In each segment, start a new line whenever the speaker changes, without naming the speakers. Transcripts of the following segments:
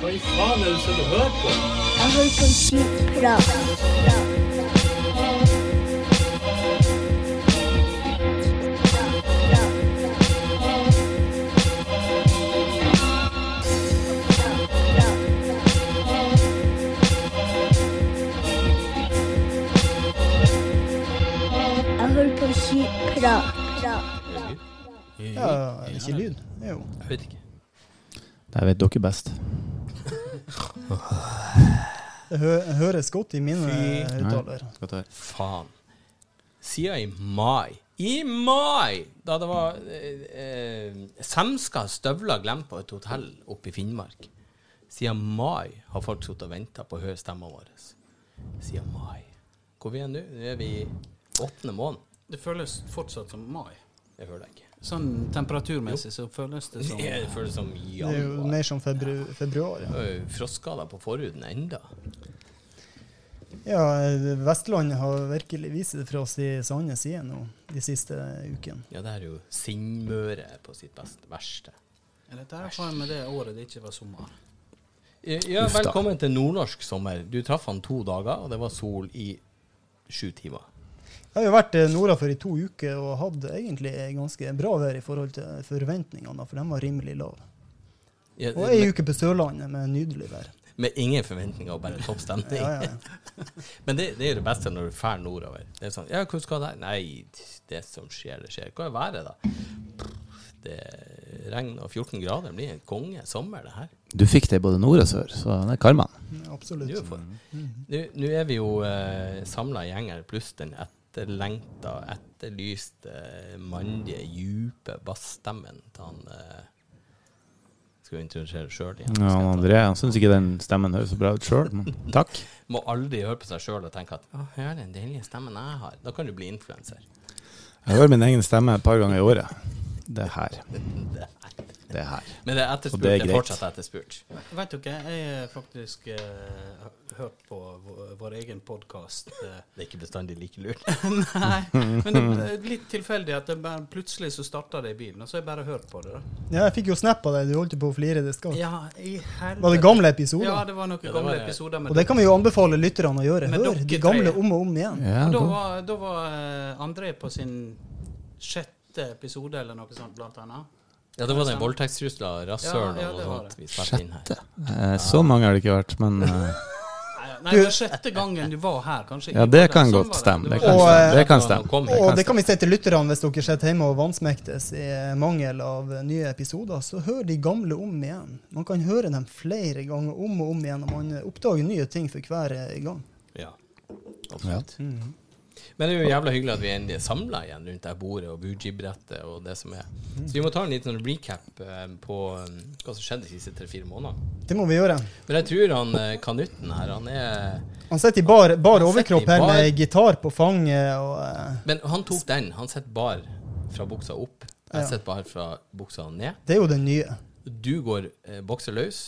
Hva i faen er det som du hører på?
Jeg hører på en syk prat. Jeg hører på en syk prat.
Ja, er det ikke lyd? Jo.
Jeg vet ikke.
Det vet dere best.
Det hø høres godt i mine
Fy.
høyttaler.
Skal ta her.
Faen. Siden i mai. I mai! Da det var eh, eh, semska støvler glemt på et hotell oppe i Finnmark. Siden mai har folk sittet og venta på å høre stemmen vår. Siden mai. Hvor vi er nå? Nå er vi i åttende måned.
Det føles fortsatt som mai.
Det hører jeg ikke.
Sånn temperaturmessig så føles det som
Det føles som
Det er jo
januar.
mer som febru februar. Ja.
Det er jo Frostskader på forhuden enda.
ja, Vestlandet har virkelig vist det fra sin sanne side nå de siste ukene.
Ja, det er jo Sinnmøre på sitt best, verste.
Ja, Dette her var med det året det ikke var sommer.
Ja,
Uff da.
velkommen til nordnorsk sommer. Du traff han to dager, og det var sol i sju timer.
Jeg har jo vært eh, nordafor i to uker og hatt egentlig ganske bra vær i forhold til forventningene, for de var rimelig lave.
Ja,
Og ei
med,
uke på Sørlandet med nydelig vær.
med ingen forventninger og bare topp stemning.
Ja, ja, ja.
Men det, det er jo det beste når du drar nordover. Det er sånn Ja, hvor skal du her? Nei, det som skjer, det skjer. Hva er været, da? Det er regn og 14 grader. Det blir en konge sommer, det her.
Du fikk det både nord og sør, så det er karmaen.
Du er
Absolutt.
for-
Mm-hmm.
Nå nå er vi jo eh, samla gjeng her, pluss den etterlengta, etterlyste, eh, mandige, djupe bassstemmen til han eh, Skal vi introdusere sjøl igjen?
Ja,
Skal jeg
André han syns ikke den stemmen høres så bra ut sjøl, men takk.
ta- Må aldri høre på seg sjøl og tenke at «Å, 'hør den deilige stemmen jeg har'. Da kan du bli influenser.
Jeg hører min egen stemme et par ganger i året. Det er her. Det er her.
Men det er etterspurt.
Og det er
Det er
greit.
fortsatt etterspurt.
Vet dere, jeg har faktisk eh, har hørt på vår, vår egen podkast.
Det er ikke bestandig like lurt.
Nei, men det er litt tilfeldig at det bare, plutselig så starta det i bilen, og så har jeg bare hørt på det. da.
Ja, jeg fikk jo snap av deg, du holdt jo på å flire. Det skal.
Ja, i helvete.
Var det gamle episoder?
Ja, det var noen
Ja, det
gamle
var-
episoder. med
Og det kan vi jo anbefale lytterne å gjøre.
Men
Hør
dere
de gamle
tre-
om og om igjen.
Ja,
Og Da
god.
var, da var eh, André på sin sjette episode eller noe sånt, blant annet.
Ja, det var den voldtektstrusla, rasshøl
Ja, ja,
og
det var det.
sånt vi spilte inn her.
Sjette. Eh, Så mange har det ikke vært, men eh,
Nei, nei, det var sjette gangen du var her, kanskje.
Ja, det kan godt stemme. Det kan
Og,
stemme.
eh,
Det kan stemme.
Kom,
Og det kan vi si til lytterne hvis dere sitter hjemme og vansmektes i eh, mangel av nye episoder, så hør de gamle om igjen. Man kan høre dem flere ganger om og om igjen, og man eh, oppdager nye ting for hver eh, gang.
Ja. Absolutt. Mhm. Men det er jo jævla hyggelig at vi endelig er samla igjen rundt det her bordet og bougie-brettet og det som er. Så vi må ta en liten recap eh, på eh, hva som skjedde de siste tre-fire månedene.
Det må vi gjøre.
Men jeg tror han eh, kanutten her, han er
Han sitter i bar, bar
sitter i
overkropp her
bar.
med gitar på fanget og eh,
Men han tok den. Han sitter bar fra buksa opp.
Ja.
Jeg sitter bar fra buksa ned.
Det er jo det nye.
Du går eh, bokseløs.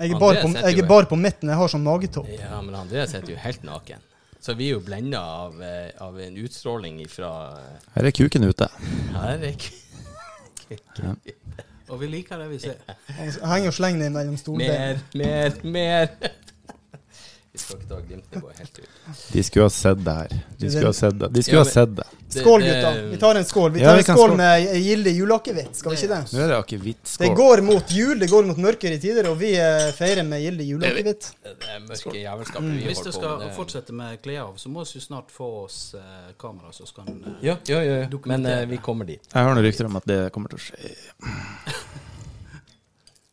Jeg
André
er bar på,
sitter jo
jeg
her.
er bar på midten. Jeg har sånn magetopp.
Ja, men André sitter jo helt naken. Så vi er jo blenda av, eh, av en utstråling ifra eh,
Her er kuken ute.
Her er k-
Og vi liker det vi ser.
Han Altså, henger og slenger den mellom stolbeina.
Mer, mer, mer. Vi skal ikke ta Glimt-nivået helt ut.
De skulle ha sett det her. De skulle ha sett det. De skulle ha sett det.
Det-
Skål,
det-
gutta. Vi tar en skål. Vi
Ja,
tar
vi
en
kan
skål
skål.
med gildig juleakevitt, skal vi ikke det?
Nå er det akevitt.
Det
Skål.
går mot jul, det går mot mørkere tider, og vi eh, feirer med gildig juleakevitt.
Det er mørke jævelskapet vi
Mm. Hvis du
holder på
skal
med.
fortsette med kle av, så må vi jo snart få oss eh, kamera som kan eh,
Ja, ja, ja, ja. Men
Dokumentere.
eh, vi kommer dit.
Jeg hører noen rykter om at det kommer til å skje.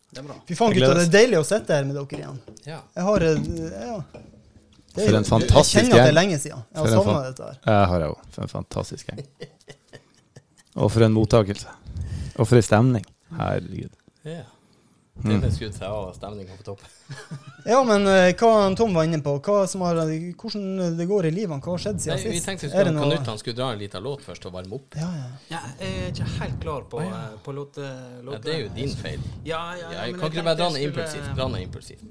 Det er bra.
Fy faen,
Jeg
gutta,
gleder
det
oss.
er deilig å sitte her med dere igjen.
Ja.
Jeg har eh, ja. Det er
For
jo-
en fantastisk
Jeg kjenner at det er
gjeng.
lenge siden. Jeg
For
har
en
savna
fan-
dette her.
Jeg har jeg òg. For en fantastisk gjeng. Og for en mottakelse. Og for en stemning. Herregud.
ja. Det er skutt seg av stemninga på topp.
Ja, men eh, hva han Tom var inne på, hva som har, hvordan det går i livet, hva har skjedd
Nei,
siden
vi
sist?
tenkte vi
Er
skulle
det noe-
Kanutt han skulle dra en liten låt først og varme opp.
Ja, ja.
Ja, jeg er ikke helt klar på, eh, på låte,
Ja,
låte.
det er jo din feil.
Ja, ja,
Ja,
ja,
jeg
men
kan
jeg
ikke du bare dra
tenkte
den
jeg
impulsivt?
skulle-
Dra den impulsivt.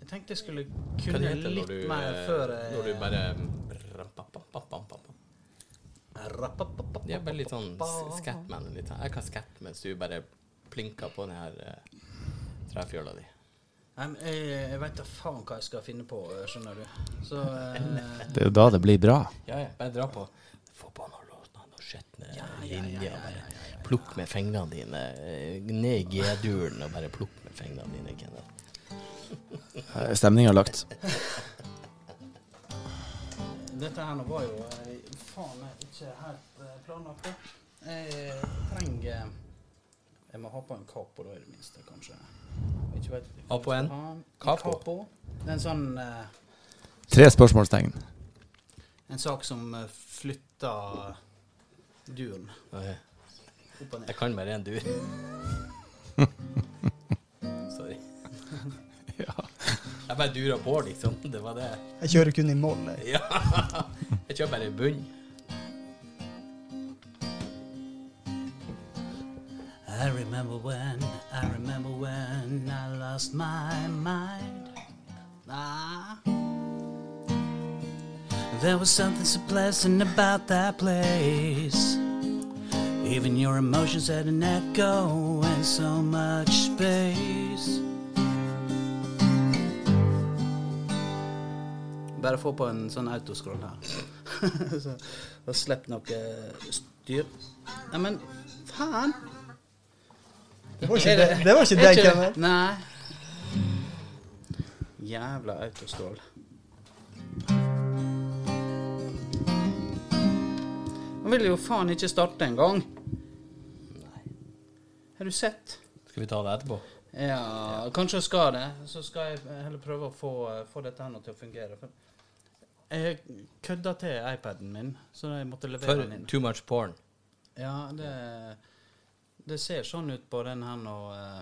Jeg tenkte jeg skulle
Hva
kunne
det heter
litt
når du
mer
eh,
før
Når du bare Rapapapapapapapa. Det er bare litt sånn s- Scatman. Litt. sånn. Jeg kan scatte mens du bare plinker på den her eh, trefjøla di.
Nei, men Jeg, jeg veit da faen hva jeg skal finne på, eh, skjønner du. Så eh,
Det er jo da det blir bra.
Ja, ja, bare dra på. Forbanna låten og skjetne linjer. Bare plukk med fingrene dine eh, ned i G-duren og bare plukk med fingrene dine, Kenneth.
Stemninga lagt.
dette her nå var jo eh, faen meg ikke helt eh, planlagt. det. Jeg trenger eh, Jeg må ha på en capo, da, i det minste, kanskje. Jeg ikke vet hva jeg
Ha på en
skal ha.
capo?
capo. Det er en sånn eh,
Tre spørsmålstegn.
En sak som eh, flytter duren
Ok.
opp og ned.
Jeg kan bare en dur. Sorry. Jeg bare dura på, liksom. Det var det.
Jeg kjører kun i mål. jeg.
Ja. Jeg kjører bare i bunnen.
I remember when, I remember when I lost my mind. Ah. There was something so pleasant about that place. Even your emotions had an echo and so much space. Bare få på en sånn autoscroll her. så, og slipp noe styr. Neimen, faen!
Det var ikke det, det, var ikke det Kenneth.
Nei. Jævla autostål. Han vil jo faen ikke starte engang. Har du sett?
Skal vi ta det etterpå?
Ja, kanskje jeg skal det. Så skal jeg heller prøve å få, eh, få dette her nå til å fungere. For jeg kødda til iPaden min, så jeg måtte levere
For
den inn.
too much porn.
Ja, det, det ser sånn ut på den her nå eh,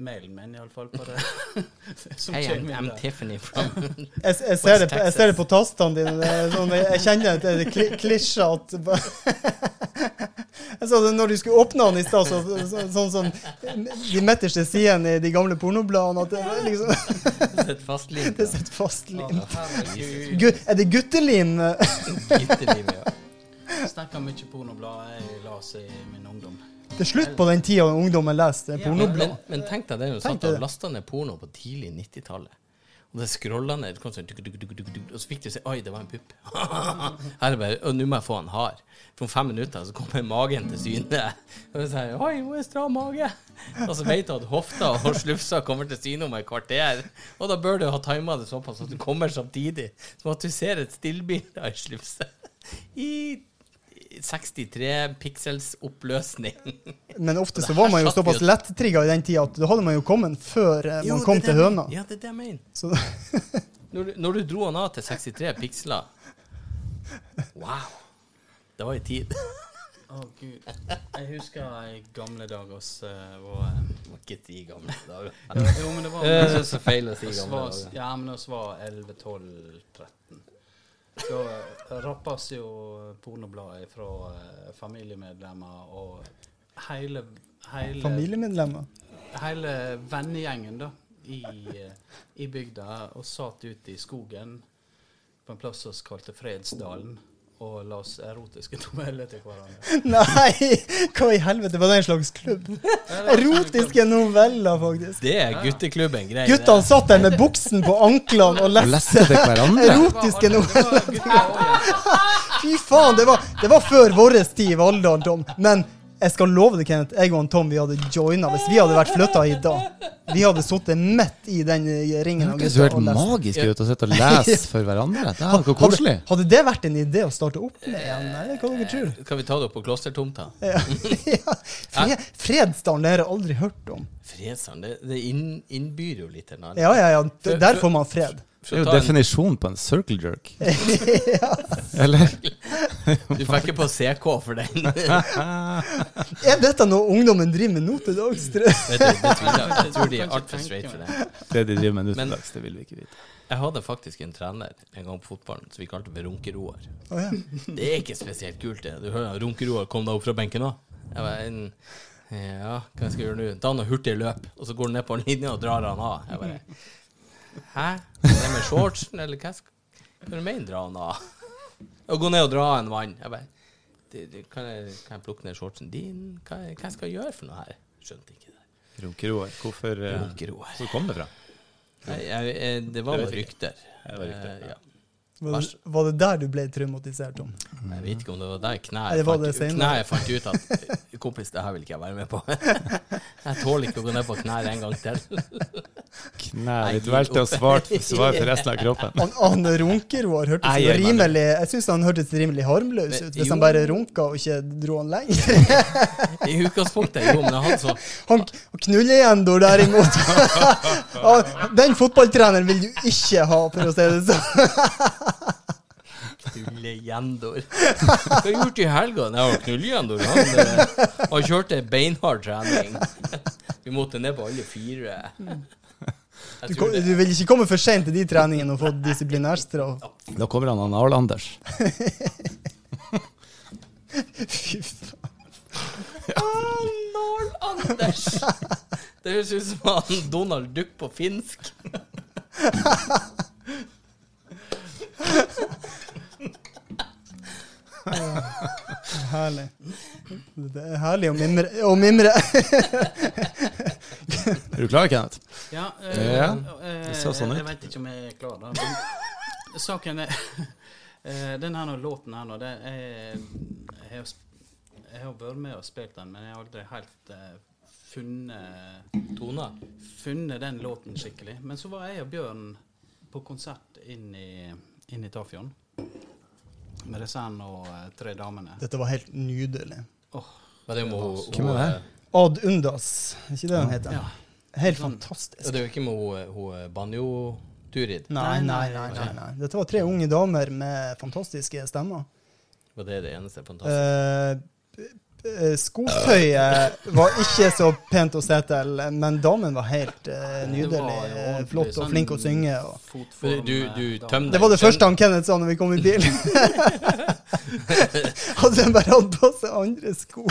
Mailen min, iallfall. På det. Som
Hey, I'm,
kommer
I'm
der.
Tiffany from
Jeg, jeg, ser det, på- jeg ser det på tastene dine. Det er sånn, jeg, jeg kjenner at det er kli- klisjé at Jeg sa det når du skulle åpne den i stad, så, så, sånn som de midterste sidene i de gamle pornobladene, at det er liksom,
Sitt fastlimt.
det sitter fast
Å,
Ah,
lim.
herregud.
Gu- Er det guttelim?
Snakker mye pornoblad jeg leste i min ungdom.
Det er slutt på den tida ungdommen leste
Men,
pornoblad.
men, men tenk deg det når du
Tenk
satt og
det.
lasta ned porno på tidlig 90-tallet. Og det scrolla ned, det kom sånn, tuk, tuk, tuk, tuk, tuk, og så fikk du se Oi, det var en pupp. Her er det bare Og nå må jeg få han hard. For om fem minutter så kommer magen til syne. Og så sier jeg, Oi, hun er stram mage. Og så vet du at hofta og slufsa kommer til syne om et kvarter. Og da bør du ha tima det såpass at du kommer samtidig. Som at du ser et stillbilde av ei slufse i 63 piksels oppløsning.
Men ofte så var man jo såpass lettrigga i den tida at da hadde man jo kommet før eh, man kom til høna.
Ja, det er det jeg mener.
Så
Når du, når du dro han av til 63 piksler Wow! Det var i tid. Det
Å, gud. Jeg husker i gamle dager oss eh, var eh,
var ikke ti gamle dager.
Jo, men det var
Det er så feil å si
oss
gamle
var,
dager.
Ja, men oss var 11, 12, 13. Da rappes jo pornobladet fra eh, familiemedlemmer og hele, hele
familiemedlemmer.
hele vennegjengen da, i, eh, i bygda og satt ute i skogen på en plass som vi kalte Fredsdalen, og la oss erotiske noveller til hverandre.
Nei, hva i helvete var det en slags klubb? Erotiske noveller, faktisk.
Det er gutteklubben grei. det.
Guttene satt der med buksen på anklene og leste
Leste til hverandre.
erotiske
Det
noveller.
var gutter og jenter.
Fy faen, det var, det var før vår tid i Valldal, Tom. Men jeg skal love deg, Kenneth, jeg og han Tom vi hadde joina hvis vi hadde vært flytta hit da. Vi hadde sittet midt i den eh,
Det
ringen av
hørtes jo
gutter
helt
og lest.
magisk ut å sitte og lese for hverandre. Det er jo koselig.
Hadde, hadde det vært en idé å starte opp med igjen? Eller hva dere tror?
Kan vi ta det opp på klostertomta?
Ja. Ja. Fre, Fredsdalen det har jeg aldri hørt om.
Fredsand, det, det inn, innbyr jo litt til noe.
Ja, ja, ja. d- Der får man fred.
Det er jo definisjonen på en circle jerk. Eller?
Du fikk ikke på CK for den. Vet
Er dette noe ungdommen driver med nå til dags? tror jeg?
du, det tviler jeg. Jeg tror
Kan
de er
ikke
altfor straight
tenke
for
meg.
det.
Det de driver med nå
Men-
til dags, det vil vi ikke vite.
Jeg hadde faktisk en trener en gang på fotballen som vi kalte for Runke-Roar.
Å, ja.
Det er ikke spesielt kult, det. Du hører Runke-Roar kom deg opp fra benken òg. Jeg var en Ja, hva skal jeg gjøre nå? Ta noen hurtige løp, og så går han ned på en linje og drar han av. Jeg bare Hæ? Er det med shortsen, eller hva skal Hva du mener dra han av? Å gå ned og dra en mann. Jeg bare det, det, kan, jeg, kan jeg plukke ned shortsen din? Hva, hva skal jeg gjøre for noe her? Skjønte ikke det.
Runkeroar. Hvorfor eh,
Runkeroar.
Hvor kom det fra?
Nei, jeg, eh, det var bare
Det vet vi ikke.
rykter.
Det var rykter,
Eh, ja.
Var det, var det der du ble traumatisert, Tom?
Mm.
Jeg vet ikke om det var der
Nei,
knæet
det var
fant,
det senere.
knæet fant ut at Kompis, det her vil ikke jeg være med på. Jeg tåler ikke å gå ned på knær en gang til.
Knær
Jeg
litt
gir
velte
opp.
og svart, svar for resten av kroppen.
Han, han Runkeroar hørtes
Nei,
jo
jeg mener-
rimelig Jeg syns han hørtes rimelig harmløs
Men-
ut, hvis
jo.
han bare runka og ikke dro han lenger.
I utgangspunktet, jo, men han så
Han knullegjendor, derimot Ja, Den fotballtreneren vil du ikke ha, for å si det sånn.
Knullegjendor. Hva har du gjort i helga? Nei, det var knullegjendor. Han, eh, han kjørte en beinhard trening. Vi måtte ned på alle fire.
Du,
Jeg tror
kom- du
det.
vil ikke komme for seint til de treningene og få disiplinærstraff.
Da kommer han han Arl-Anders.
Fy faen.
Arnold Anders! Det høres ut som han Donald Duck på finsk.
Herlig. Det er herlig å mimre. Å mimre.
Er du klar, Kenneth?
Ja,
Ja,
eh,
det ser sånn ut.
Jeg vet ikke om jeg er klar, da. Men saken er eh, Den her nå, låten her nå, det er Jeg har sp- jeg har vært med og spilt den, men jeg har aldri helt eh, funnet
Tone.
funnet den låten skikkelig. Men så var jeg og Bjørn på konsert inn i, inn i Tafjorden. Med Resan og eh, tre damene.
Dette var helt nydelig.
Åh,
Men det må hun-
Hvem er det her?
Ad Undas, er ikke det den heter?
ja.
Helt fantastisk.
Ja, Det er jo ikke med hun, hun Banjo-Turid.
Nei, nei, nei, nei, nei. Dette var tre unge damer med fantastiske stemmer.
Og det er det eneste fantastiske.
Eh, eh, skotøyet var ikke så pent å se til, men damen var helt eh,
Det var jo
nydelig. eh,
ordentlig
Flott og
sånn
flink å synge. Og.
fotform,
Du- du
eh, dame.
tømmer-
Det var det første han Kenneth sa når vi kom i bil. Eh. Hadde de bare hatt på seg andre sko.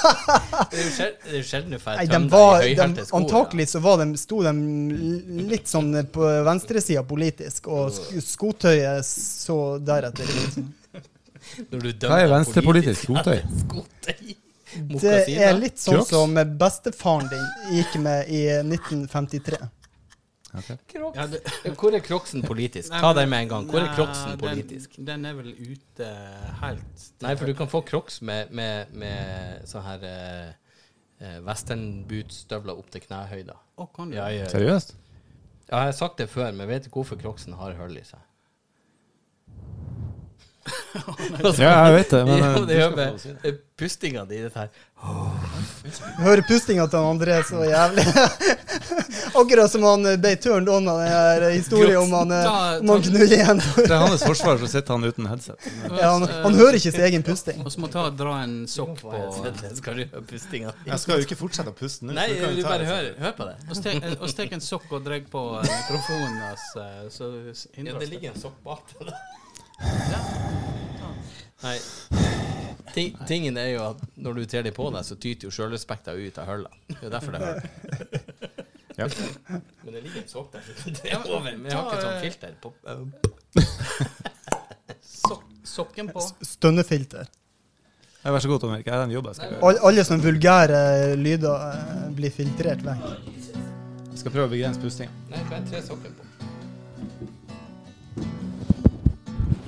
Det er jo sjel- det er jo sjelden du får
Nei, de
tømt
var,
deg i
de,
høyhælte sko.
antakelig så var de, sto de litt sånn på venstresida politisk, og sk skotøyet så deretter ut.
ja. Når du dømmer
Hva er venstrepolitisk skotøy?
skotøy?
Det er
Mokasiner?
litt sånn
Crocs?
som bestefaren din gikk med i 1953.
Crocs.
Ja, det,
Hvor er crocsen politisk?
Nei,
Ta
men-
den med en gang. Hvor er
Nei,
crocsen
den-
politisk?
Den, er vel ute helt
Nei, for du kan få crocs med, med, med sånn her eh, eh, westernbootstøvler opp til knæhøyda.
Å, kan du?
Ja, ja. ja,
Seriøst?
jeg har sagt det før, men vet du hvorfor crocsen har hull i seg?
Ja, jeg vet det, men
ja,
eh,
det gjør med eh, pustinga di, dette her.
Hører pustinga til han André så jævlig. Akkurat som han eh, ble turned on av den her historien om han, eh,
Ta-
om han
ta-
knuller igjen.
til hans forsvar så sitter han uten headset.
Ja, han, han hører ikke sin egen pusting.
Vi må ta altså, og dra en sokk på
Det skal du høre pustinga di.
Jeg skal jo ikke fortsette å puste nå.
Nei,
så kan
du
ta
bare
det
hør, hør på det.
Vi tar en sokk og drar på mikrofonen hans, eh, så
Ja,
hindrer oss
det
det.
ligger en sokk bak til deg. Nei. Ting, tingen er jo at når du ter deg på deg, så tyter jo sjølrespekten ut av hullet. Det er derfor det hører.
Ja.
Men det ligger en sokk der. så Det er over. Men jeg har ikke sånn filter på.
Sok sokken på.
Stønnefilter.
Ja, Vær så god, Tom Erik. Jeg har en jobb jeg skal gjøre.
All, alle sånne vulgære lyder eh, blir filtrert vekk.
Jeg skal prøve å begrense pusting.
Nei, bare tre sokker på.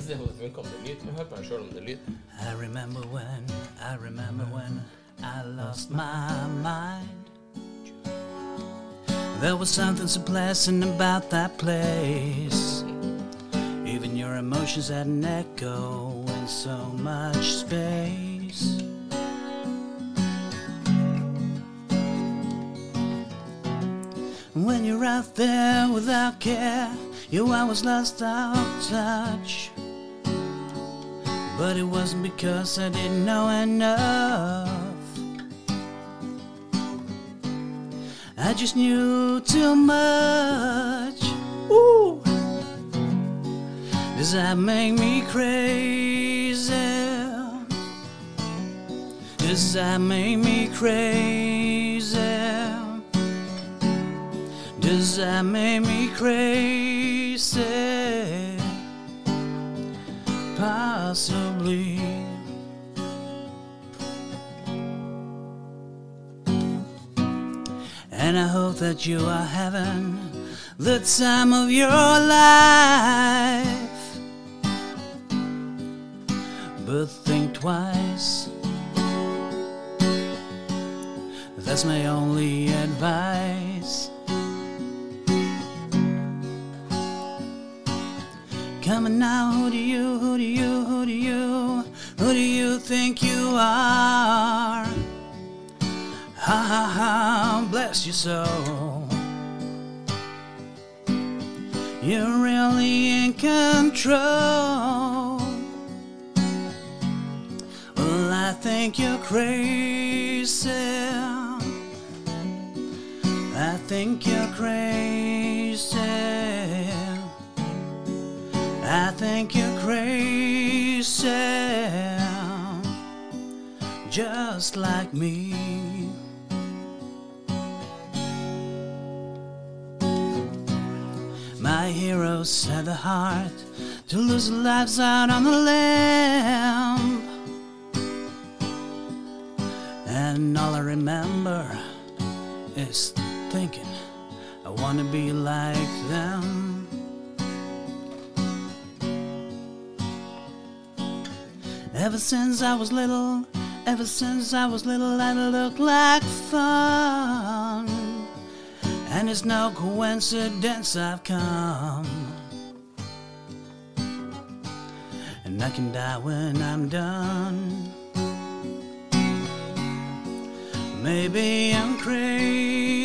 Se om det funker, om det er lyd. Hør på deg sjøl om det er lyd.
I remember when, I remember when I lost my mind. There was something so pleasant about that place. Even your emotions had an echo in so much space. When you're out there without care, you always lost out of touch. But it wasn't because I didn't know enough. I just knew too much. Ooh. Does that make me crazy? Does that make me crazy? Does that make me crazy? possibly. And I hope that you are having the time of your life. But think twice. That's my only advice. Coming now, who do you, who do you, who do you, who do you think you are? Ha ha ha, bless your soul. You're really in control. Well, I think you're crazy. I think you're crazy. I think you're crazy just like me. My heroes had the heart to lose their lives out on the lamb. And all I remember is thinking I want to be like them. Ever since I was little, ever since I was little, I look like fun. And it's no coincidence I've come. And I can die when I'm done. Maybe I'm crazy.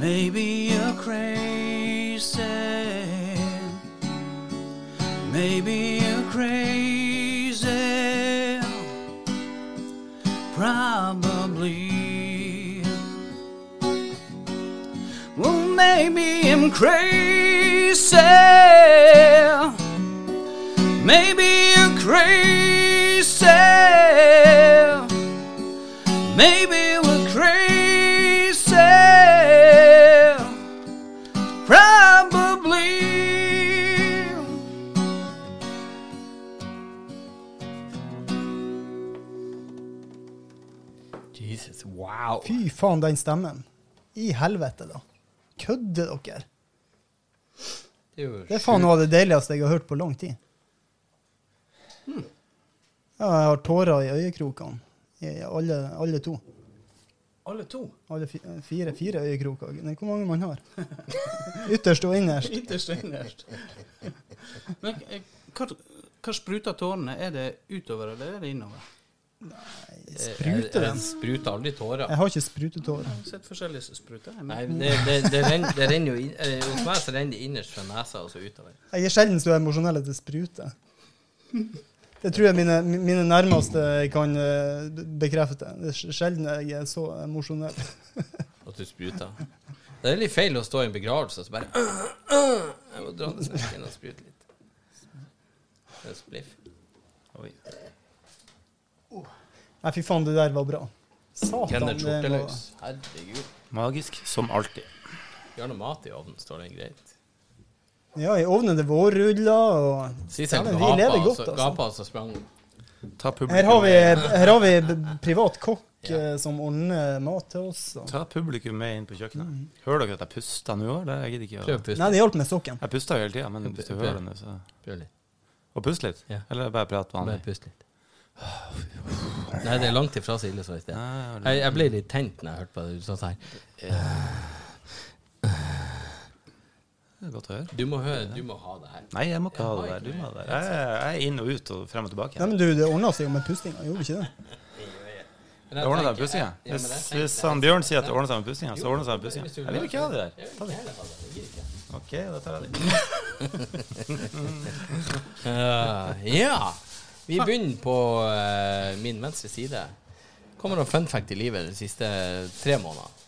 Maybe you're crazy. Maybe you're crazy. Probably. Well, maybe I'm crazy. Maybe you're crazy. Maybe we're crazy. Probably.
Jesus, wow.
Fy faen, den stemmen. I helvete, da. Kødder dere?
Det er jo
Det er faen noe av det deiligste jeg har hørt på lang tid.
Hmm.
Ja, jeg har tårer i øyekrokene. I alle, alle to.
Alle to.
Alle fi- fire, fire øyekroker. Nei, hvor mange man har? Ytterst og innerst.
Ytterst og innerst. Men eh, hva, hva spruter tårene? Er det utover eller er det innover?
spruter den. Spruter aldri tårer.
Jeg har ikke sprutetårer.
Jeg har sett forskjellige som spruter. Jeg,
Nei,
men-
det, det, det, renner, det renner jo inn, eh, Hos meg så renner det innerst fra nesa og så utover.
Jeg er sjelden så emosjonell at det spruter. Det tror jeg mine, mine nærmeste kan eh, bekrefte. Det er sjelden jeg er så emosjonell.
At du spruter. Det er litt feil å stå i en begravelse og så bare Jeg må dra ned smekken og sprute litt. Det er spliff.
Nei, fy faen, det der var bra. Satan,
Kenneth
det var
skjorteløs. Herregud.
Magisk som alltid.
Gjør noe mat i ovnen, står det greit.
Ja, i ovnen er det vårruller og
Sist jeg
Dæven, vi
gapa,
lever godt,
så,
altså.
gapa, så sprang hun.
Ta publikum,
Her har vi, her har vi b- privat kokk eh, som ordner mat til oss. Og.
ta publikum med inn på kjøkkenet. Hører dere at jeg puster nå? eller? Jeg gidder
Prøv å
ikke å
Nei,
puste.
det hjalp med sokken.
Jeg puster jo hele tida, men hvis du hører det, nå, så
Prøv litt.
Og pust litt?
Ja.
Eller bare prate
Bare
vanlig?
pust litt. Nei, det er langt ifra så ille som i sted.
Nei,
Jeg, jeg ble litt tent når jeg hørte på det. Du sa sånn her
det er Godt å høre.
Du må høre, du må ha det her.
Nei, jeg må ikke ha det der. Du må ha det der. Jeg, jeg er inn og ut og frem og tilbake.
Nei, men du, det ordna seg jo med pustinga, gjorde ikke det?
Men jeg
Det ordner seg
tenker-
med pussinga.
Ja, men jeg
Hvis,
tenker-
hvis han Bjørn sier at det ordner seg med pussinga, så ordner det seg med pussinga. Jeg vil ikke ha det der. Ta det. OK, da tar jeg det.
Eh, ja. Vi begynner på eh, min venstre side. Kommer det fun fact i livet de siste tre månedene?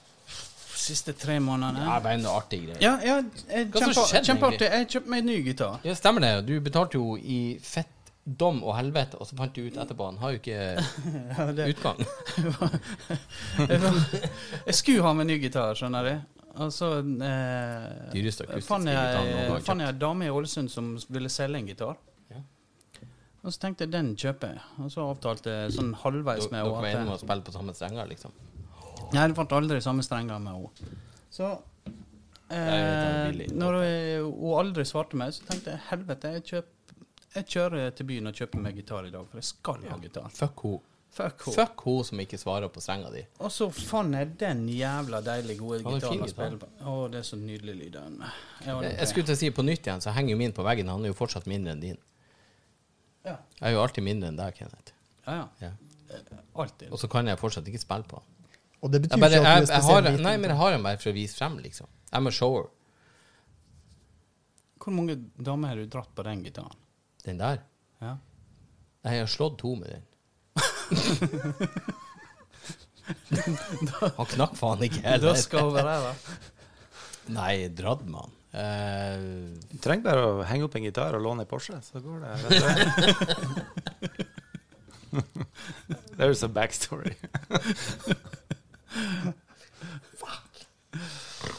Siste tre månedene.
Det er bare en artig greie.
Ja, ja jeg,
Hva som
kjempe,
skjedde,
kjempeartig. Jeg kjøpte meg en ny gitar.
Ja, stemmer det. Du betalte jo i fett dom og helvete, og så fant du ut etterpå han har jo ikke
Ja, det-
utgang.
Jeg var- jeg skulle ha meg ny gitar, skjønner du. Og så
Dyreste
eh,
akustiske
fant jeg,
gitaren noen gang
fant jeg en dame i Ålesund som ville selge en gitar.
Ja.
Og så tenkte jeg den kjøper jeg. Og så avtalte jeg sånn halvveis
Dere
med
dere var enige om
henne
å spille på samme strenger, liksom?
Jeg ble aldri samme strenger med henne. Så eh,
Nei, jeg vet, jeg blir litt
når jeg- hun aldri svarte meg, så tenkte jeg helvete, jeg, kjøp, jeg kjører til byen og kjøper meg gitar i dag, for jeg skal ha gitar.
Fuck henne.
Fuck henne.
Fuck henne som ikke svarer på strenga di.
Og så fant jeg den jævla deilig gode
Han har fin
gitaren å
gitar.
spille på. Å, det er så nydelig lyd av den. Jeg har den
Jeg skulle til å si på nytt igjen, så henger jo min på veggen. Han er jo fortsatt mindre enn din.
Ja,
Jeg er jo alltid mindre enn deg, Kenneth.
ja. ja.
Ja.
Alltid.
Og så kan jeg fortsatt ikke spille på han.
Og det betyr
Jeg, bare, jeg,
ikke at du er
jeg
spesielt
har,
liten.
nei, men jeg har han bare for å vise frem, liksom. I'm a shower.
Hvor mange damer har du dratt på den gitaren?
Den der.
Ja.
Nei, jeg har slått to med den. han knakk faen ikke
Da
heller.
skal hun være her, da.
Nei, dratt med han. Eh,
Du Mm, trenger bare å henge opp en gitar og låne en Porsche, så går det rett vei. There's a backstory.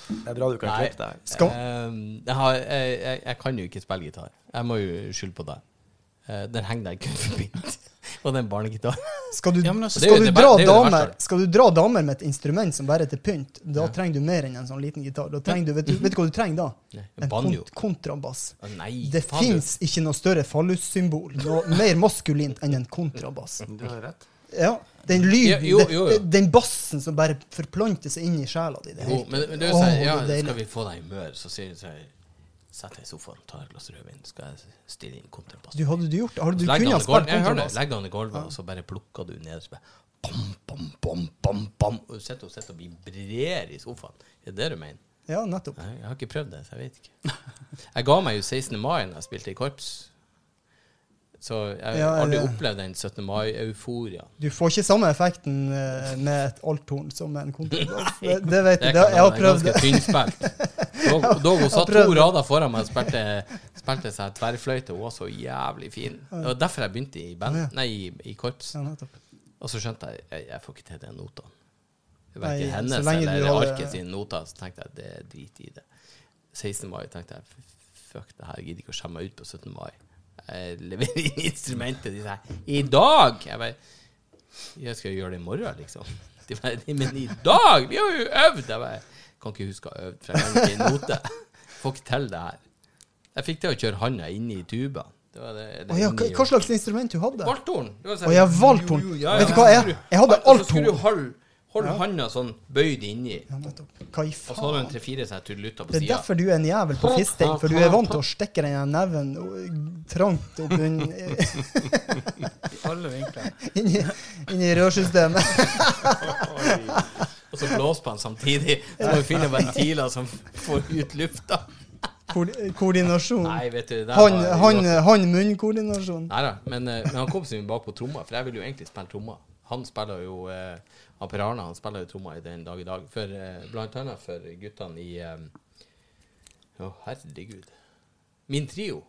Det er bra du kan
Nei.
klippe det her.
Skal-
Ehm, jeg, har, jeg, jeg, jeg kan jo ikke spille gitar. Jeg må jo skylde på deg. Eh, den henger der kun forbi. Og den barnegitaren.
Skal du,
Ja, men altså,
det
skal,
er jo
du
det ver-
dra
det er jo det
damer,
verste.
skal du dra damer med et instrument som bare er til pynt, da trenger du mer enn en sånn liten gitar. Da trenger du, vet, du, vet du hva du trenger da?
Nei, en
En
banjo.
kont kontrabass.
Å, Nei,
Det
faen, du.
fins ikke noe større fallus-symbol, noe mer maskulint enn en kontrabass.
Du har rett.
Ja, Den lyden,
Ja, jo, jo, jo.
den- den bassen som bare forplanter seg inn i sjela di. Det er
Jo,
helt-
men, men det er jo
Åh,
sånn, ja,
det er
skal
deilig.
vi få deg i humør, så sier du sånn Sett deg i sofaen, ta et glass rødvin, skal jeg stille inn kontrabass.
Du hadde du gjort hadde du
Så legger
kunnet
han
ha
i
spilt
gulvet- jeg hører det.
kontrabass.
Legger han i gulvet, og så bare plukker du ned og så bare bam, bam, bam, bam, bam. Og du sitter og sitter og vibrerer i sofaen. Er det det du mener?
Ja, nettopp.
Nei, jeg har ikke prøvd det, så jeg vet ikke. Jeg ga meg jo 16. mai da jeg spilte i korps. Så jeg
Ja,
har aldri
ja.
opplevd den 17. mai-euforiaen.
Du får ikke samme effekten eh, med et althorn som med en kontrabass. Det, det vet
Det
jeg.
kan
Det, jeg har
være
prøvd
ganske
det.
tynnspilt. Dog- Dog hun
Jeg har
satt
prøvd
to
det.
rader foran meg og spilte, spilte seg tverrfløyte. Hun var så jævlig fin. Det var derfor jeg begynte i band,
Ja.
nei, i, i korps.
Ja, nettopp.
Og så skjønte jeg jeg, jeg får ikke til den nota.
Nei,
Verken
så
hennes
lenge du
eller
har-
arket sin nota. Så tenkte jeg det er drit i det. 16. mai tenkte jeg f- fuck det her, jeg gidder ikke å skjemme meg ut på 17. mai. Jeg leverer inn instrumentet. De sier i dag! Jeg bare jeg skal jo gjøre det i morgen, liksom. De bare, «Nei, men i dag! Vi har jo øvd! Jeg bare kan ikke huske å ha øvd, for jeg har ikke en note. Får ikke til det her. Jeg fikk til å kjøre handa inn i tuba. Det var det, det
Å ja,
inni
hva,
og-
hva slags instrument du hadde?
Valthorn.
Å, jeg har valthorn. Vet du hva, jeg- jeg hadde
Så skulle
althorn.
du holde, holde handa sånn bøyd inni,
Ja, nettopp. Hva i
og så hadde du
faen?
en tre-fire sånne tuddelutter på
Det er
sida.
derfor du er en jævel på fisting, for du er vant til å stikke den her neven og- trangt opp inn,
I alle vinkler.
inn, i- inn i rørsystemet.
Og så blåser på den samtidig. Så må du finne ventiler som får ut lufta.
Ko koordinasjon.
Nei, vet du det der
Hånd-
var-
hånd- Hånd-munn-koordinasjon.
Neida, men, eh, men han kom seg bak på tromma, for jeg ville jo egentlig spille tromma. Han spiller jo eh, han Per Arne han spiller jo tromma i den dag i dag, for, eh, blant annet for guttene i eh, Å, herregud. Min trio.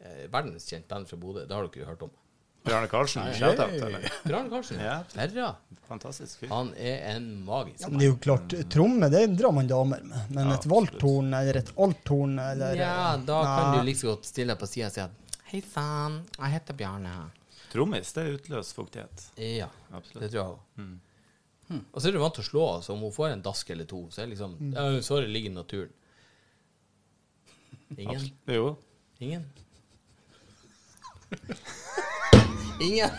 Eh, Verdenskjent band fra Bodø. Det har dere jo hørt om.
Bjarne Karlsen, shout-out, eller?
Per Arne Karlsen.
Ja.
Herre,
Fantastisk fyr.
han er en magisk
Ja, men det er jo klart, tromme det drar man damer med, men et valthorn eller et althorn eller
Ja, da kan
Nei.
du like så godt stille deg på sida og si at Hei sann, jeg heter Bjarne.
Trommis, det utløser fuktighet.
Ja,
Absolutt.
det tror jeg òg. Og så er du vant til å slå, så om hun får en dask eller to, så er det liksom «Ja, Sorry, ligger i naturen. Ingen?
Jo.
Ingen? Ingen!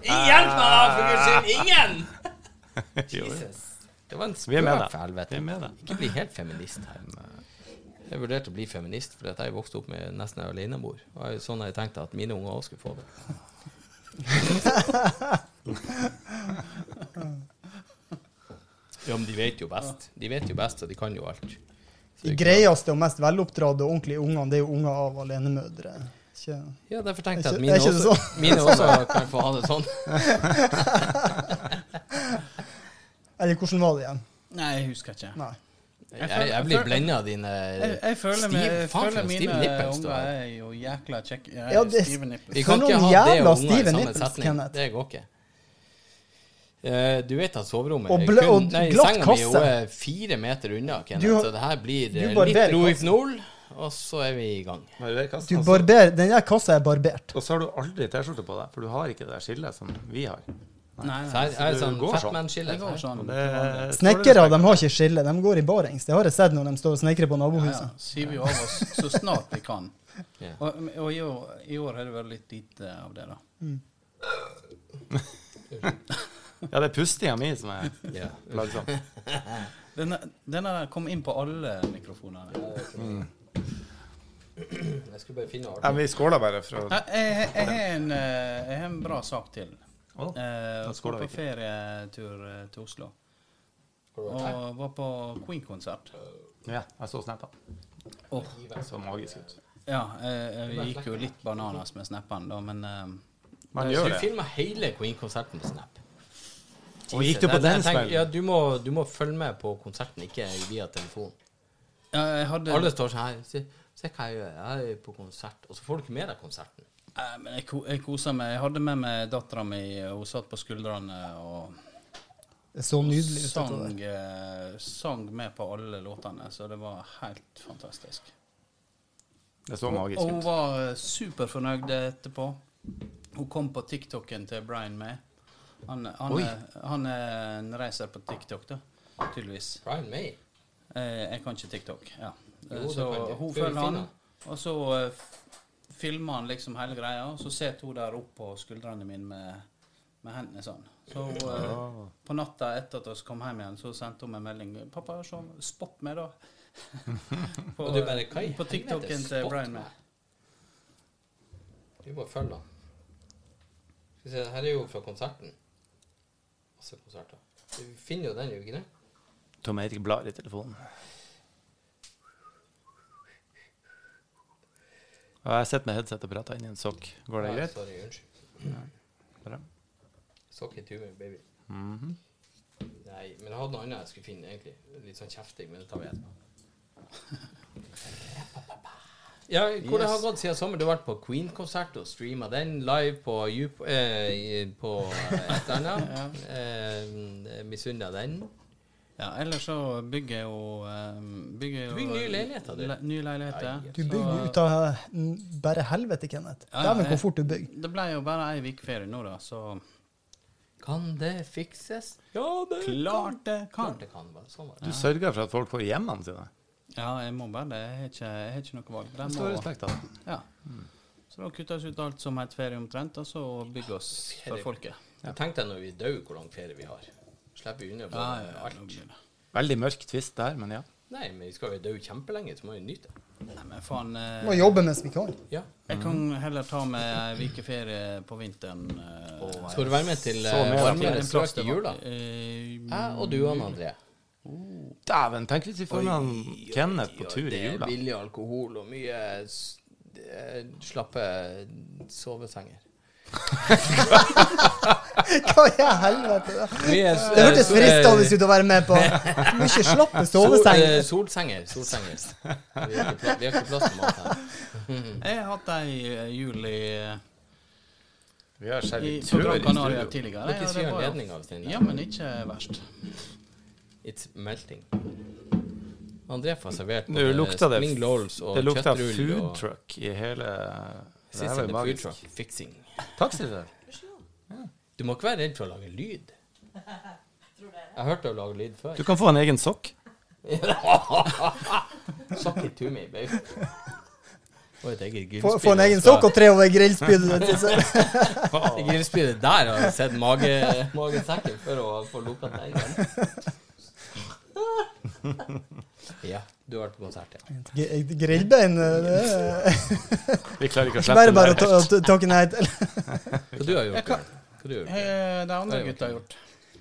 Ingen, da, for guds skyld! Ingen!
jo.
Jesus. Det var en
Vi er med
spøk,
deg.
for helvete.
Vi er med deg.
Ikke bli helt feminist her. eh, Jeg vurderte å bli feminist fordi at jeg vokste opp med nesten en alenemor. Det var jo sånn jeg tenkte at mine unger også skulle få det. Ja, men de vet jo best. De vet jo best, og de kan jo alt. Så
De
det er
greieste og mest veloppdratte og ordentlige ungene, det er jo unger av alenemødre. Ikke
klart. Ja, derfor tenkte jeg at
Er ikke-
mine
er ikke det sånn?
også, mine også kan få ha det sånn.
Eller hvordan var det igjen?
Nei, jeg husker ikke.
Nei.
Jeg, jeg blir blenda av dine
Jeg, jeg føler,
stiv,
med, jeg
faen, for
føler
en stiv
mine
nipples du
unger
har.
er jo jækla kjekke. Jeg er
Ja, det-
stive nipples.
Vi
For
kan ikke
noen
ha det
jævla
og unger i
stive
samme
nipples,
setning.
Kenneth.
Det går ikke. Eh, du vet at soverommet
Og ble- og
nei,
glatt
Senga mi er jo
kasse.
eh, fire meter unna, Kenneth,
Du har-
så det her blir eh,
du barberer
litt
kassen.
Roifnol, og så er vi i gang.
Barber
Du
kassen, altså.
barber, den der kassa er barbert.
Og så har du aldri T-skjorte på deg, for du har ikke det der skillet som vi har.
Nei, nei.
Så her er det sånn
Det går sånn.
Det
Fatman-skille.
går
her.
sånn.
Og det-
Snekkere de har ikke skille, de går i barings. Det har jeg sett når de står og snekrer på
Ja,
nabohuset.
ja. Syver jo av oss så snart vi kan.
Ja.
Og, og i, år, i år har det vært litt lite av det, da.
Ja, det er pustinga mi som er
Ja.
plagsom.
Denne, denne der kom inn på alle mikrofonene.
Jeg skulle bare finne
Ja,
arten.
vi skåler bare for å
Jeg, jeg, jeg, har en, eh, jeg har en bra sak til.
Å,
Eh, Jeg
skåler
var
vi
på
ikke.
ferietur eh, til Oslo og var på Queen-konsert.
Ja, jeg så snappa.
Åh,
Så magisk ut.
ja, jeg, jeg gikk jo litt bananas med snappene, da, men eh,
Man
Så
gjør
du
det.
filma hele Queen-konserten på Snap.
Og gikk du på
Jeg- jeg
den
tenker, Ja,
smellen?
du må, du må følge med på konserten, ikke via telefon.
ja, jeg hadde
Alle står sånn her se- Se hva jeg gjør, jeg er på konsert. Og så får du ikke med deg konserten.
Nei, men jeg, ko- jeg kosa meg. Jeg hadde med meg dattera mi, og hun satt på skuldrene og
Det så nydelig ut. dette der.
sang, eh, sang med på alle låtene, så det var helt fantastisk.
Det så
Og
magisk
hun
ut.
var eh, superfornøyd etterpå. Hun kom på TikToken til Brian May. Han, han,
Oi.
er- han er en reiser på TikTok, da, tydeligvis.
Brian May.
Eh, jeg kan ikke TikTok. ja. Eh,
Jo, det
så
kan du.
hun
Skal vi
følger han,
finne?
og så eh, f- filmer han liksom hele greia, og så sitter hun der oppe på skuldrene mine med, med hendene sånn. Så hun, eh,
Ah.
på natta etter at vi kom hjem igjen, så sendte hun meg en melding. 'Pappa, så spott meg, da.' på,
Og du bare, «Hva i
på
helvete,
TikToken til
spott
Brian
meg?»
May.
Du må følge han. Skal vi se, her er jo fra konserten. Masse konserter. Du finner jo den, gjør du ikke det?
Tom Erik blar i telefonen. Og jeg sitter med headset og prater inni en sokk. Går det
Nei,
greit?
Sorry, unnskyld.
Bra.
Sokk i tuben, baby. Nei, men jeg hadde noe annet jeg skulle finne, egentlig. Litt sånn kjefting, men det tar vi etterpå. Ja, hvor det har gått siden sommer. Du har vært på Queen-konsert og streama den live på, Youp- eh, på et eller annet. eh, Misunna den.
Ja, ellers så bygger jeg jo eh, bygger jeg
Du
jo-
bygger nye leiligheter, du.
Le, nye leiligheter.
Du bygger jo ut av mm, bare helvete, Kenneth.
Ja, ja,
Dæven,
jeg-
hvor fort du bygger.
Det ble jo bare ei uke ferie nå, da, så
Kan det fikses? Ja, det
Klart det
Klart
kan!
det kan. Bare. Sånn var
Du
det.
sørger for at folk får hjemmene sine.
Ja, jeg må bare det. Jeg har ikke, jeg har ikke noe valg. Det
Det står respekt av det.
Ja. Så da kutter vi ut alt som heter ferie omtrent, og så bygger oss for folket.
Tenk deg når vi dør, hvor lang ferie vi har. Slipper vi unna på
Ja, ja, ja, nå
alt.
blir det.
Veldig mørk tvist der, men ja.
Nei, men vi skal jo dø kjempelenge, så må vi nyte det.
Nei, men faen.
Vi må
Eh,
jobbe mens vi kan.
Ja.
jeg kan heller ta med ei uke ferie på vinteren. Eh,
Skal du være med til
Så med
eh, varmere
en plass
strøk i
til-
jula?
Eh,
Jeg og du og André.
Dæven, tenk hvis vi får med han Kenneth på tur i
Det er
jula.
billig alkohol og mye s- eh, slappe sovesenger.
Hva i helvete? Det
Det
hørtes
eh,
fristende ut å være med på. Mye slappe
Solsenger.
sovesenger.
eh, Solsenger. solsenger. Vi har ikke pla- vi har ikke plass til mat her.
Jeg har hatt ei eh, jul i,
Vi har
i, på
tur i
Gran Canaria
studio.
tidligere.
Dere
Ja, det
sier
var jo-
ledninga av sin.
Ja, men ikke verst.
It's melting. André får servert
Nå lukta det
Spring Rolls og
Det lukta
kjøttrull
food
og-
truck i hele Det her
Sissel, the
var jo
food
magisk.
truck fixing.
Takk, Sissel.
Du må ikke være redd for å lage lyd. Jeg hørte deg lage lyd før.
Du kan få en egen sokk.
Suck it to me, babe. Og et eget
Få
grillspyd.
få en egen sokk og tre over grillspydet ditt. så-
Det grillspydet der har jeg sett mage, magesekken for å få lukka den igjen. Ja, du har vært på konsert, ja.
G- Grillbein det er
Vi klarer ikke å
Bare
slippe
bare å
den.
ta- ta- takke nei til.
Hva du har gjort? Hva du har gjort?
Eh, Det andre
Det er jo
gutta har gjort.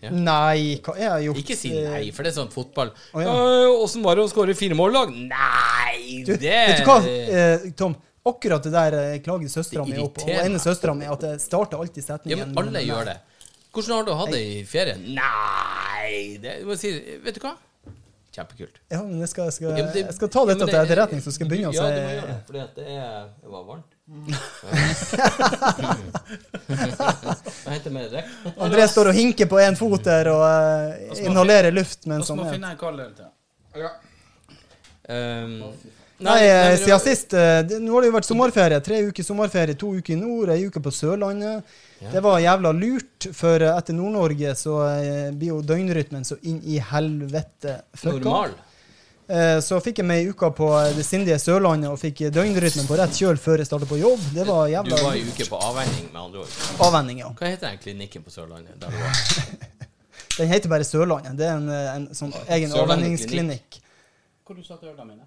Nei, hva jeg har gjort
Ikke si nei, for det er sånn fotball.
Å, ja.
Åssen var det å skåre fire mål i dag? Nei,
Du,
det
vet du hva, eh, Tom? Akkurat det der eh, klager søstera mi opp. Og
irriterer
ene
meg.
søstera mi at jeg starter alltid
Ja,
setningen
men alle gjør det. Hvordan har du hatt det i ferien? Nei det, du må si, Vet du hva? Kjempekult.
Ja, men jeg skal, jeg skal,
Ja, men det-
jeg skal ta dette
Ja, men
til
det-
etterretning, så skal jeg begynne å
Ja, du må gjøre
si Mm.
det, fordi at det er Det var varmt. Jeg henter mer drikk.
André står og hinker på én fot der og eh,
Og så må
sånn inhalerer luft mens
Vi
han
må
er
finne ei kald øl til.
Um,
Nei,
nei,
eh,
men-
siden sist eh, det- Nå har det jo vært sommerferie. Tre uker sommerferie, to uker i nord, ei uke på Sørlandet.
Ja.
Det var jævla lurt, for eh, etter Nord-Norge så eh, blir jo døgnrytmen så inn i helvete fucka.
Normal.
Eh, Så fikk jeg meg ei uke på eh, det sindige Sørlandet og fikk eh, døgnrytmen på rett kjøl før jeg starta på jobb. Det var
Du
jævla
var i uke på avvenning, med andre ord.
avvenning, ja.
Hva heter den klinikken på Sørlandet? Der du var?
Den heter bare Sørlandet. Det er en, eh, en sånn egen
Ah, Sørlandet
avvenningsklinikk.
Hvor du satt ørene mine?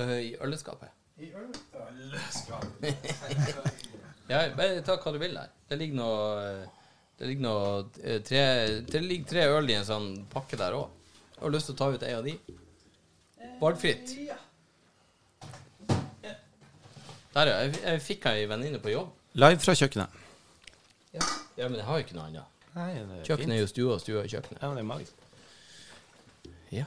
Øh, I øleskapet. Ja, bare ta hva du vil der. Det ligger noe øh, Det ligger noe øh, tre, Det ligger tre øl i en sånn pakke der òg. Har du lyst til å ta ut ei av de? Valgfritt. Der, ja. Jeg, f- jeg fikk ei venninne på jobb.
Live fra kjøkkenet.
Ja, men jeg har jo ikke noe annet.
Nei, det er fint.
Kjøkkenet er jo stua, og stua er kjøkkenet.
Ja, men det er magisk.
Ja.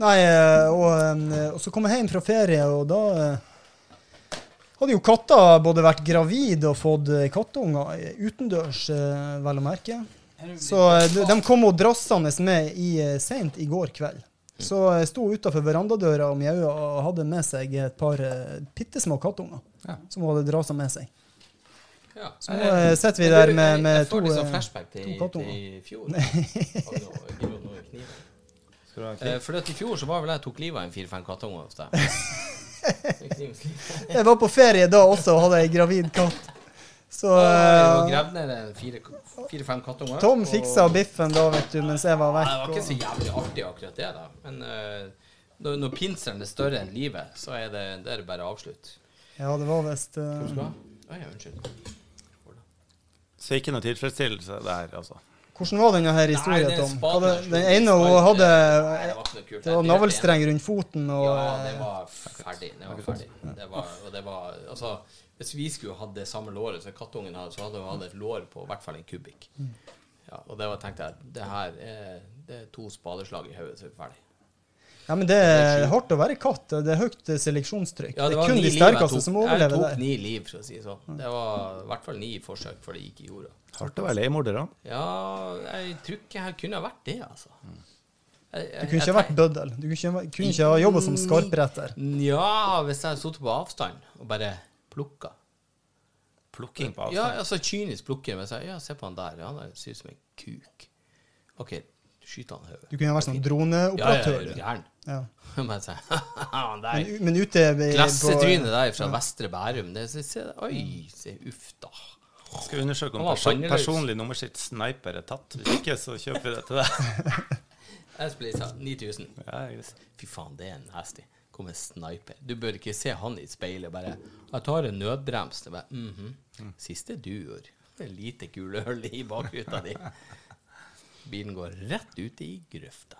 Nei, eh, og, eh, og så kom jeg hjem fra ferie, og da eh, hadde jo katta både vært gravid og fått eh, kattunger eh, utendørs, eh, vel å merke. Så eh, de, de kom og drassende med i, eh, sent i går kveld. Så jeg sto utafor verandadøra og mjaua og hadde med seg et par eh, bitte små kattunger
Ja.
som hun hadde drassa med seg.
ja.
Så nå eh, sitter vi der med,
Jeg
med to
får litt sånn
eh,
flashback til,
to kattunger.
til i fjor. Oi, nå- nå- nå er kniven.
Skal du ha en
Eh,
kniv?
for at i fjor så var vel jeg tok livet av en fire-fem kattunger hos deg. Med knivslipp.
Jeg var på ferie da også og hadde ei gravid katt. Så
Og
eh,
gravd ned en fire- fire-fem kattunger.
Tom fiksa
og-
biffen da, vet du, mens jeg var
Nei,
vekk.
Det var ikke
og-
så jævlig artig akkurat det, da. Men eh, når, når pinselen er større enn livet, så er det, det er det bare avslutt.
Ja, det var visst eh,
Hva skal du ha? Oi, ja, unnskyld.
Så ikke noe tilfredsstillelse der, altså.
Hvordan var denne her
Nei, det
historien,
er en
Tom?
spade
Hva det,
der som
den ene hun
spade-
hadde
Nei, det
eh,
var ikke noe kult.
Det var navlestreng rundt foten og
Ja, det
eh,
var ferdig. Det var ferdig. Det var, og det var, altså, hvis vi skulle hatt det samme låret som kattungen hadde, så hadde hun hatt et lår på i hvert fall en kubikk. Ja, og det var, tenkte jeg det her er, det er to spadeslag i hodet, så er vi ferdig.
Ja, men det er
sjukt.
hardt å være katt. Det er høyt eh, seleksjonstrykk.
Ja,
det,
var
er
ni
kun de
liv jeg
sterkeste
tok.
som
Jeg
overlever
tok
der.
ni liv, for å si det sånn. Det var i hvert fall ni forsøk før det gikk i jorda.
Hardt å være leiemorder, da.
Ja, jeg tror ikke jeg kunne ha vært det, altså.
Du kunne ikke ha vært bøddel. Du kunne ikke, ha- kunne ikke ha jobba som skarpretter.
Nja, hvis jeg hadde sittet på avstand og bare plukka.
Plukking på
Ja,
avstand.
altså kynisk plukker jeg meg selv. Ja, se på han der. Han er- ser ut som en kuk. OK, skyt han i hodet.
Du kunne ha vært sånn
Ja, Mm. ja, er
droneoperatør.
du gæren?
Ja.
Bare se. han
Men,
der.
u- men ute ved- på
Klassetrynet der fra Vestre Bærum. Det, se, se, oi, se, uff da.
Skal undersøke om
Han var
person,
fangeløs.
personlig nummerskilt sniper er tatt. Hvis ikke, så kjøper vi det til deg.
Jeg splitsa 9000.
Ja, det er greit.
Fy faen, det er en hestig. Kom en sniper. Du bør ikke se han i speilet og bare Jeg tar en nødbrems. Det bare, mhm.
Mm.
Siste du gjør. Det er lite kulehull i bakruta di. Bilen går rett ut i grøfta.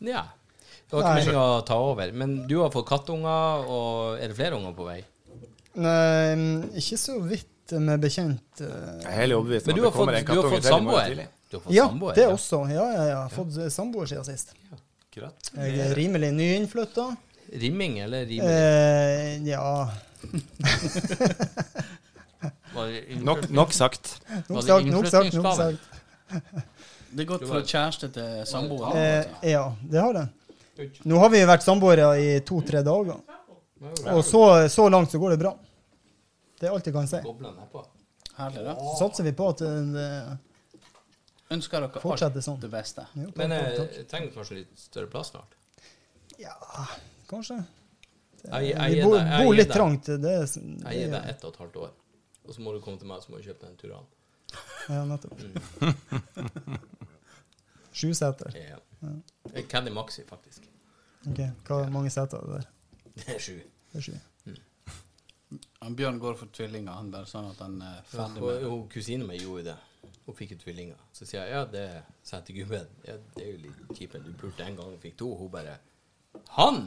Nja. Det var
Nei.
ikke meningen å ta over. Men du har fått kattunger, og er det flere unger på vei?
Nei, mm, ikke så vidt eh, med bekjent. eh.
Jeg er helt overbevist
Men
om
du
at
har
det kommer
fått,
en
du har
kattunge
fått
til i morgen
samboer?
tidlig.
Du har fått
Ja,
samboer,
det
ja.
også. Ja, ja, ja. Fått eh, samboer siden sist. Jeg er
Gratulerer.
rimelig nyinnflytta.
Rimming eller riming?
Eh, ja
Var det
Nok, nok sagt.
Var
Nok
det
sagt, nok sagt, nok
innflyttingsgave?
sagt.
Det er gått fra kjæreste til
Ah,
samboer.
Eh,
altså.
ja, det har det. Nå har vi vært samboere i to-tre dager, og så, så langt så går det bra. Det er alt jeg kan si.
Goblene er på.
Herlig, da.
Så satser vi på at eh,
Ønsker dere
Fortsette
alt
sånn.
det beste.
jo, takk,
Men
takk,
eh,
takk.
jeg trenger kanskje litt større plass snart.
Ja, kanskje.
Jeg, jeg,
Vi
gir
bor,
deg- jeg
bor
gir
litt
deg-
trangt. Det er,
Jeg gir
det
deg
er,
ett og et halvt år, og så må du komme til meg så må du kjøpe deg en Turan.
ja, nettopp. Sju seter.
Ja. Eh, Caddy Maxi, faktisk.
Ok, Hva mange seter er det der?
Det er sju.
Det er sju.
Han Bjørn går for tvillinger, han bare sånn at han er
Ja,
ferdig
og,
med det.
og kusinen min gjorde det. Hun fikk jo tvillinger. Så sier jeg ja, det sa jeg til gubben. Ja, det er jo litt kjipt, men du pulte en gang og fikk to. Hun bare Han!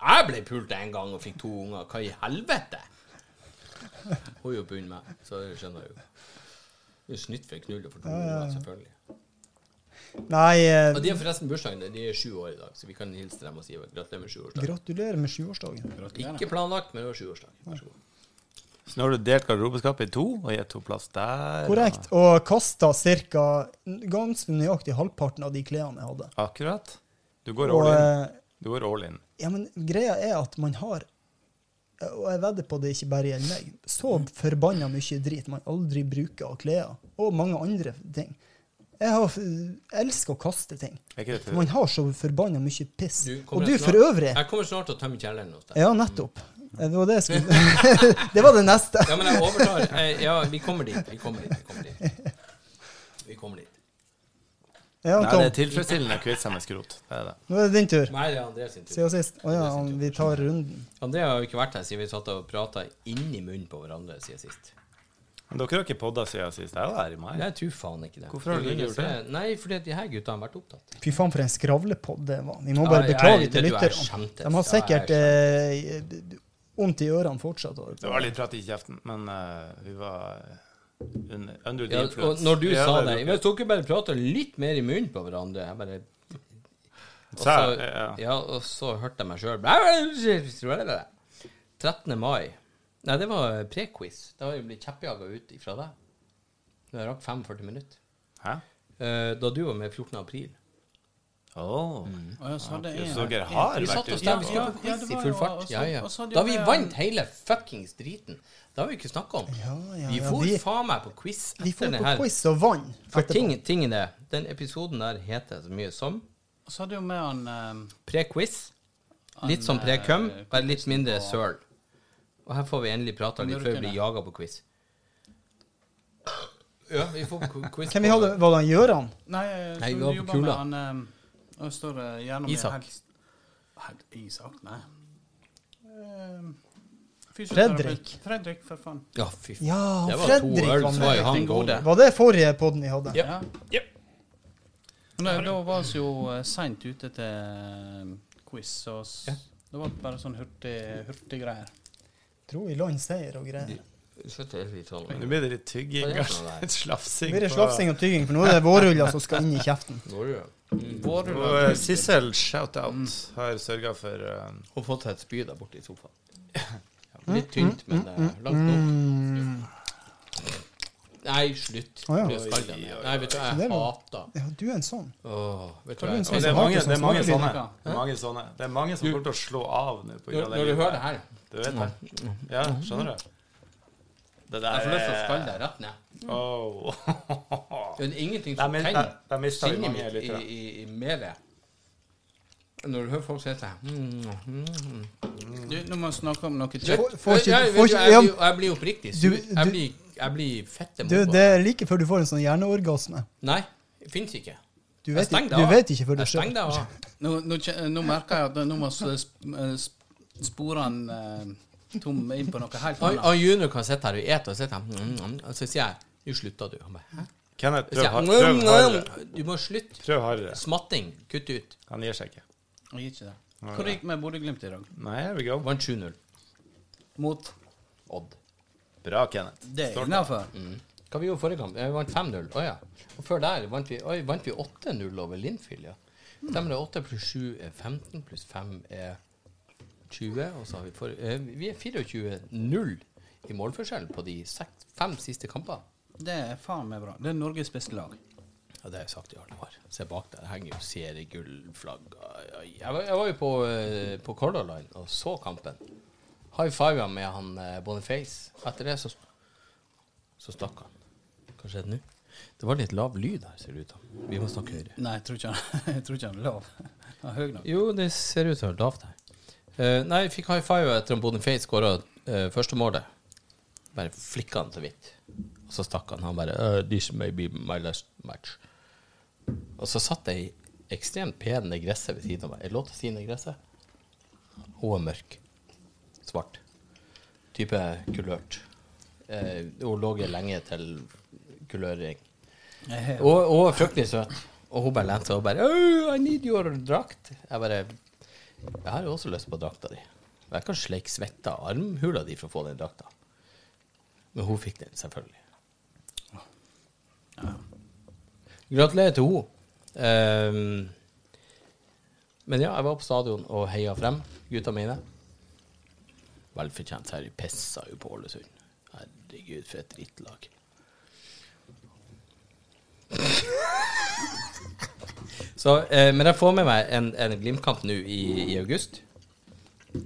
Jeg ble pult en gang og fikk to unger. Hva i helvete? Hun er jo på under meg, så det skjønner jeg jo. Det er jo snytt for en knull og for to unger, selvfølgelig.
Nei,
Og
eh,
de har forresten bursdagen. De er sju år i dag, så vi kan hilse til dem og si gratulerer med sjuårsdagen.
gratulerer med sjuårsdagen.
Ikke planlagt, men det var sjuårsdag. Vær så god.
Så nå har du delt garderobeskapet i to og gitt to plass der.
Korrekt. Og kasta ca. ganske nøyaktig halvparten av de klærne jeg hadde.
Og akkurat. Du går
Og,
all in.
eh,
Du går all in.
Ja, men greia er at man har Og jeg vedder på det ikke bare gjelder meg. Så
Mm.
forbanna mye drit man aldri bruker av klær. Og mange andre ting. Jeg, har, jeg elsker å kaste ting.
Er ikke det
For man har så forbanna mye piss.
Du kommer
og du
snart-
for øvrig
Jeg kommer snart til å tømme kjelleren hos deg.
Ja, nettopp.
Mm.
Det var det jeg skulle Det var det neste.
Ja, men jeg overtar. Jeg, ja, vi kommer dit. Vi kommer dit. Vi kommer dit. Vi kommer dit.
Ja,
Nei, det er
Tom.
tilfredsstillende å kvitte seg med skrot. Det er det.
Nå er det din tur.
Nei, det er André sin tur.
Siden sist. Å ja, han- vi tar runden.
André har jo ikke vært her siden vi satt og prata inni munnen på hverandre siden sist.
Men dere har ikke podda siden sist. Jeg var her i mai.
Nei, Jeg tror faen ikke det.
Hvorfor har du ikke gjort det?
Nei, fordi at de her gutta har vært opptatt.
Fy faen, for en skravlepod det var. Vi må
Ja,
bare
jeg-
beklage
jeg-
til
det du er
lytterne.
skjemtes.
De har sikkert
Ja,
eh, vondt i ørene fortsatt. og-
Det var litt prat i kjeften, men eh, vi var eh, under, under the
Ja, og
influence.
når du
Vi
sa
hadde
det
drukket.
Hvis dere bare prater litt mer i munnen på hverandre Jeg bare og så,
Sa jeg, ja.
Ja, og så hørte jeg meg sjøl 13. mai. Nei, det var pre-quiz. Da har jeg blitt kjeppjaga ut ifra deg. Jeg rakk 45 minutter.
Hæ?
Eh, Da du var med 14. april.
Åh.
Mm.
Å, ja, så det
Så
er
dere har
Vi
vært
satt oss
ute
der,
og
vi skulle
Ja,
på
ja,
quiz
det
i
var
full
jo-
fart.
og så-
Ja, ja.
og så hadde
Da
jo
vi
jeg-
vant hele fuckings driten. Det har vi ikke snakka om.
Ja, ja,
Vi
ja,
for
vi-
faen meg på quiz
Vi
etter
får
den
på
her.
quiz og vann.
For
etterpå.
ting, tingen er, den episoden der heter så mye som
Og så hadde jo med han eh,
pre-quiz. Litt som pre-cum, bare litt mindre søl. Og her får vi endelig prata litt før vi blir jaga på quiz. Ja, vi får ko- quiz
Hvem vi hadde, var det han Gøran?
Nei, eh,
Nei,
som
vi var
du
på
jobber
Kula.
med han eh, Og står det gjennom
Isak.
Isak, nei. Eh,
Fredrik.
fysioterapeut. Fredrik, for faen.
Ja, fy faen.
Ja,
det var
Fredrik
to øl,
var
så
med.
var jo han
Den
god.
gode.
Var det forrige podden vi hadde?
Ja.
Ja.
Jep.
Men da var vi jo seint ute til eh, quiz, så s-
Ja.
det var bare sånn hurtig, hurtig greier.
Tror vi land seier og greier.
Slutt å hjelpe i sånn.
Nå blir det litt tygging,
Hva er det for
kanskje.
noe der?
Litt slafsing.
Nå blir det
på-
slafsing og tygging, for nå er det vårruller som skal inn i kjeften.
Går det jo.
Og eh, Sissel, shout-out, har sørga for eh,
Og fått seg et spyd der borte i sofaen. Ja, litt tynt, men
Mm,
eh, langt nok. Nei, slutt.
Å, ja.
Du skal den ned. Nei, vet du,
Det
jeg
var-
hater
Ja, du er en sånn.
Åh, vet du
Hva
hva jeg
er det
Og det
som har
er mange,
ikke
det er mange
sånn
sånne.
smakelyd?
Det er mange sånne Det er mange som kommer til å slå av nå på
Når,
grunn av
når du hører det her,
Du vet det. Ja, skjønner du?
jeg
Det der
får lyst til å
er-
skalle deg rett ned.
Åh.
Det er ingenting
Der
som
min-
tenner
der- der mistet vi
sinnet
mange
mitt i,
lyttere.
i, i melet. Når du hører folk si det mm, mm,
Du, nå må vi snakke om noe
Jeg,
kjøtt.
får ikke-
jeg, vet
får
du,
ikke-
jeg,
ja.
blir- jeg blir oppriktig sur.
Du- du-
Jeg blir, jeg blir fette
Du,
mobba.
det er like før du får en sånn hjerneorgasme.
Nei, det fins ikke.
Du
Jeg
vet,
stenger
ikke-
det
du
av.
vet ikke før du
Jeg stenger
sjøl.
det av.
Nå, nå, kje- nå merker jeg at nå må vi sp- eh, sp- spore han eh, Tom inn på noe helt
Og,
annet.
og Junior kan sitte her og ete, og, sitte her, mm, mm, mm, og så sier jeg 'Nå slutter du'. Han bare «Hæ?»
Kenneth,
Så
prøv,
sier
har-
jeg,
prøv
«Mm,
hardere.
mm, Du må slutte.
Prøv hardere.
Smatting. Kutt ut.
Han gir seg ikke.
Jeg gir ikke det. Hvor gikk med Bodø-Glimt i dag?
Nei, here we go.
Vant 7-0.
Mot
Odd.
Bra, Kenneth.
det
Står
innafor.
Mm. Hva vi gjorde forrige kamp? Eh, Vi vant 5-0. Å ja. Og før der vant vi, oi, vant vi 8-0 over Linfield, ja. Stemmer det. 8 pluss 7 er 15, pluss 5 er 20. Og så har vi for, eh, Vi er 24-0 i målforskjell på de seks, fem siste kampene.
Det er faen meg bra. Det er Norges beste lag.
Ja, det har jeg sagt i alle år. Se bak der det henger jo seriegullflagg. Ai, ai. Jeg, var- jeg var jo på, eh, på Color Line og så kampen. High five med han eh, Boniface. Etter det så, så stakk han. Hva skjedde nå? Det var litt lav lyd her, ser det ut som. Vi må snakke høyere.
Nei, jeg tror ikke han, jeg tror ikke han er lav. Han er høy nok.
Jo, det ser ut som det er lavt her. Eh, nei, jeg fikk high five etter at Boniface skåra eh, første målet. Bare flikka han så vidt. Og så stakk han. Han bare uh, 'This may be my last match'. Og så satt ei ekstremt pen negresse ved siden av meg. Er det lov til å si negresse? Hun er mørk. Svart. Type kulørt. Eh, hun lå lenge til kulørring.
Jeg-
Og og hun er fryktelig søt. Og hun bare lente seg og bare «Oh, I need your drakt. Jeg bare Jeg har jo også lyst på drakta di. Jeg kan sleike svette av armhula di for å få den drakta. Men hun fikk den, selvfølgelig. Gratulerer til henne. Ehm, men ja, jeg var på stadion og heia frem gutta mine. Velfortjent. Her pissa jo på Ålesund. Herregud, for et drittlag. Så Så, eh, men jeg får med meg en, en Glimt-kamp nå i, i august.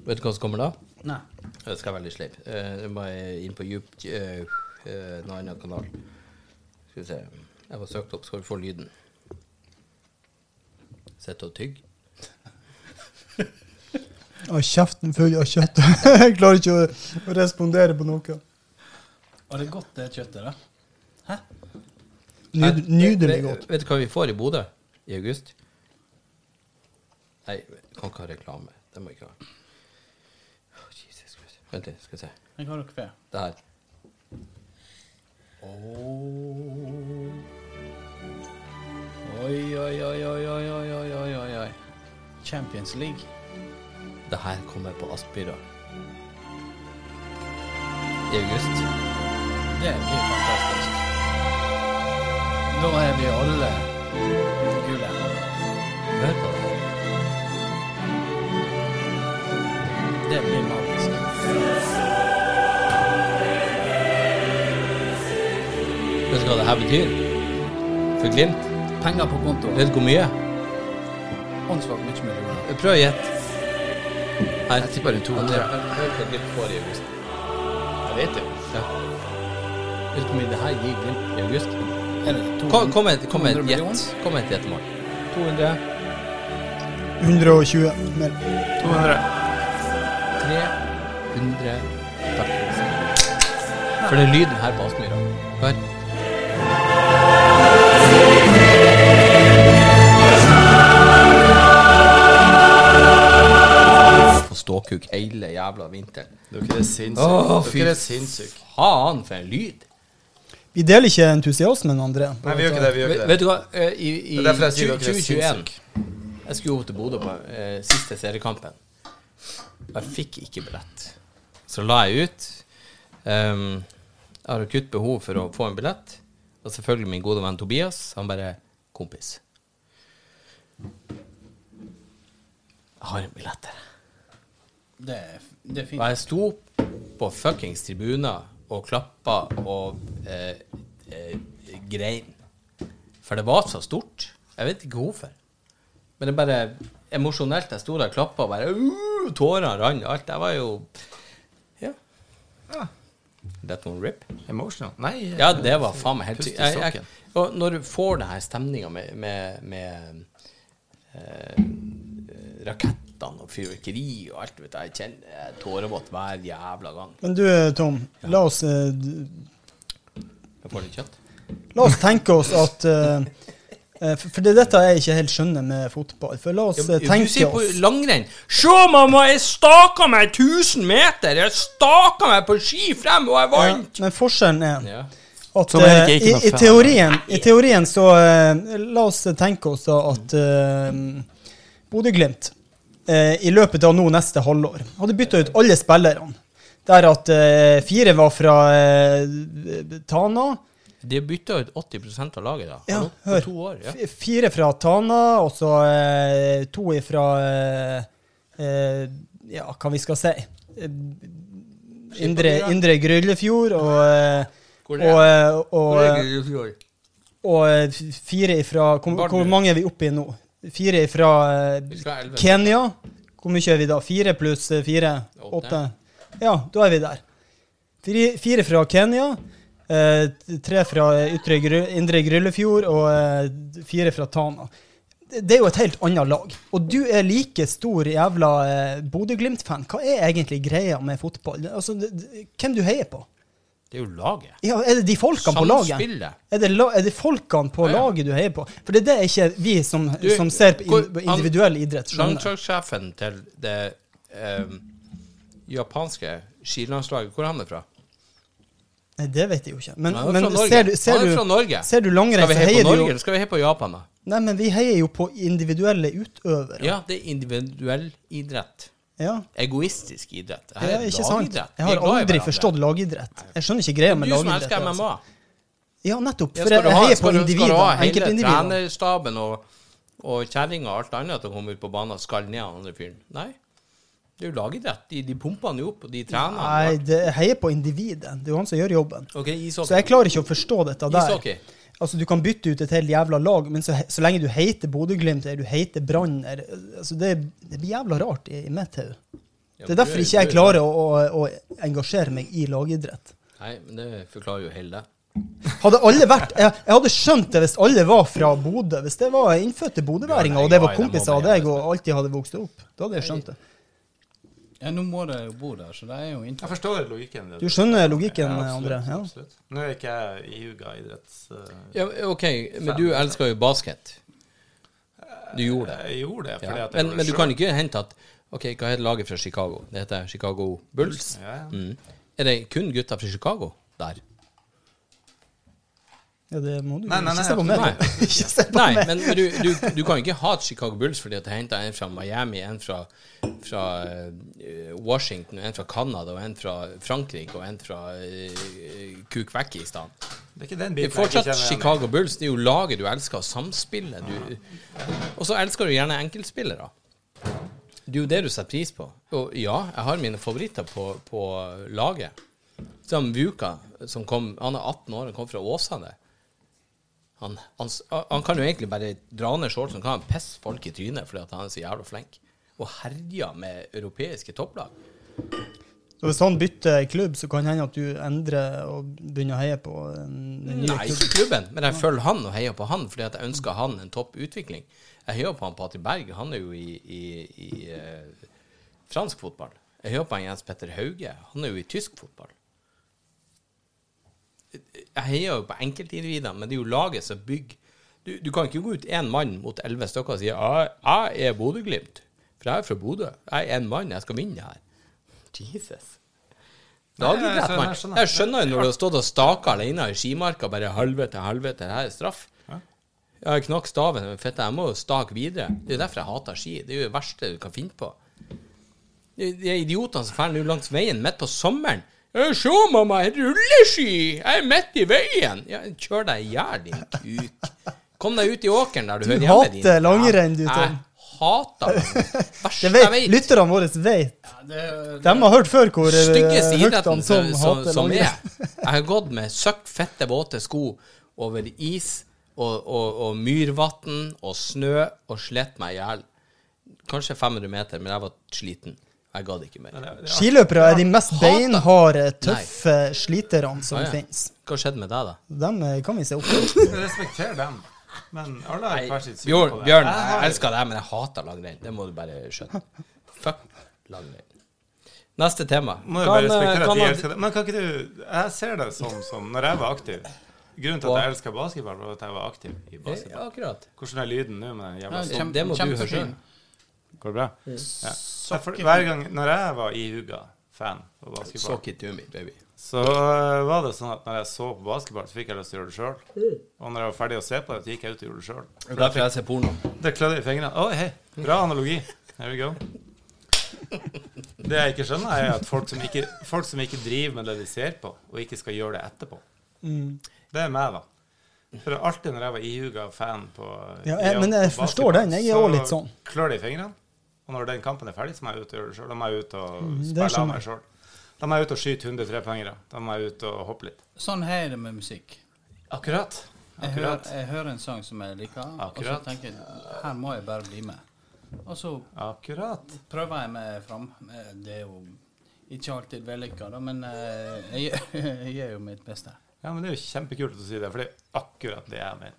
Vet du hva som kommer da?
Nei.
Jeg skal være litt sleip. Eh, Jeg må inn på djup eh, eh, en annen kanal. Skal vi se. Jeg var søkt opp, skal du få lyden. Sitte og tygge.
Og kjeften full av kjøtt. Jeg klarer ikke å- å respondere på noe.
Var det godt, det kjøttet, da?
Nyd, nydelig
Vet-
godt.
Vet du hva vi får i Bodø i august? Nei, vi kan ikke ha reklame. Det må vi ikke ha. Å, Jesus Christ. Vent litt, skal vi se.
Den kan dere få.
Det her.
Oi, oi, oi, oi, oi, oi, oi, oi, oi, oi. Champions League.
Det her kommer på Aspmyra. I august.
Det blir fantastisk. Da er vi alle gule.
Hør på det her.
Det blir magisk.
Vet du hva det her betyr? For Glimt?
Penger på konto.
Vet du hvor mye?
Åndssvakt mye millioner.
Prøv å gjette. Her.
Jeg tipper det er 200.
André, hør- hør hva Glimt får i august. Jeg vet det. Ja. Vet du hvor mye det her gir Glimt i august?
Er det
Kom, kom med kom
200
med et gjett.
millioner?
Kom med et gjettemål. 200,
120 mer.
200.
300 Takk. For det er lyden her på Aspmyra. Hør. På ståkuk hele jævla vinteren.
Dere er sinnssyke.
Å, fy
Dere er sinnssyke.
Faen, for en lyd!
Vi deler ikke entusiasmen, André.
Nei, vi gjør ikke det. vi gjør
Vet,
ikke det.
vet du hva, eh, i, i
Det er derfor jeg sier dere er
2021 Jeg skulle jo til Bodø på eh, siste seriekampen. Og jeg fikk ikke billett. Så la jeg ut. Ehm, jeg har akutt behov for å få en billett. Og selvfølgelig min gode venn Tobias. Han bare 'Kompis, jeg har en billett her.'
Det er, det er
Og
fint.
jeg sto på fuckings tribuner og klappa og eh, eh, grein. For det var så stort. Jeg vet ikke hvorfor. Men det er bare emosjonelt. Jeg sto der og klappa og bare uh, Tårene rant. Alt. Jeg var jo Ja. That one rip.
Emotional? Nei. eh,
Ja, det var faen meg helt
Pust i
sykt. Jeg- jeg-
sokken.
Og når du får denne stemninga med, med, med eh, rakettene og fyrverkeri og alt, vet du, jeg kjenner jeg er tårevåt hver jævla gang.
Men du, Tom. La oss eh, d-
Jeg får litt kjøtt.
La oss tenke oss at eh, eh, For for det er dette jeg ikke helt skjønner med fotball. For la oss eh,
du
tenke
sier på
oss
langrenn Se, mamma, jeg staka meg 1000 meter! Jeg staka meg på ski frem, og jeg
ja,
vant!
Men forskjellen er
Ja.
at
Tom Erik
eh,
er
i,
ikke noe
i,
fan.
teorien, i teorien så eh, La oss tenke oss da at uh, Bodø-Glimt eh, i løpet av nå neste halvår hadde bytta ut alle spillerne. Der at eh, fire var fra eh, Tana.
De bytta ut 80 av laget, da.
Ja,
Hallo?
hør.
På to år. Ja.
F- Fire fra Tana, og så eh, to fra eh, eh, Ja, hva vi skal si? Eh, Indre, indre Gryllefjord og, eh,
Hvor
og,
det er?
eh, og,
Hvor er
eh,
Gryllefjord?
og eh, f- fire fra hvor,
Bardu.
hvor mange er vi oppe i nå? Fire fra
Vi skal ha elleve.
Kenya. Hvor mye er vi da? Fire pluss eh, fire?
Åtte.
Åtte. Ja, da er vi der. Fire, fire fra Kenya. Eh, tre fra ytre, Gry- Indre Gryllefjord og eh, fire fra Tana. Det det er jo et helt annet lag. Og du er like stor jævla eh, Bodø-Glimt-fan. Hva er egentlig greia med fotball? Altså, det- det- hvem du heier på?
Det er jo laget.
Ja, er det de folkene på laget?
Samspillet.
Er det, la, er det folkene på
Ja, ja.
laget du heier på? For det er det ikke vi som,
Du,
som ser på
hvor-
in, på individuell idrett, skjønner.
Landslagssjefen til det ehm, japanske skilandslaget, hvor er han er fra?
Nei, det vet jeg jo ikke. Men,
Han er
men
fra Norge.
ser du, ser
han er fra
du,
Norge.
ser du langrenn,
Skal vi
så
heie på
heier du
Norge,
jo
eller skal vi heie på Japan, da?
Nei, men vi heier jo på individuelle utøvere.
Ja, det er individuell idrett.
Ja.
Egoistisk idrett. Det
Det
her
er
er
ikke
lagidrett.
sant. Jeg har
Vi er glad i
aldri
hverandre.
forstått lagidrett. Jeg skjønner ikke
Du
greia med
som
lagidrett.
elsker MMA.
altså. Ja, nettopp.
Ja,
For
skal, du
jeg
ha,
heier på
skal, du, skal du ha
individer.
hele
Enkeltindivider.
trenerstaben og, og kjerringa og alt annet til å komme ut på banen og skalle ned han andre fyren? Nei. Det er jo lagidrett. De, de pumper han jo opp, og de trener
Nei,
han.
det jeg heier på individet. Det er jo han som gjør jobben.
OK,
Så
ishockey.
jeg klarer ikke å forstå dette der.
Ishockey.
Altså, du kan bytte ut et helt jævla lag, men så, he- så lenge du heter Bodø-Glimt eller du heter Brann eller- altså, det, det blir jævla rart i, i mitt hode. Det er derfor ikke jeg klarer å, å, å engasjere meg i lagidrett.
Nei, men det forklarer jo hele det.
Hadde alle vært, jeg, jeg hadde skjønt det hvis alle var fra Bodø. Hvis det var innfødte bodøværinger, og det var kompiser av deg og alltid hadde vokst opp. Da hadde jeg skjønt det.
Ja, nå må de jo bo der, så de er jo inntatt.
Jeg forstår logikken. i det.
Du skjønner logikken,
Ja, absolutt,
eh, André? Ja.
Absolutt. Nå er ikke jeg ihuga idretts... eh,
Ja, OK, men du elsker jo basket. Du gjorde det.
Jeg gjorde det Eh, fordi
Ja.
at jeg
Men,
gjorde
men
det
du kan ikke hente at OK, hva heter laget fra Chicago? Det heter Chicago Bulls.
Ja, ja.
Mm. Er det kun gutter fra Chicago der?
ja, det må du
Nei, nei, nei,
ikke se på meg.
nei.
Ikke se på
Nei,
meg.
men du, du, du kan ikke hate Chicago Bulls fordi at jeg henta en fra Miami, en fra, fra eh, Washington, en fra Canada, og en fra Frankrike og en fra uh, Kukvekkistan.
Det er ikke den
Det
biten
er fortsatt
jeg ikke kjenner igjen i.
Chicago Bulls. Det er jo laget du elsker, samspillet. Du, og så elsker du gjerne enkeltspillere. Det er jo det du setter pris på. Og ja, jeg har mine favoritter på, på laget. Som Vuka, som kom Han er 18 år og kom fra Åsane. Han, han, s- han kan jo egentlig bare dra ned shortsen og kan pisse folk i trynet fordi at han er så jævla flink. Og herjer med europeiske topplag.
Så hvis han bytter klubb, så kan det hende at du endrer og begynner å heie på en en ny
Nei,
klubb.
ikke klubben, men jeg følger han og heier på han fordi at jeg ønsker han en topp utvikling. Jeg heier på han Pati Berg, han er jo i, i, i eh, fransk fotball. Jeg heier på han Jens Petter Hauge, han er jo i tysk fotball. Jeg heier jo på enkeltindivider, men det er jo laget som bygger du, du kan ikke gå ut én mann mot elleve stykker og si «Jeg- 'Jeg er Bodø-Glimt', for jeg er fra Bodø. Jeg er én mann, jeg skal vinne det her. Jesus. Da hadde du
Nei, jeg
rett,
skjønner, jeg
mann.
skjønner.
Jeg skjønner jo når du har stått og staka alene i skimarka, bare helvete, helvete, det her er straff. Jeg knakk staven, men fitte, jeg må jo stake videre. Det er jo derfor jeg hater ski. Det er jo det verste du kan finne på. De de idiotene som drar nå langs veien midt på sommeren. «Ja, Se, mamma, jeg rulleski! Jeg er midt i veien! Ja, kjør deg i hjel, din kuk. Kom deg ut i åkeren der du,
Du
hører hjemme.
hater langrenn, du, Tom.
Jeg hater det. Verste
Det
jeg
vet,
vet.
lytterne våre vet.
Ja, det,
De har hørt før hvor eh,
styggeste
høyt
idretten
han som
som, som,
hater
som er.
langrenn.
Jeg har gått med søkk fette våte sko over is og, og, og myrvann og snø og slett meg i hjel. Kanskje 500 meter, men jeg var sliten. Jeg gadd ikke mer.
Det- det-
Skiløpere er de mest
Hater.
beinharde, tøffe sliterne som
Ah, ja.
finnes.
Hva skjedde med deg, da?
Dem eh, kan vi se opp til.
Jeg respekterer dem. Men alle har hvert sitt syn
Bjørn,
på det.
Bjørn jeg elsker deg, men jeg hater langrenn. Det må du bare skjønne. Fuck langrenn. Neste tema.
Må jo bare
Kan, eh,
respektere
kan
at de
han-
elsker det. Men kan ikke du Jeg ser det som, som Når jeg var aktiv Grunnen til at jeg elsker basketball, var at jeg var aktiv i basketball.
Ja, Akkurat.
Hvordan er lyden nå med den jævla
Ja,
stolen?
kjempe-
Det må du høre
kjempefin.
selv.
Går det bra?
Mm.
Ja. Jeg For, hver gang Når jeg var ihuga fan av basketball,
Sock it to me, baby.
så øh, var det sånn at når jeg så på basketball, så fikk jeg lyst til å gjøre det sjøl. Og når jeg var ferdig å se på det, så gikk jeg ut og gjorde det sjøl.
Det er derfor jeg ser porno.
Det klødde i fingrene. Å, hei. Bra analogi. Here we go. Det jeg ikke skjønner, er at folk som ikke, folk som ikke driver med det de ser på, og ikke skal gjøre det etterpå.
Mm.
Det er meg, da. For alltid når jeg var ihuga fan på
Ja, jeg- men jeg forstår den. Jeg er
så
også litt sånn.
klør det i fingrene. Og når den kampen er ferdig, så må jeg ut og gjøre det sjøl. Da må jeg ut og
Mm, det
spille
skjønner
av meg sjøl. Da må jeg ut og skyte 100 trepoengere. Da må jeg ut og hoppe litt.
Sånn har jeg det med musikk.
Akkurat.
Jeg hører,
Akkurat.
jeg hører en sang som jeg liker, og så
Akkurat.
tenker jeg her må jeg bare bli med. Og så
Akkurat.
prøver jeg meg fram. Eh, Det er jo ikke alltid vellykka, da, men eh, jeg, jeg gjør jo mitt beste.
Ja, men det er jo kjempekult at du sier det, for det er akkurat det jeg mener.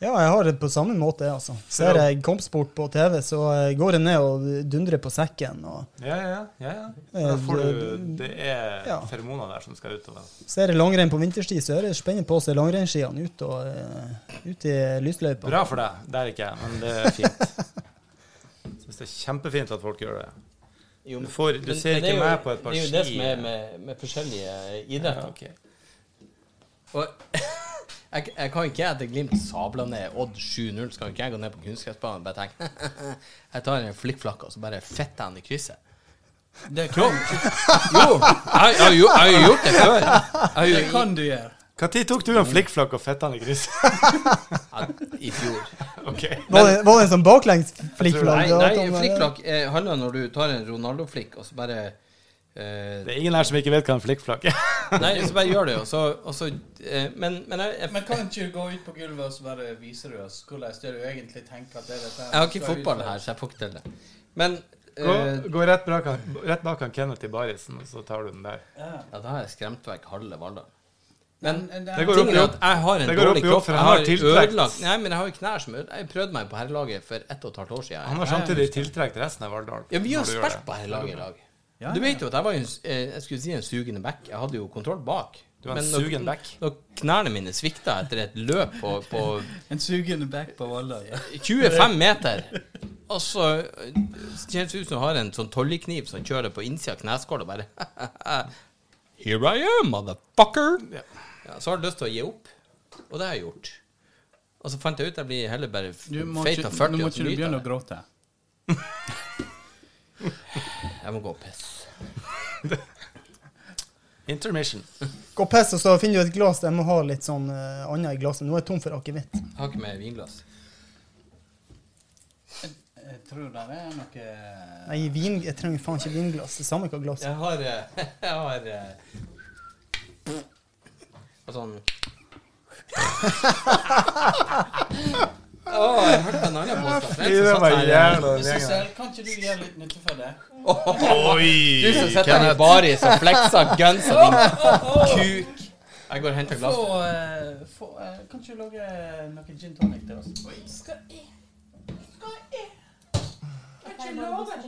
Ja, jeg har det på samme måte, jeg, altså. Ser jeg kampsport på TV, så eh, går jeg ned og dundrer på sekken. Og
Ja, ja, ja. ja.
Eh,
Da får du,
det-
det er
ja.
feromoner der som skal ut av deg.
ser jeg langrenn på vinterstid, så er det spennende på seg langrennsskiene ut, og, eh, ut i lysløypa.
Bra for deg. Det er ikke jeg, men det er fint. Syns det er kjempefint at folk gjør det.
Jo,
Du får- du
men-
ser
men det er
ikke
jo-
meg på et par
Det er jo det
ski.
som er med, med forskjellige idretter.
Ja, ok.
Og jeg, jeg kan ikke etter Glimt sabla ned Odd 7-0, så kan ikke jeg gå ned på kunstgressbanen og bare tenke Jeg tar en flikkflakk og så bare fetter jeg den i krysset.
Det kan,
Jo, jeg, jeg, jo, jeg har jo gjort det før. Jeg har jo,
det kan du gjøre.
Når tok du en flikkflakk og fetta den i krysset?
ja, I fjor.
OK.
Var det, var det en sånn baklengs
Jeg tror-
flikkflagg?
Nei, nei flikkflakk eh, handler når du tar en Ronaldo-flikk og så bare Eh,
Det er ingen her som ikke vet hva en flikkflakk er.
nei, så bare gjør det, og så, og så eh, Men, men jeg, jeg,
Men kan ikke du gå ut på gulvet og så bare viser du oss hvordan det er du egentlig tenker at det er dette her?
jeg har ikke
Skal
fotball
utføre.
her, så jeg får ikke til det. Men
Gå,
eh,
gå rett, bak han, rett bak han Kenneth i barisen, og så tar du den der.
Ja.
Ja, da har jeg skremt vekk halve Valdal. Men
Men, men det
Det
er,
går opp
tingen
i
er
opp.
at jeg har en
Det går
dårlig
opp i opp,
kropp.
for
Jeg
han har
har
tiltrekt.
ødelagt Nei, men jeg har jo knær som ødelagt. Jeg prøvde meg på herrelaget for ett og et halvt år siden.
Han har samtidig tiltrekt resten av Vardal.
Ja, vi har
når du gjør
spilt
det.
på herrelaget i lag.
Ja,
Du
ja,
vet jo at jeg var jo en, s- eh, jeg skulle si en sugende back. Jeg hadde jo kontroll bak.
Du var en
når-
sugen back.
Når knærne mine svikta etter et løp på, på
en sugende back på Valla. Ja.
25 meter. Og så eh, kjennes det ut som du har en sånn tollekniv som kjører på innsida av kneskåla og bare Here I am, motherfucker! Ja. så har du lyst til å gi opp, og det har jeg gjort. Og så fant jeg ut jeg blir heller bare f-
Du må
feit
ikke,
av 40
nå må
og så
ikke du
nyter
begynne å
jeg det.
gråte.
Jeg må gå og pisse.
Intermission.
Gå og piss, og så finner du et glass. Jeg må ha litt sånn eh, annet i glasset. Nå er jeg tom for akevitt.
Jeg har ikke med vinglass.
Jeg tror det er noe
Nei, vin, jeg trenger faen ikke vinglass. Det er samme hva glass.
Jeg har eh, Jeg har eh, Og sånn Å, jeg hørte en annen påstand.
Fy, det
eh,
var jævla den gjengen.
Sissel, kan ikke du gjøre litt nytte for det?
Du som sitter her i baris og flekser gunseren din kuk. Jeg går og henter
Få,
glasset.
eh, få, eh, kan ikke du lage eh, noe gin tonic til oss? Skal jeg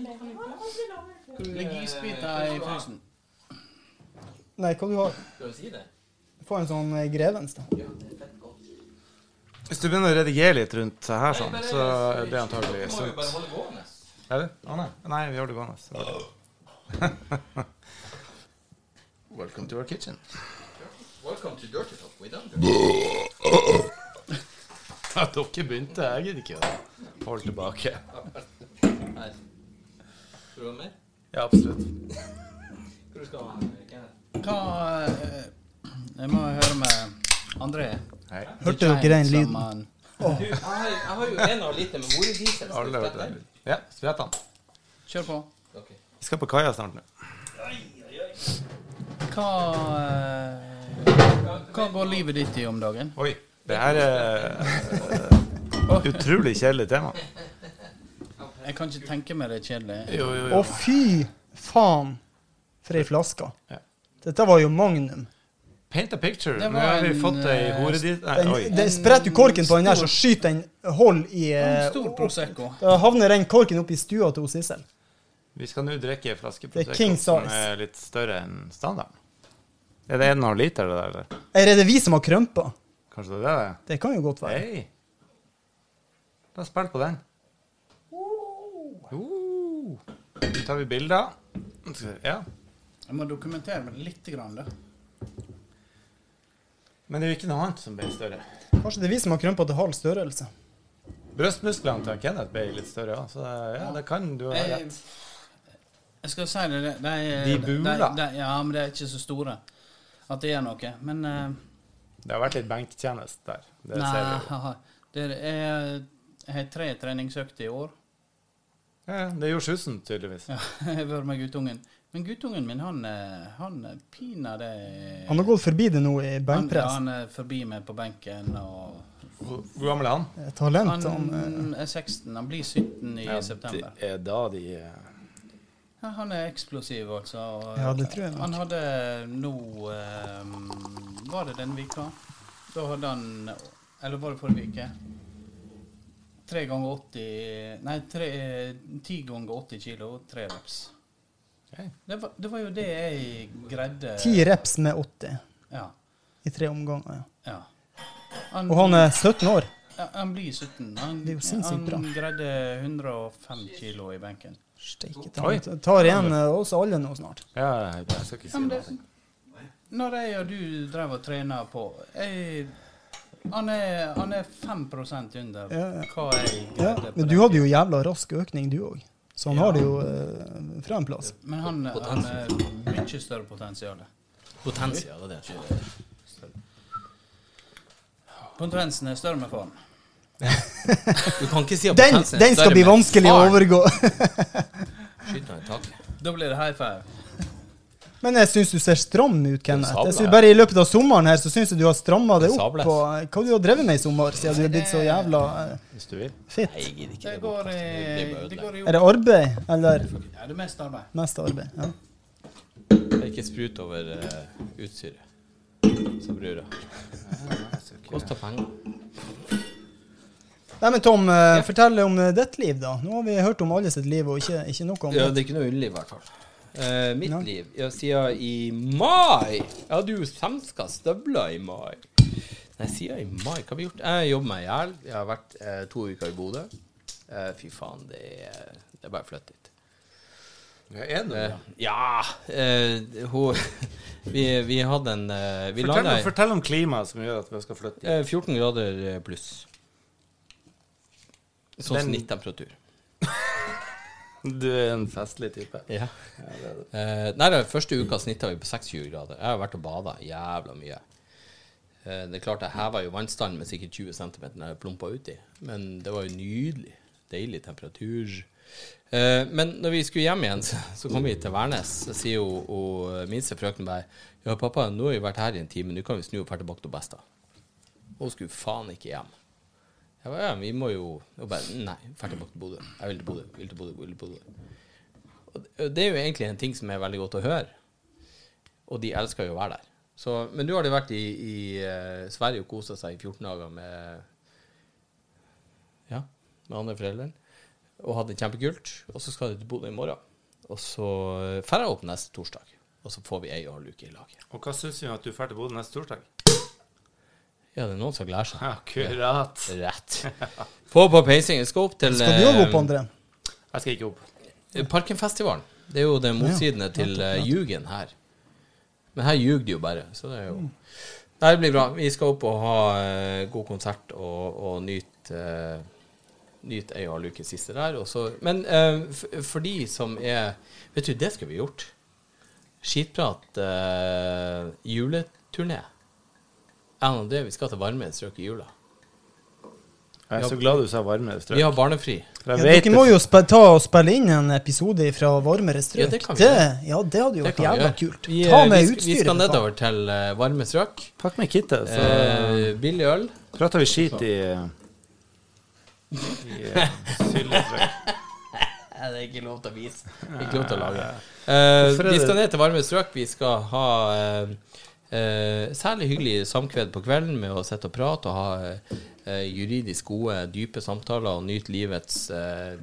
Skal jeg Legg isbiter i frysen.
Nei, hva du har?
Skal du si det?
Få en sånn eh, grevens, da.
Hvis du begynner å redigere litt rundt her, sånn,
Nei, bare-
så er det antagelig
Må jo
sunt.
bare holde gående.
Er det? Å, nei. nei, vi har det gående. så var det. Welcome to our kitchen.
Welcome to Dirty Talk with
At dere begynte, jeg gidder ikke å holde tilbake.
Her. Skal du ha mer?
Ja, absolutt.
Hvor skal du ha den, Kenneth?
Hva eh, Jeg må høre med André.
Hei.
Hørte dere den lyden?
Som han-
Du, jeg har, jeg har jo en og lite med borediesel.
Alle har hørt det. Ja, spett han.
Kjør på.
Vi skal på kaia snart nå.
Hva eh, Hva går livet ditt i om dagen?
Oi. Det her er eh, utrolig kjedelig tema.
Jeg kan ikke tenke meg det er kjedelig.
Jo, jo,
Å, fy faen for ei flaske.
Ja.
Dette var jo magnum.
Paint a picture.
Det
Nå
var
har vi
en,
fått ei
eh,
hore dit Nei,
Den,
oi.
det spretter jo korken på den der, så skyter den hold i eh,
En stor Prosecco.
Da havner den korken opp i stua til Sissel.
Vi skal nå drikke en flaske
Det er
Prosecco
king
som
size.
er litt større enn standarden. Er det 1,5 liter, det der? eller?
Eller er det vi som har krømpa?
Kanskje det er det?
Det kan jo godt være.
Hei! Da spill på den. Uh. Nå tar vi bilder. Ja.
Jeg må dokumentere meg litt, grann, da.
Men det er jo ikke noe annet som ble større.
Kanskje det er vi som har krømpa til halv størrelse.
Brøstmusklene til Kenneth ble litt større, ja. så det- ja, det kan du ha
Jeg,
rett.
Eh, jeg skal si det, det- det
De buler.
det- det- Ja, men det er ikke så store at det er noe. Men eh,
Det har vært litt benktjeneste der. Det
nei,
ser vi jo.
det er, jeg har tre treningsøkter i år.
Ja, ja, det gjorde susen, tydeligvis.
Ja, jeg har vært med guttungen. Men guttungen min, han, eh, han pinadø
Han har gått forbi det nå i
Han, ja,
benkpress.
han er forbi meg på benken og
Hvor hvor gammel er han?
Eh, Talent. eh, Han,
Han er 16, han blir 17 i
Ja,
september.
Det er da de eh,
Ja, han er eksplosiv, altså. og-
Ja, det tror jeg nok.
Han hadde nå eh, Var det denne vika? Da hadde han Eller var det forrige uke? 3 ganger 80 Nei, tre, 10 ganger 80 kilo, 3 reps.
ok.
Det var, det var jo det jeg greide.
eh, Ti reps med 80
Ja.
i tre omganger. Ja.
ja. Han,
Og han er 17 år.
ja, han blir 17. Han,
Det er jo sinnssykt
han
bra.
greide 105 kilo i benken.
Steike
Oi.
ta. Tar igjen eh, oss alle nå snart.
Ja, jeg skal ikke si
men
noe.
det- Når jeg og du drev og trena på jeg, han, er, han er 5 under
Ja, ja.
hva jeg
Ja,
greide. på
men
den
du hadde jo
tiden.
jævla rask økning, du òg. Så han har det jo eh, fra en plass.
Men han, han er mye større potensial.
Potensia, det er det jeg sier.
Konkurransen er større med faren.
Du kan ikke si at
Den,
potensia er
den skal
større
bli
med
vanskelig å
faren.
overgå.
Skyt den i taket.
Da blir det high five.
Men jeg syns du ser stram ut, Kenneth.
sabla,
Jeg synes
ja.
bare I løpet av sommeren her så syns jeg du har stramma deg opp.
Sabla.
På, hva du har drevet med i sommer, siden du er blitt så jævla eh,
Hvis du vil.
fit?
Nei, jeg gidder ikke.
Det
Det
går i
podcasten. Det
Det går i
blir bare ødelagt.
Er det arbeid, eller
Ja, det er mest arbeid.
mest arbeid? Ja.
Det er ikke sprut over uh, utstyret som brura. Koster penger.
Nei, men Tom, eh, fortell om eh, ditt liv, da. Nå har vi hørt om alle sitt liv, og ikke, ikke noe om
Ja,
det.
det er ikke noe underliv, i hvert fall. Eh, mitt
Ja.
liv ja, Siden i mai Jeg hadde jo samska støvler i mai. Nei, siden i mai, hva har vi gjort? Jeg jobber meg i hjel. Jeg har vært eh, to uker i Bodø. Eh, fy faen, det er, det er bare å flytte dit.
Ja, er det noe?
Eh, ja eh, hun, vi, vi hadde en eh, Vi
fortell,
landa
om- fortell om klimaet som gjør at vi skal flytte.
eh, 14 grader eh, pluss. Sånn
Den-
snittemperatur.
Du er en festlig type.
Ja. Eh, nei, den første uka snitta vi på 26 grader. Jeg har vært og bada jævla mye. Eh, det er klart jeg heva jo vannstanden med sikkert 20 cm når jeg plumpa uti, men det var jo nydelig. Deilig temperatur. Eh, men når vi skulle hjem igjen, så, så kom vi til Værnes, så sier jo hun minste frøken bare Ja, pappa, nå har vi vært her i en time, nå kan vi snu og dra tilbake til Besta. Hun skulle faen ikke hjem. Jeg bare, ja, vi må jo Hun bare Nei, dra tilbake til Bodø. Jeg vil til Bodø, vil til Bodø, vil til Bodø. Og Eh, det- det er jo egentlig en ting som er veldig godt å høre. Og de elsker jo å være der. Så, men nå har de vært i, i eh, Sverige og kosa seg i 14 dager med ja, med andre foreldrene. Og hatt det kjempekult. Og så skal de til Bodø i morgen. Og så eh, drar jeg opp neste torsdag. Og så får vi ei og en halv uke i lag.
Og hva syns vi om at du drar til Bodø neste torsdag?
Ja, det er noen som lærer seg.
Akkurat.
Rett. Få på peisingen. Skal opp til
Skal du òg
eh,
opp, André?
Jeg skal ikke opp.
Parkenfestivalen. Det er jo det motsidene til eh, Ljugen her. Men her ljuger de jo bare, så det er jo Nei, det blir bra. Vi skal opp og ha eh, god konsert og, og nyte eh, Nyt ei og halv uke siste der. Og så, men eh, f for de som er Vet du, det skulle vi gjort. Skitprat eh, juleturné. Jeg og André, vi skal til varme strøk i jula.
Jeg er så glad du sa varmere strøk.
Vi har barnefri.
For
Ja,
jeg vet
dere må
det-
jo spe- ta og spille inn en episode fra varmere strøk.
Ja, det kan vi
ja, det hadde jo
Det
vært
kan vi
jævla
gjøre.
kult.
Vi,
Ta
eh,
med
vi, sk- Vi
utstyret.
skal
for faen.
nedover til eh, varme strøk.
Pakk med kittet, så
Eh, billig øl.
prater vi skit i, i eh, syltetøy.
Nei, det er ikke lov til å vise. Ikke lov til å lage. Eh,
Hvorfor er
vi
det-
skal ned til varme strøk. Vi skal ha eh, eh, særlig hyggelig samkved på kvelden med å sitte og prate og ha eh, juridisk gode, dype samtaler og nyte livets eh,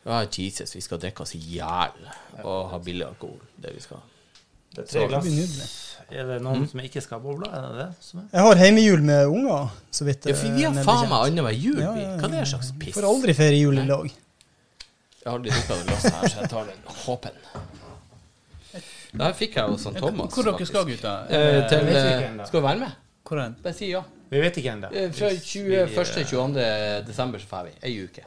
ja, Jesus, vi skal drikke oss i hjel og ha billig alkohol. Det vi skal.
Det er tre glass.
blir nydelig.
Er det noen som ikke skal ha bobler? Er det det som er?
Jeg har heimejul med unger, så vidt
Ja, for vi har
eh, meg
faen
bekjent.
meg annenhver jul,
Ja,
vi.
ja,
Hva er det
ja,
slags piss?
Får aldri feire jul i lag.
Jeg har aldri drukket det glasset her, så jeg tar den håpen. Der fikk jeg jo sånn Thomas.
Hvor dere skal,
faktisk.
gutter?
Eh, til,
vet
eh,
ikke ennå.
skal du være med?
Hvor er den?
Bare si ja.
Vi vet ikke ennå.
Eh, Fra 21.-22. desember så drar vi. Ei uke.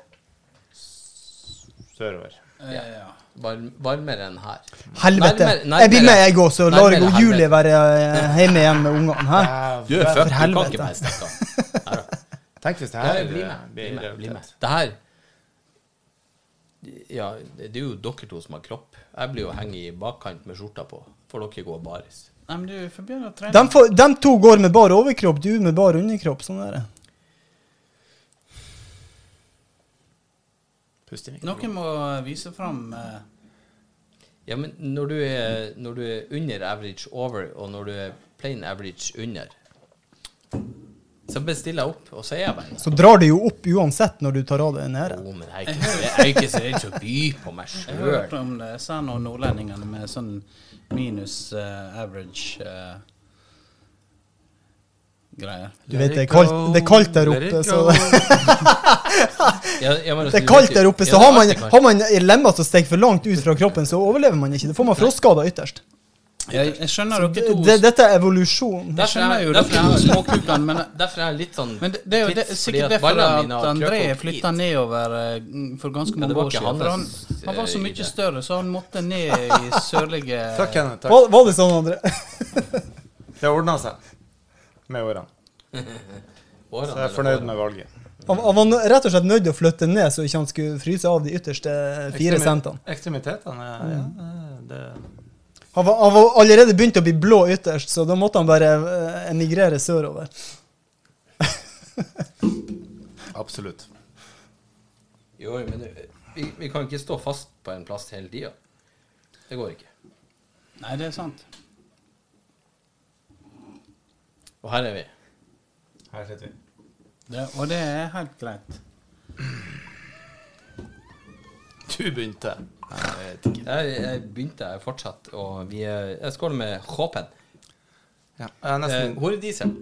Sørover.
Eh, ja.
Varm, varmere enn her.
Helvete!
Nærmere- nærmere-
jeg blir med, jeg òg, så
nærmere
lar jeg
helvete.
jo Julie være eh, hjemme igjen med ungene. Hæ?
Du er fucked, du kan
helvete.
ikke bare stikke av.
Tenk hvis det
Nei,
her
Bli
eh,
med. Bli
blir
med. Bli med.
realitet.
Det her Ja, det er jo dere to som har kropp. Jeg blir jo henge i bakkant med skjorta på. Får dere gå baris.
Nei, men du får begynne å trene.
De, får, dem to går med bar overkropp, du med bar underkropp. Sånn er det.
Pust inn i mikrofonen.
Noen må vise fram eh,
Ja, men når du er, når du er under average over, og når du er plain average under, så bestiller jeg opp, og så er jeg bare
Så drar det jo opp uansett når du tar av deg nede.
Jo, men jeg er ikke, jeg er ikke så redd for å by på meg
Jeg har hørt
sjøl.
om det. Jeg ser noen nordlendinger med sånn minus eh, average eh, greier.
Du vet, det er kaldt, det er kaldt der
Let it
oppe, så
go.
det er kaldt der oppe, så har man, har man lemmer som stikker for langt ut fra kroppen, så overlever man ikke. Da får man frostskader ytterst.
Jeg, jeg skjønner dere to.
Det, dette er evolusjon.
Jeg skjønner jo
Derfor
dere
er-
småkukene, men
Derfor er jeg litt sånn
Men det, det er jo det,
Tids,
sikkert
fordi at
derfor
ballene
at
mine har
André
krøpet opp
flytta
hit.
nedover eh, mm, for ganske
Ja, det
mange
var
år
ikke
siden. For han,
hans,
han var så
eh,
mye
idé.
større, så han måtte ned i sørlige
Takk, Kenneth. Takk.
Var, var det sånn, André?
Det ordna seg med årene. Så jeg er fornøyd med valget.
Han, han var rett og slett nødt til å flytte ned, så ikke han skulle fryse av de ytterste eh, fire
Ekstremi-
centene.
Mm. Ekstremitetene, ja. det-
Han var, han var allerede begynt å bli blå ytterst, så da måtte han bare eh, emigrere sørover.
Absolutt.
Jo, men det- vi, vi kan ikke stå fast på en plass hele tida. Det går ikke.
Nei, det er sant.
Og her er vi.
Her sitter vi.
Det, og det er helt greit.
Du begynte.
Jeg, jeg begynte, jeg fortsatte, og vi er Jeg skåler med Håpen.
Ja, jeg er
Eh,
nesten
Horediesel.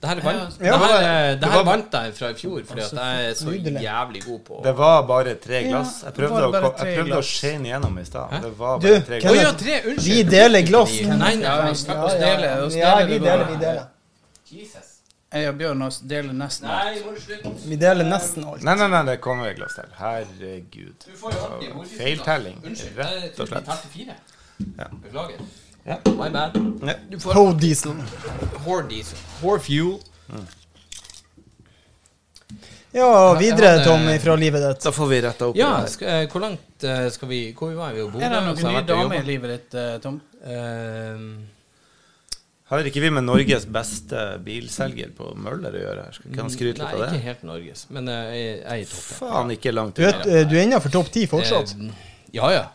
Det her, vant,
Ja,
det her, eh, det Altså,
det
her
var-
vant jeg fra i fjor, fordi at jeg er så
Nydelig.
jævlig god på
Det var bare tre
Ja,
glass. Jeg
det var
prøvde, å,
bare
ko-
tre
jeg prøvde å
glass.
skjene gjennom i stad. Det var
Du,
bare tre
Å
glass.
ja, tre! Unnskyld.
Vi deler glass.
Nei, nei, nei, snakk om stjele.
å
ja,
stjele,
vi
det
deler,
går.
vi deler.
Jesus.
Jeg og Bjørnar deler nesten alt.
Nei, må du slutte.
Vi deler nesten alt.
Nei, nei, nei, det kommer et glass til. Herregud.
Du får jo alltid horediesel.
Feiltelling,
Unnskyld. Jeg
rett
tror
og
vi
slett.
telte fire.
Ja.
Beklager.
Ja.
My bad.
Ja.
Du får
Ho diesel.
horediesel. Horfuel.
Ja,
Jeg
videre,
hadde-
Tom, fra livet ditt.
Da får vi retta opp
Ja,
i det.
sk eh, hvor langt eh, skal vi Hvor var vi? Jo, Bodø?
Er det
så
noen
har
nye
jeg vært og
damer i
jobbet.
livet ditt, eh, Tom?
Ehm,
her. Har ikke vi med Norges beste bilselger på Møller å gjøre? her? Skal ikke han skryte
Nei,
litt av
ikke
det?
helt Norges, men eh, jeg jeg er i toppen.
Faen, ikke langt
Du, vet,
unna.
eh, du er innenfor topp ti fortsatt.
Eh, ja, ja.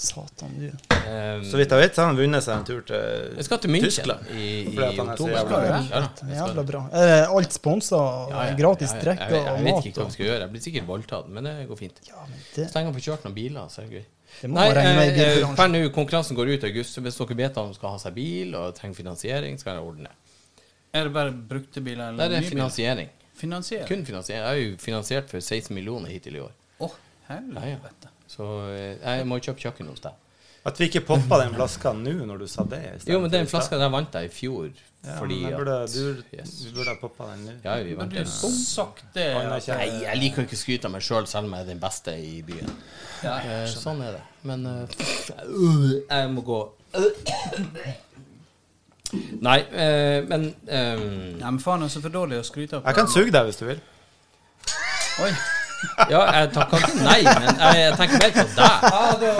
Satan, du.
Ehm,
Så vidt jeg vet, så har han vunnet seg en tur til
jeg skal til München
Tyskland.
i, i
Fordi at han er så
oktober.
jævla
Ja,
bra.
ja, jeg skal-
Jævla bra. Er det alt sponsa?
Ja, ja,
gratis
ja, ja,
drikke
Jeg,
og
jeg vet
mat?
ikke hva
og-
vi skal gjøre. Jeg blir sikkert voldtatt, men det går fint.
Ja, men det,
Så lenge han får kjørt noen biler, så er det gøy.
det må
Nei,
man regne med i
eh, eh, per
bilbransjen.
nå, konkurransen går ut i august, så hvis dere vet at de skal ha seg bil og trenger finansiering, skal jeg ordne.
Er det bare brukte biler
Nei,
eller
det er
nye biler?
finansiering.
Finansiering?
Kun finansiering. Jeg er jo finansiert for 16 millioner hittil i år.
Å,
Ja, ja.
helvete.
Så eh, jeg må kjøpe kjøkken hos deg.
At vi ikke poppa den flaska nå når du sa det. i stedet
Jo, men den
for i
flaska
stad.
der vant jeg i fjor
ja,
fordi
men jeg
at
burde, du,
Yes.
Vi burde ha poppa den nå.
Ja, vi vant
Burde
den.
du sagt det?
Han er ikke-
Nei, jeg liker jo ikke å skryte av meg sjøl, selv om jeg er den beste i byen.
Ja,
Eh, sånn er det. Men eh, øh, jeg må gå Nei, eh, men eh,
Nei, men faen, det er så for dårlig å skryte av.
Jeg kan suge deg hvis du vil.
Oi.
Ja, jeg takker ikke nei, men jeg, jeg tenker mer på deg.
Ja, da,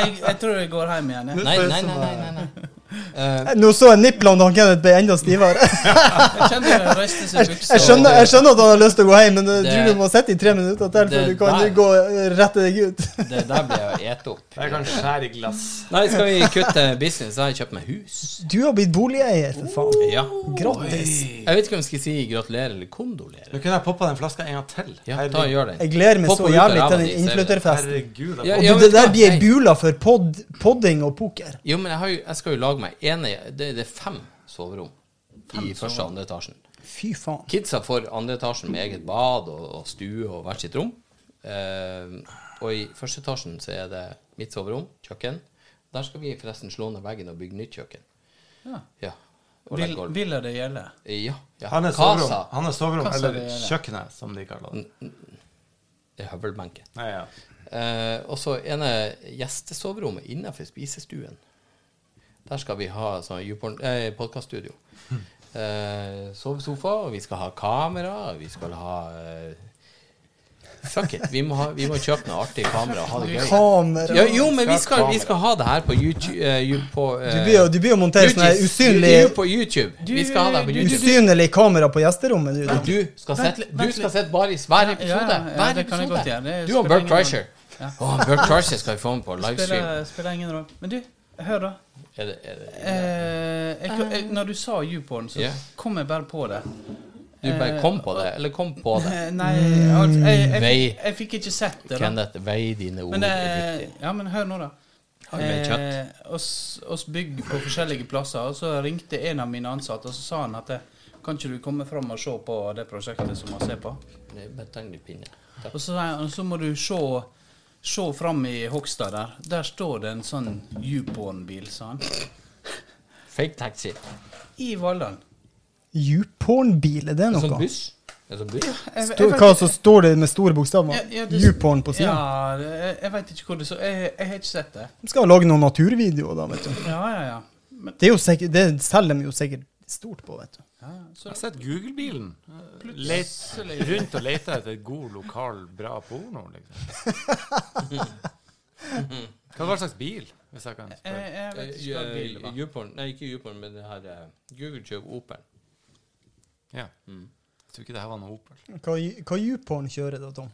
jeg, jeg tror jeg går hjem igjen. Jeg.
Nei, nei, nei. nei, nei, nei. Eh,
Eh, Nå så jeg nipplene til han Kenneth ble enda stivere.
Jeg kjenner det reiste seg i
Jeg,
buksa.
jeg, skjønner, jeg skjønner at han har lyst til å gå hjem, men jeg
Det-
tror du må sitte i tre minutter til før du
det
kan
der-
gå eh, rette deg ut.
det der blir jeg et opp.
Jeg kan skjære i glass.
Nei, skal vi kutte business? Jeg har kjøpt meg hus.
Du har blitt boligeier, for faen.
Ja.
Grattis.
Jeg vet ikke om jeg skal si gratulerer eller kondolerer.
Nå kunne jeg poppa den flaska en gang til.
Ja,
Herregud.
da gjør den.
Jeg gleder meg
Få
så
på ut av
jævlig
ræva
til den
di, ser du.
innflytterfesten.
Herregud.
Ja,
Jeg,
Og
ja,
du,
vet
det
du
der
hva?
blir
Nei.
ei bula for pod, podding og poker.
Jo, men jeg, har jo, jeg skal jo lage meg ene Det, det er fem soverom i første og andre etasjen.
Fy faen.
Kidsa får andre etasjen med eget bad og, og stue og hvert sitt rom. Eh, og i første etasjen så er det mitt soverom, kjøkken. Der skal vi forresten slå ned veggen og bygge nytt kjøkken.
Ja.
Ja. Og
Vil,
legge gulv.
ville det gjelde?
Ja, ja.
han er
Kasa.
soverom, han er soverom
Kassa,
eller
det gjør det.
kjøkkenet, som de kaller
Mm.
det.
Det er høvelbenken.
Nei, ja.
Eh, og så ene gjestesoverommet innenfor spisestuen. Der skal vi ha sånn YouPorn- eh, podcaststudio. Eh, sovesofa, og vi skal ha kamera, og vi skal ha eh, Fuck it. Vi må, ha, vi må kjøpe noe artig kamera og ha det gøy.
Kamera.
Ja, jo, men vi skal, vi skal ha det her på YouTube. eh, you- på, eh,
Du blir jo- du blir jo montert sånn her
YouTube.
usynlig-
You- you på YouTube. Vi skal ha det her på YouTube.
Usynlig kamera på gjesterommet, du.
Og
da.
du skal
Vent
sette
litt,
Du
vent
skal
litt.
sette bare i hver
Ja, ja,
episode.
ja,
hver
det kan jeg godt gjøre.
episode.
Det
Du og
spiller
Bert
ingen
Kreischer.
rolle.
Å, Bert Kreischer skal vi få med på
Spiller,
livestream.
spiller ingen rolle. Men du, hør da.
Er det, er det,
Eh, jeg, jeg, når du sa YouPorn, så
Ja.
kom jeg bare på det.
du bare kom på det, eller kom på det.
Eh, Nei,
Mm.
altså, jeg, jeg,
Vei.
fikk- jeg fikk ikke sett det. da.
Kenneth, vei dine ord
Men,
er
eh,
riktig.
ja, men hør nå, da.
Har du med kjøtt?
Eh, oss, oss bygg på forskjellige plasser, og så ringte en av mine ansatte og så sa han at eh, kan ikke du komme fram og se på det prosjektet som han ser på?
Nei, Bare ta en litt pinne. Takk.
Og så, sa han, så må du se, se fram i Hogstad der. Der står det en sånn YouPorn-bil, sa han.
Fake taxi.
I Valldalen.
YouPorn-bil, er det
En sånn
noe?
buss. En sånn buss.
Jeg- jeg
Sto-
vet-
Hva så står det med store bokstaver?
Ja, ja, det-
YouPorn på sida?
Ja, det- jeg, jeg veit ikke hvor det så jeg, jeg har ikke sett det.
De skal lage noen naturvideoer, da, vet du.
Ja, ja, ja. Men,
Det, er jo sikkert, det selger de jo sikkert stort på, vet du.
ja, ja.
Jeg
Så
har sett Google-bilen. Leit- Rundt og lete etter god,
Mm. Mm-hmm.
lokal, bra porno, liksom. Hva var slags bil? Hvis jeg kan
Jeg,
spørre.
jeg vet
Eh,
ikke hva bil var.
YouPorn Nei, ikke YouPorn, men det her eh, Google kjøper Opel.
Ja. Mm. Jeg tror ikke det her var noe Opel.
Hva, hva YouPorn kjører da, Tom?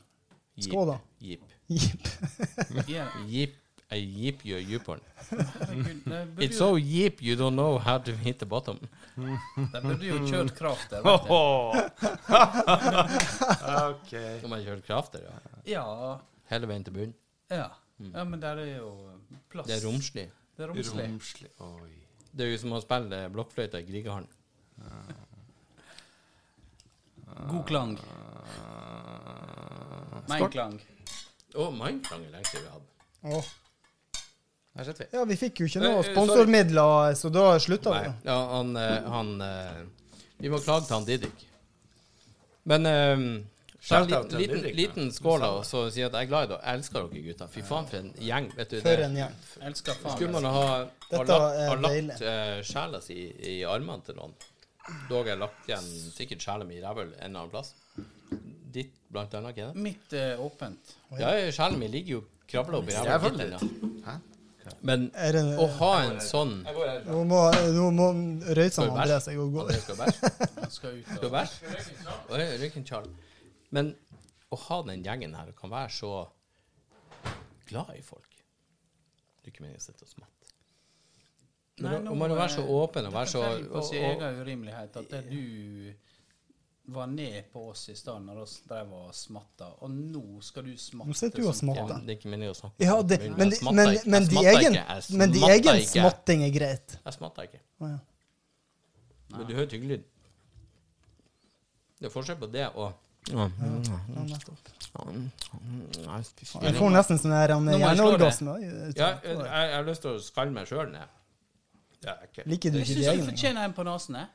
Jeep.
Skoda.
Jeep.
Jeep.
Yeah.
Jeep. A jeep you YouPorn.
Herregud, de
It's
burde,
so jeep you don't know how to hit the bottom.
jo- de burde jo kjørt kraft der. vet jeg.
OK.
Når man kjører krafter, ja.
Ja,
Hele veien til bunnen.
ja. ja, men der er jo plass.
Mm. Det er romslig.
Det er romslig.
Romslig. Oi.
Det er jo som å spille blokkfløyta i Grieghallen.
God klang.
Ah.
Mein klang.
Å, oh, Mindfang er lenge siden vi hadde.
Åh.
Der sitter vi.
Ja, vi fikk jo ikke
Eh,
noe
eh, sorry.
sponsormidler, så da slutta vi.
Nei. Ja, han, eh, han eh, Vi må klage til han Didrik. Men eh, ta en
Shout out
liten,
til
liten,
Didrik,
liten
da.
skål da, og så si at jeg er glad i dere. Jeg elsker dere gutter. Fy faen, for en gjeng. Vet du,
For
det-
en gjeng.
Elsker
Skulle
faen meg.
man ha, ha
Dette
lagt,
er
ha lagt
deilig.
eh, sjela si i armene til noen Dog har jeg lagt igjen sikkert sjela mi i rævhull en eller annen plass. Ditt, blant annet, ikke det?
Mitt er åpent.
Ja, sjela mi ligger jo kravla opp i
Rævhullet
rævhullet ditt ennå. Men
Er det,
å ha en sånn
nå må, nå må
Skal
Røysan
vi
André seg og gå.
bæsje? Skal vi bæsje?
Han skal ut
Skal
og
vi bæsje? Oi, røyken kjal. Men å ha den gjengen her og kan være så glad i folk Det er ikke meningen å sitte og smatte.
Nei,
Men
nå
å- Man må være så
er-
åpen og være så
Det faller på sin
og- og-
egen urimelighet at det du var ned på oss i stad når vi drev og smatta, og nå skal du smatte.
Nå sitter du og
som
Ja,
smatter.
men det er ikke meningen å snakke.
Ja, det,
Jeg
men, de-
smatter
men,
ikke. Jeg
men, de
smatter
egen,
ikke. Jeg
men de
smatter
egen
ikke.
smatting er greit.
Jeg smatter ikke.
Å, ja.
Men du hører tyggelyd. Det er forskjell på det og Jeg
Ja, nettopp.
spiser
Jeg
veldig-
får nesten sånn her han
Nå må jeg
hjerneorgasme.
Ja, jeg, jeg har lyst til å skalle meg sjøl ned. Det er jeg ikke.
Liker du
Jeg
ikke
syns
de
du
egne?
fortjener en på eh? nesen. jeg.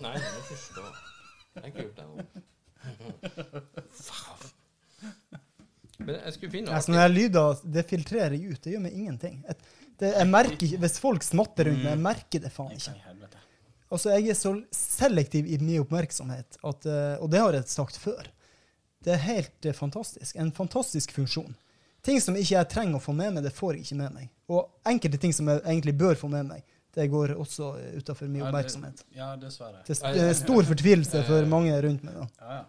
Nei, jeg må ikke stå. Jeg har ikke gjort det nå. Faen. Men jeg skulle finne
Ja, sånne her lyder det filtrerer jeg ut. Det gjør meg ingenting. Et, det, jeg merker ikke, Hvis folk smatter rundt meg, jeg merker det faen ikke.
I helvete.
Altså, Jeg er så selektiv i min oppmerksomhet, at, eh, og det har jeg sagt før. Det er helt eh, fantastisk. En fantastisk funksjon. Ting som ikke jeg trenger å få med meg, det får jeg ikke med meg. Og enkelte ting som jeg egentlig bør få med meg, det går også utafor min
Ja,
oppmerksomhet.
det- Eh, Ja, dessverre.
Det er st- stor fortvilelse for mange rundt meg. da.
Ja, ja.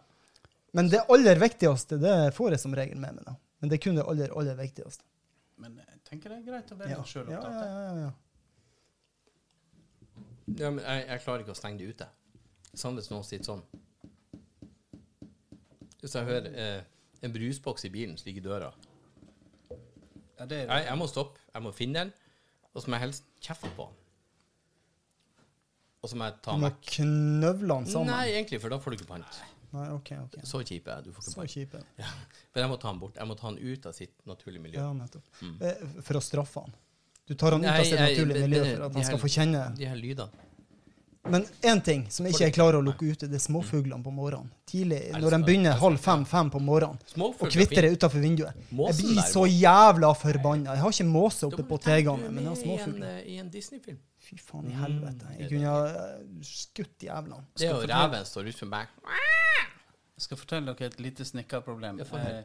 Men det aller viktigste, det får jeg som regel med meg. da. Men det er kun det aller, aller viktigste.
Men jeg tenker det er greit å være
Ja,
litt
ja, ja,
sjølopptatt.
ja, ja.
Ja, men jeg, jeg klarer ikke å stenge det ute. Sånn hvis noen sitter sånn. Hvis jeg hører eh, en brusboks i bilen som ligger i døra
Ja, det er
jeg, jeg må stoppe. Jeg må finne den, og så må jeg helst kjefte på den. Og så må jeg ta
Du må
den vekk.
knøvle han sammen.
Nei, egentlig, for da får du ikke pant.
Nei, ok, ok.
Så kjip er jeg. Du får ikke
Så
pant.
kjipe.
Men jeg må ta den bort. Jeg må ta den ut av sitt naturlige miljø.
Ja, nettopp.
Mm.
Eh, For å straffe han. Du tar han ut av
Nei,
sitt
nei,
naturlige
det-
miljø
det-
for at
de
han
her-
skal få kjenne
De her lydene.
Men én ting som jeg ikke jeg klarer å lukke ute, det er
Mm.
småfuglene på morgenen. Tidlig, når de
Elsker,
begynner halv fem-fem på morgenen og
Småfugler
kvitrer utafor vinduet. Jeg
Måsen
blir
der,
så
må-
jævla forbanna. Jeg har ikke måse
Da
oppe
tenker
på tegene,
du
men jeg har
med I en,
småfugler.
eh, i en Disney-film.
Fy faen i
Mm,
helvete. Jeg kunne ha eh, skutt jævlene.
Det er jo reven står utenfor meg.
Jeg skal fortelle dere et lite snekkerproblem.
Ja, få høre.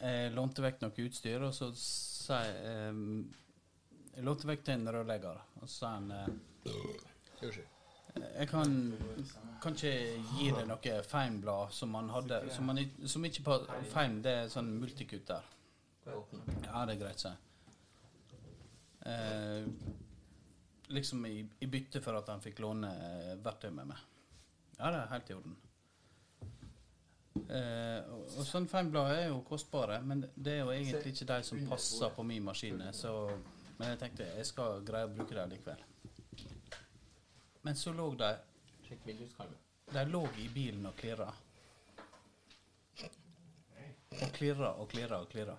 Jeg, jeg lånte vekk noe utstyr, og så sa jeg ehm, Jeg lånte vekk til en rørlegger, og så sa han eh, Jeg kan, kan ikke gi deg noe feimblad som han hadde Som, han, i- som ikke på feim, det er sånn multikutt der. Ja, det er greit, sa jeg. Eh, liksom i, i bytte for at han fikk låne eh, verktøy med meg. Ja, det er helt i orden. Eh, og, og sånn feimblad er jo kostbare, men det er jo egentlig ikke de som passer på min maskin. eh, Så, men jeg tenkte jeg skal greie å bruke dem likevel. Men så lå de De lå i bilen og klirra. Og klirra og klirra og klirra.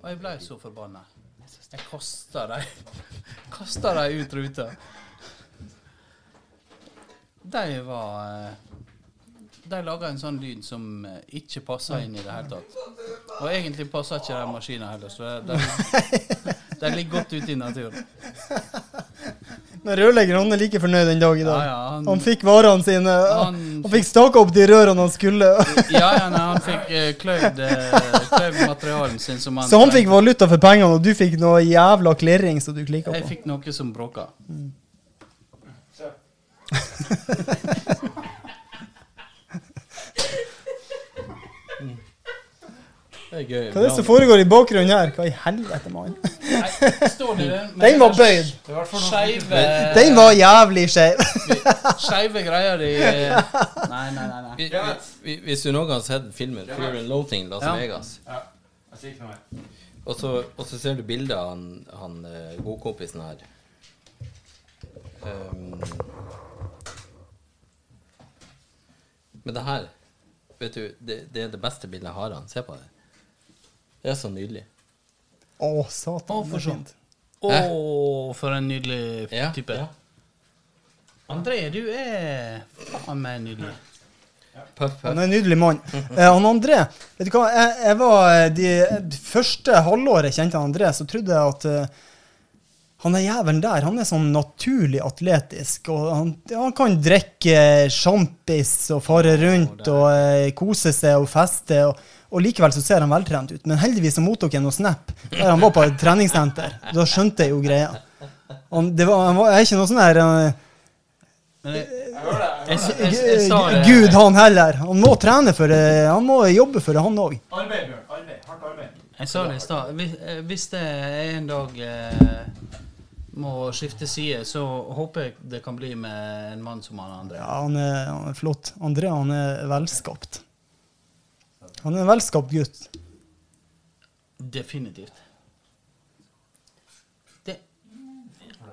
Og jeg ble så forbanna. Jeg kasta dem Kasta dem ut ruta. De var eh, De laga en sånn lyd som eh, ikke passa inn i det hele tatt. Og egentlig passa ikke den maskina heller, så de, de ligger godt ute i naturen.
Men rørleggeren han er like fornøyd den dag i dag.
Ja, ja, han-
han, fikk varene sine. Han,
Han-
fikk staka opp de rørene han skulle.
Ja, ja, nei, han fikk eh, kløyvd eh, kløyvd materialen sin som han
Så han fikk valuta for pengene, og du fikk noe jævla klirring som du klikka
Jeg
på.
fikk noe som bråka.
Det er gøy.
Hva er det som foregår i bakgrunnen her? Hva i helvete, mann?
Står det den? med
Den var bøyd.
den der Skeive
Den var jævlig skeiv.
Skeive greier i eh, Nei, nei, nei. nei.
Vi- vi- vi- Hvis du noen gang har sett filmen Fear and Loathing Las
Ja.
Vegas, og så, og så ser du bildet av han, han eh, godkompisen her Ehm, Men det her Vet du, det, det er det beste bildet jeg har av han. Se på det. Det er så nydelig.
Å, satan.
Å, for
det er
sånn.
fint.
Å, for en nydelig
Ja,
type.
ja.
André, du er faen meg nydelig.
Puff,
Han
puff.
er en nydelig mann. Eh, han André Vet du hva, jeg, jeg var eh, de første halvåret jeg kjente han André, så trodde jeg at eh, han er jævelen der. Han er sånn naturlig atletisk. og Han, ja, han kan drikke sjampis og fare rundt og eh, kose seg og feste. og og Likevel så ser han veltrent ut, men heldigvis så mottok jeg noe snap der han var på et treningssenter. Da skjønte jeg jo greia. Han, det var, han var, jeg er ikke noe sånn her eh,
Men jeg, jeg, jeg, jeg, jeg,
Eh,
sa det
Gud, han heller. Han må trene for det. Han må jobbe for det, han òg.
Arbeid, Bjørn. Arbeid. Hardt arbeid.
Jeg sa det i stad. Hvis- eh, Hvis det er en dag eh, må skifte side, så håper jeg det kan bli med en mann som han andre.
Ja, han er, han er flott. André, han er velskapt. Han er en velskapt gutt.
Definitivt. Det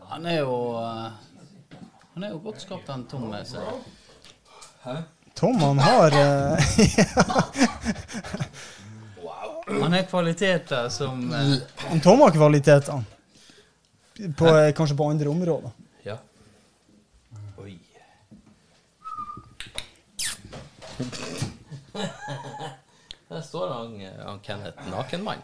Han er jo eh, Han er jo godt skapt, han Tom. eh, Så.
Tom, han har eh,
Han har kvaliteter som eh,
han Tom har kvaliteter. På, eh, kanskje på andre områder.
Ja. Oi. Der står han, eh, han Kenneth, nakenmann.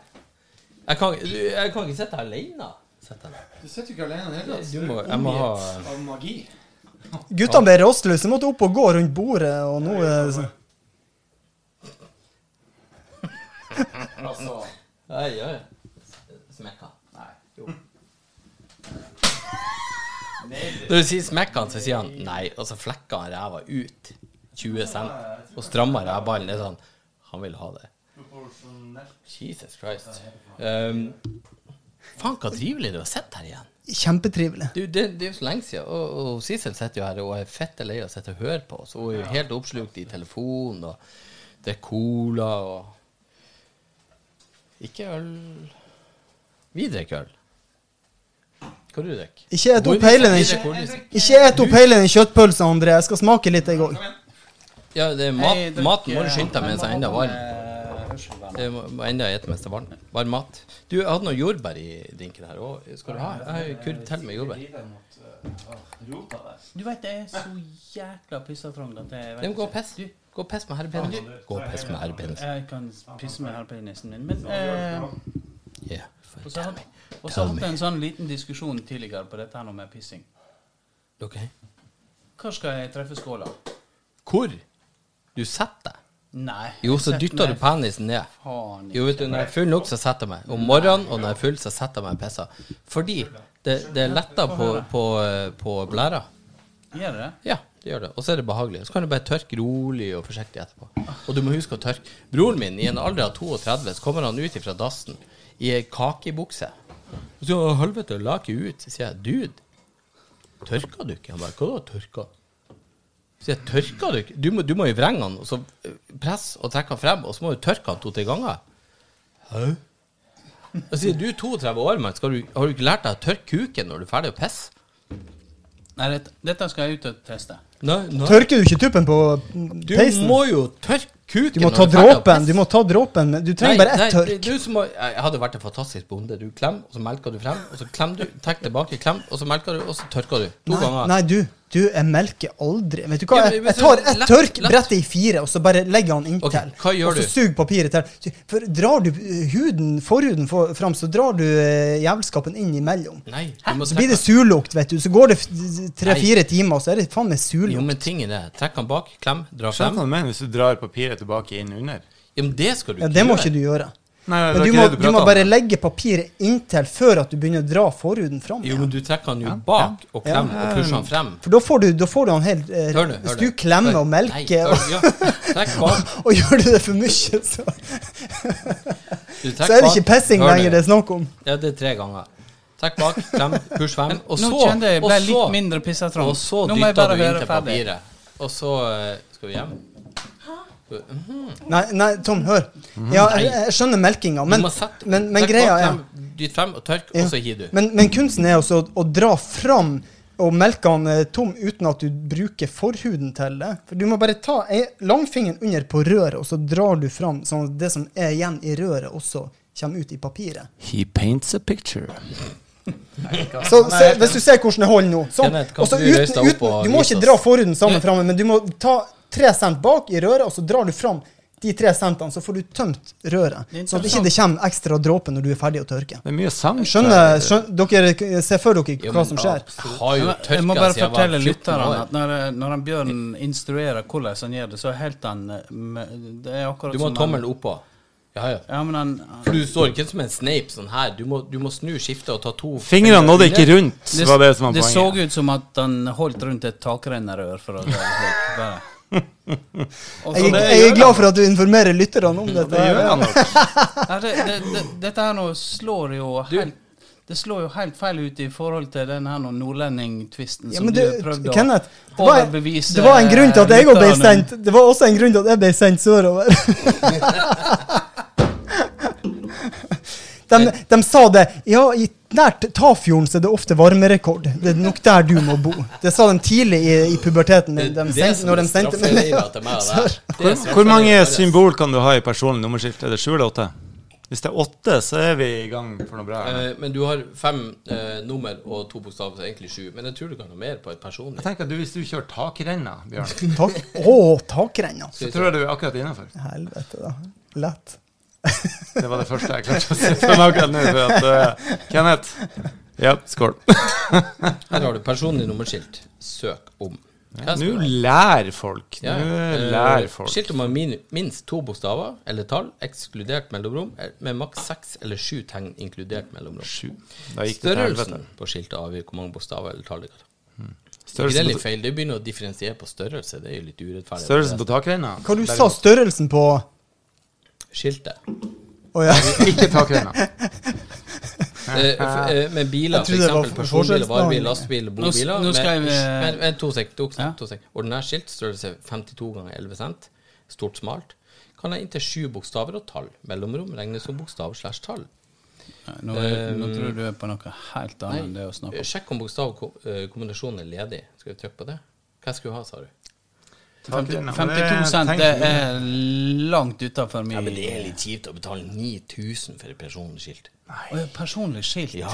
Jeg kan, du, jeg kan ikke sitte her alene. Sitte her.
Du sitter jo ikke alene i det hele tatt.
Du må, jeg må ha
Omgitt Av magi.
Guttene ble rastløse. Måtte opp og gå rundt bordet, og nå eh, så-
Oi, oi. Altså- Smekka. Nei, jo. Når du sier smekka, så sier han nei, og så flekker han ræva ut 20 cent og strammer rævballen. Det er sånn Han vil ha det. Jesus Christ. Um, faen, så trivelig det er å sitte her igjen.
Kjempetrivelig.
Du, det, det er jo så lenge siden. Og, og Sissel sitter jo her og er fette lei av å sitte og høre på oss. Hun er jo helt oppslukt i telefonen, og det er cola og Ikke øl Vi drikker øl. Hva du drikker du?
Ikke et opp hele den kjø- Ikke et opp hele den kjøttpølsa, André. Jeg skal smake litt, jeg òg.
Ja, det er
Jeg
mat,
drikker-
maten må du skynde deg mens den er ennå varm.
Eh, hørselvern.
Det må må enda spise mens det er varm. Varm mat. Du, jeg hadde noe jordbær i drinken her òg. Skal du ha? Jeg har jo kurv til med jordbær.
Du veit jeg er så jækla pissa trang at jeg
Nei,
vet
men Gå og
ikke.
piss. Gå og piss med herr Pedersen. Gå og piss med herr Pedersen.
Jeg kan pisse med halvpenisen min, men eh,
Yeah. for
Og så
damn
hadde
it.
og så
Tell
hadde
me.
jeg en sånn liten diskusjon tidligere på dette her nå med pissing.
Ok.
Hvor skal jeg treffe skåla?
Hvor? Du setter deg.
Nei.
Jo, så
jeg setter
dytter du
meg
penisen ned.
Faen
Jo, vet du, når jeg er full nok, så setter jeg meg. Om morgenen, og når jeg er full, så setter jeg meg og pisser. Fordi det, det letter på, på, på blæra.
ikke. Gjør det?
Ja, det gjør det. Og så er det behagelig. Så kan du bare tørke rolig og forsiktig etterpå. Og du må huske å tørke. Broren min, i en alder av 32, så kommer han ut ifra dassen i ei kakebukse. Og så sier han 'helvete, la ikke ut'. Så sier jeg 'dude, tørka du ikke?' Han bare 'hva da, tørka'? Så sier jeg 'tørka du ikke'? Du må, du må jo vrenge han, og så presse og trekke han frem, og så må du tørke han to-tre ganger. Hæ? Jeg sier 'du er 32 år, mann, skal du- har du ikke lært deg å tørke kuken når du er ferdig å pisse'?
Nei, dette, dette skal jeg ut og teste.
Nei, nei.
Tørker du ikke tuppen på
Du
peisen?
må jo tørke kuken
Du må
når
ta
er ferdig å
dråpen.
pisse.
Du må ta dråpen. men Du trenger
Nei,
bare ett
nei,
tørk.
Du som må, jeg hadde vært en fantastisk bonde. Du klemmer, og så melker du frem, og så klemmer du, tek tilbake, klem, og så melker du, og så tørker du. To
Nei,
ganger.
nei, du. Du, jeg melker aldri. Vet du hva,
Ja, men-
jeg,
men
jeg
så-
tar ett
lett-
tørk,
lett.
bretter i fire, og så bare legger han inntil.
Ok, hva gjør
og så
du?
suger papiret til. For drar du eh, huden, forhuden for, fram, så drar du eh, jævelskapen inn imellom.
Nei, du må
Så blir det
trekke
surlukt, vet du. Så går det
Nei.
tre-fire timer, og så er det faen meg
Jo,
surlukt.
men tingen er Trekk han bak, klem, dra
Skjønner
frem.
hva du mener hvis du drar papiret tilbake inn under?
Ja, men det skal du
Ja, det må ikke du gjøre.
Nei, det
Men
var
du
ikke
må,
det
du må
pratet
bare
om.
legge papiret inntil før at du begynner å dra forhuden
Jo,
fram. igjen.
men du trekker han jo bak, og klem, og pusher han frem.
For da får du, da får du han helt eh,
Hør nå.
Hvis du klemmer og melker og,
Ja. Trekk bak.
og gjør du det for mye, så,
Du trekk
så er det
bak.
ikke pissing
Hør nå.
lenger det er snakk om.
Ja, det er tre ganger. Trekk bak, klem, push frem, og så
Nå kjente jeg jeg ble
og så-
litt mindre pissetrang.
Og så
Nå må jeg
dytter
bare
du inn
være
til
ferdig.
papiret. Og så eh, Skal vi hjem?
Nei, nei, Tom, hør. Ja, jeg, jeg skjønner melkinga,
Mhm.
men,
du må sette
men, men
trekk
greia
bak,
er
klem, Dytt frem og tørk,
Ja.
og så gir du.
Men, men kunsten er også å, å dra fram og melke han eh, tom uten at du bruker forhuden til det. For du må bare ta ei- langfingeren under på røret, og så drar du fram, sånn at det som er igjen i røret, også kommer ut i papiret.
He paints a picture.
Så se, hvis du ser hvordan det holder nå sånn,
Kenneth, kan
og så
du reise
uten,
deg opp
uten,
og
Du må
vise
ikke
oss?
dra forhuden sammen framme, men du må ta tre cent bak i røret, og så drar du fram de tre centene, så får du tømt røret.
Det er
Sånn at ikke det kommer ekstra dråper når du er ferdig å tørke.
Det er mye sang.
Skjønner, skjønner Dere ser for dere hva som skjer?
Jeg har jo tørka
Jeg må bare
siden jeg var
fortelle
14
lytterne
år.
at når, når han Bjørn instruerer hvordan han gjør det, så er helt han eh, med- Det er akkurat
Du må
som
ha
han-
tommelen oppå. Ja, ja.
Ja, men han
For du står ikke som en Snape sånn her. Du må, du må snu skiftet og ta to
Fingrene nådde ikke rundt, var det som var
det så
poenget.
ut som at han holdt rundt et takrennerør, for å si det slik. Bare. Og så
Jeg,
det-
jeg er glad for at du informerer lytterne om dette.
Det gjør
her.
han nok.
Nei, det, det, det, dette her nå slår jo helt det slår jo helt feil ut i forhold til den her nå nordlendingtvisten
Ja,
som
men
du,
du,
prøvde å
Kenneth, det var,
overbevise
det var en grunn til at jeg òg ble
lytterne om.
sendt. Det var også en grunn til at jeg ble sendt sørover. De, de sa det Ja, i nært Tafjorden så er det ofte varmerekord. Det er nok der du må bo. Det sa de tidlig i, i puberteten min. De sendte, når de sendte meg
Hvor, hvor mange symbol kan du ha i personlig nummerskilt? Er det sju eller åtte? Hvis det er åtte, så er vi i gang for noe bra. her.
Eh, Men du har fem eh, nummer og to bokstaver, så egentlig sju. Men jeg tror du kan ha mer på et personlig.
Jeg tenker at du, Hvis du kjører takrenna, Bjørn,
tak, Å, takrenna.
så tror jeg du er akkurat innafor.
Helvete, da. Lett.
Det var det første jeg klarte å si for meg akkurat nå. For at, eh, Kenneth. Ja, skål.
Her har du personlig nummerskilt. Søk om. Hva skal
Nå
du ha?
lærer folk.
Ja,
Nå
eh,
lærer folk.
Skilt om man min, minst to bokstaver eller tall, ekskludert mellomrom, er- med maks seks eller sju tegn, inkludert mellomrom.
Sju. Da gikk det til helvete. Hmm.
Størrelsen på skiltet avgjør hvor mange bokstaver eller tall det er. Ikke det er
Størrelsen
litt
på,
feil. Det begynner å differensiere på størrelse. Det er jo litt urettferdig.
størrelsen på takrenna?
Hva du sa størrelsen på
Skiltet.
Å ja.
Ikke takrenna.
Eh, f- eh, men biler, for
Jeg trodde det
eksempel
var for-
personbiler,
forskjellsbehandling.
varebiler, lastebiler,
Nå s-
bobiler
nå skal
med,
jeg-
men, men, to sek, to, sek,
Ja.
to sek. Ordinær skilt, størrelse 52 ganger 11 cent, stort smalt, kan ha inntil sju bokstaver og tall. Mellomrom regnes som bokstav slash tall.
Nei, Nå,
Eh,
nå tror jeg du er på noe helt annet enn det å snakke om.
Eh, Sjekk om bokstavkombinasjonen er ledig. Skal vi trykke på det? Hva skal du ha, sa du?
52 cent det er langt utafor min
litt kjipt å betale 9000 for et personlig skilt.
Å, ja, Personlig skilt. Det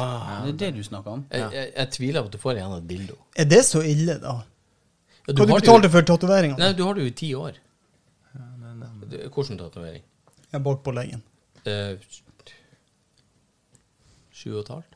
er det du snakker om?
Jeg, jeg, jeg tviler på at du får igjen et dildo.
Er det så ille, da?
Ja,
Hva du
har det jo-
betalte for tatoveringa?
Nei, du har det jo i ti år. Det- Hvordan tatovering?
Bak på leggen.
Eh, Sju og et halvt?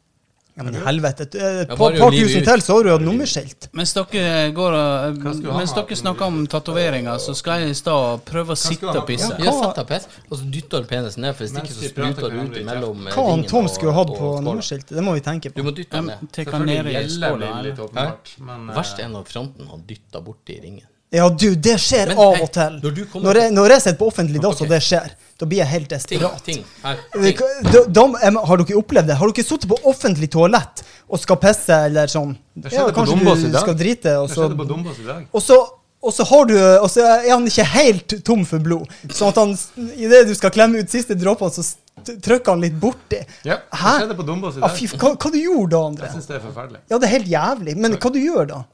Ja, men helvete. eh, Et et
Ja,
par,
bare
par
liv
tusen
ut.
til, så har du hatt nummerskilt.
Mens dere, går og,
skal du ha?
mens dere snakker om tatoveringer, så skal jeg i stad prøve å sitte og pisse.
Ja, sett deg pes, og så dytter du penisen ned, for hvis ikke
Mens
så
vi
spruter
prater
det
kan
ut
vi
imellom eh,
Hva han
ringen
Tom
og-
skulle hatt
og
på
skåla.
nummerskiltet, det må vi
Du
tenke på.
må dytte den ned.
Til hva nede
Selvfølgelig
i
gjelder
skåla
det
her.
litt åpenbart, men eh,
Verst er når fronten har dytta borti ringen.
Ja, du, det skjer
Men,
av
hei,
og til.
når du kommer-
Når jeg, når jeg sitter på offentlig dass,
Ok.
og det skjer, da blir jeg helt
Ting,
desperat.
ting, her, ting.
Da, da, em, har dere opplevd det? Har dere sittet på offentlig toalett og skal pisse eller sånn?
Det skjedde
Ja,
på
kanskje
Dombås i
du
dag.
skal drite, og
det
så
skjedde på Dombås i dag.
Og så, og så har du Og så er han ikke helt tom for blod. Sånn at han idet du skal klemme ut siste dråpen, så st- trykker han litt borti.
Ja, det
Hæ?
skjedde på Dombås i
Ja,
dag.
fy, f- hva, hva du gjorde da,
Jeg
André?
syns det er forferdelig.
Ja, det er helt jævlig. Men hva du gjør da?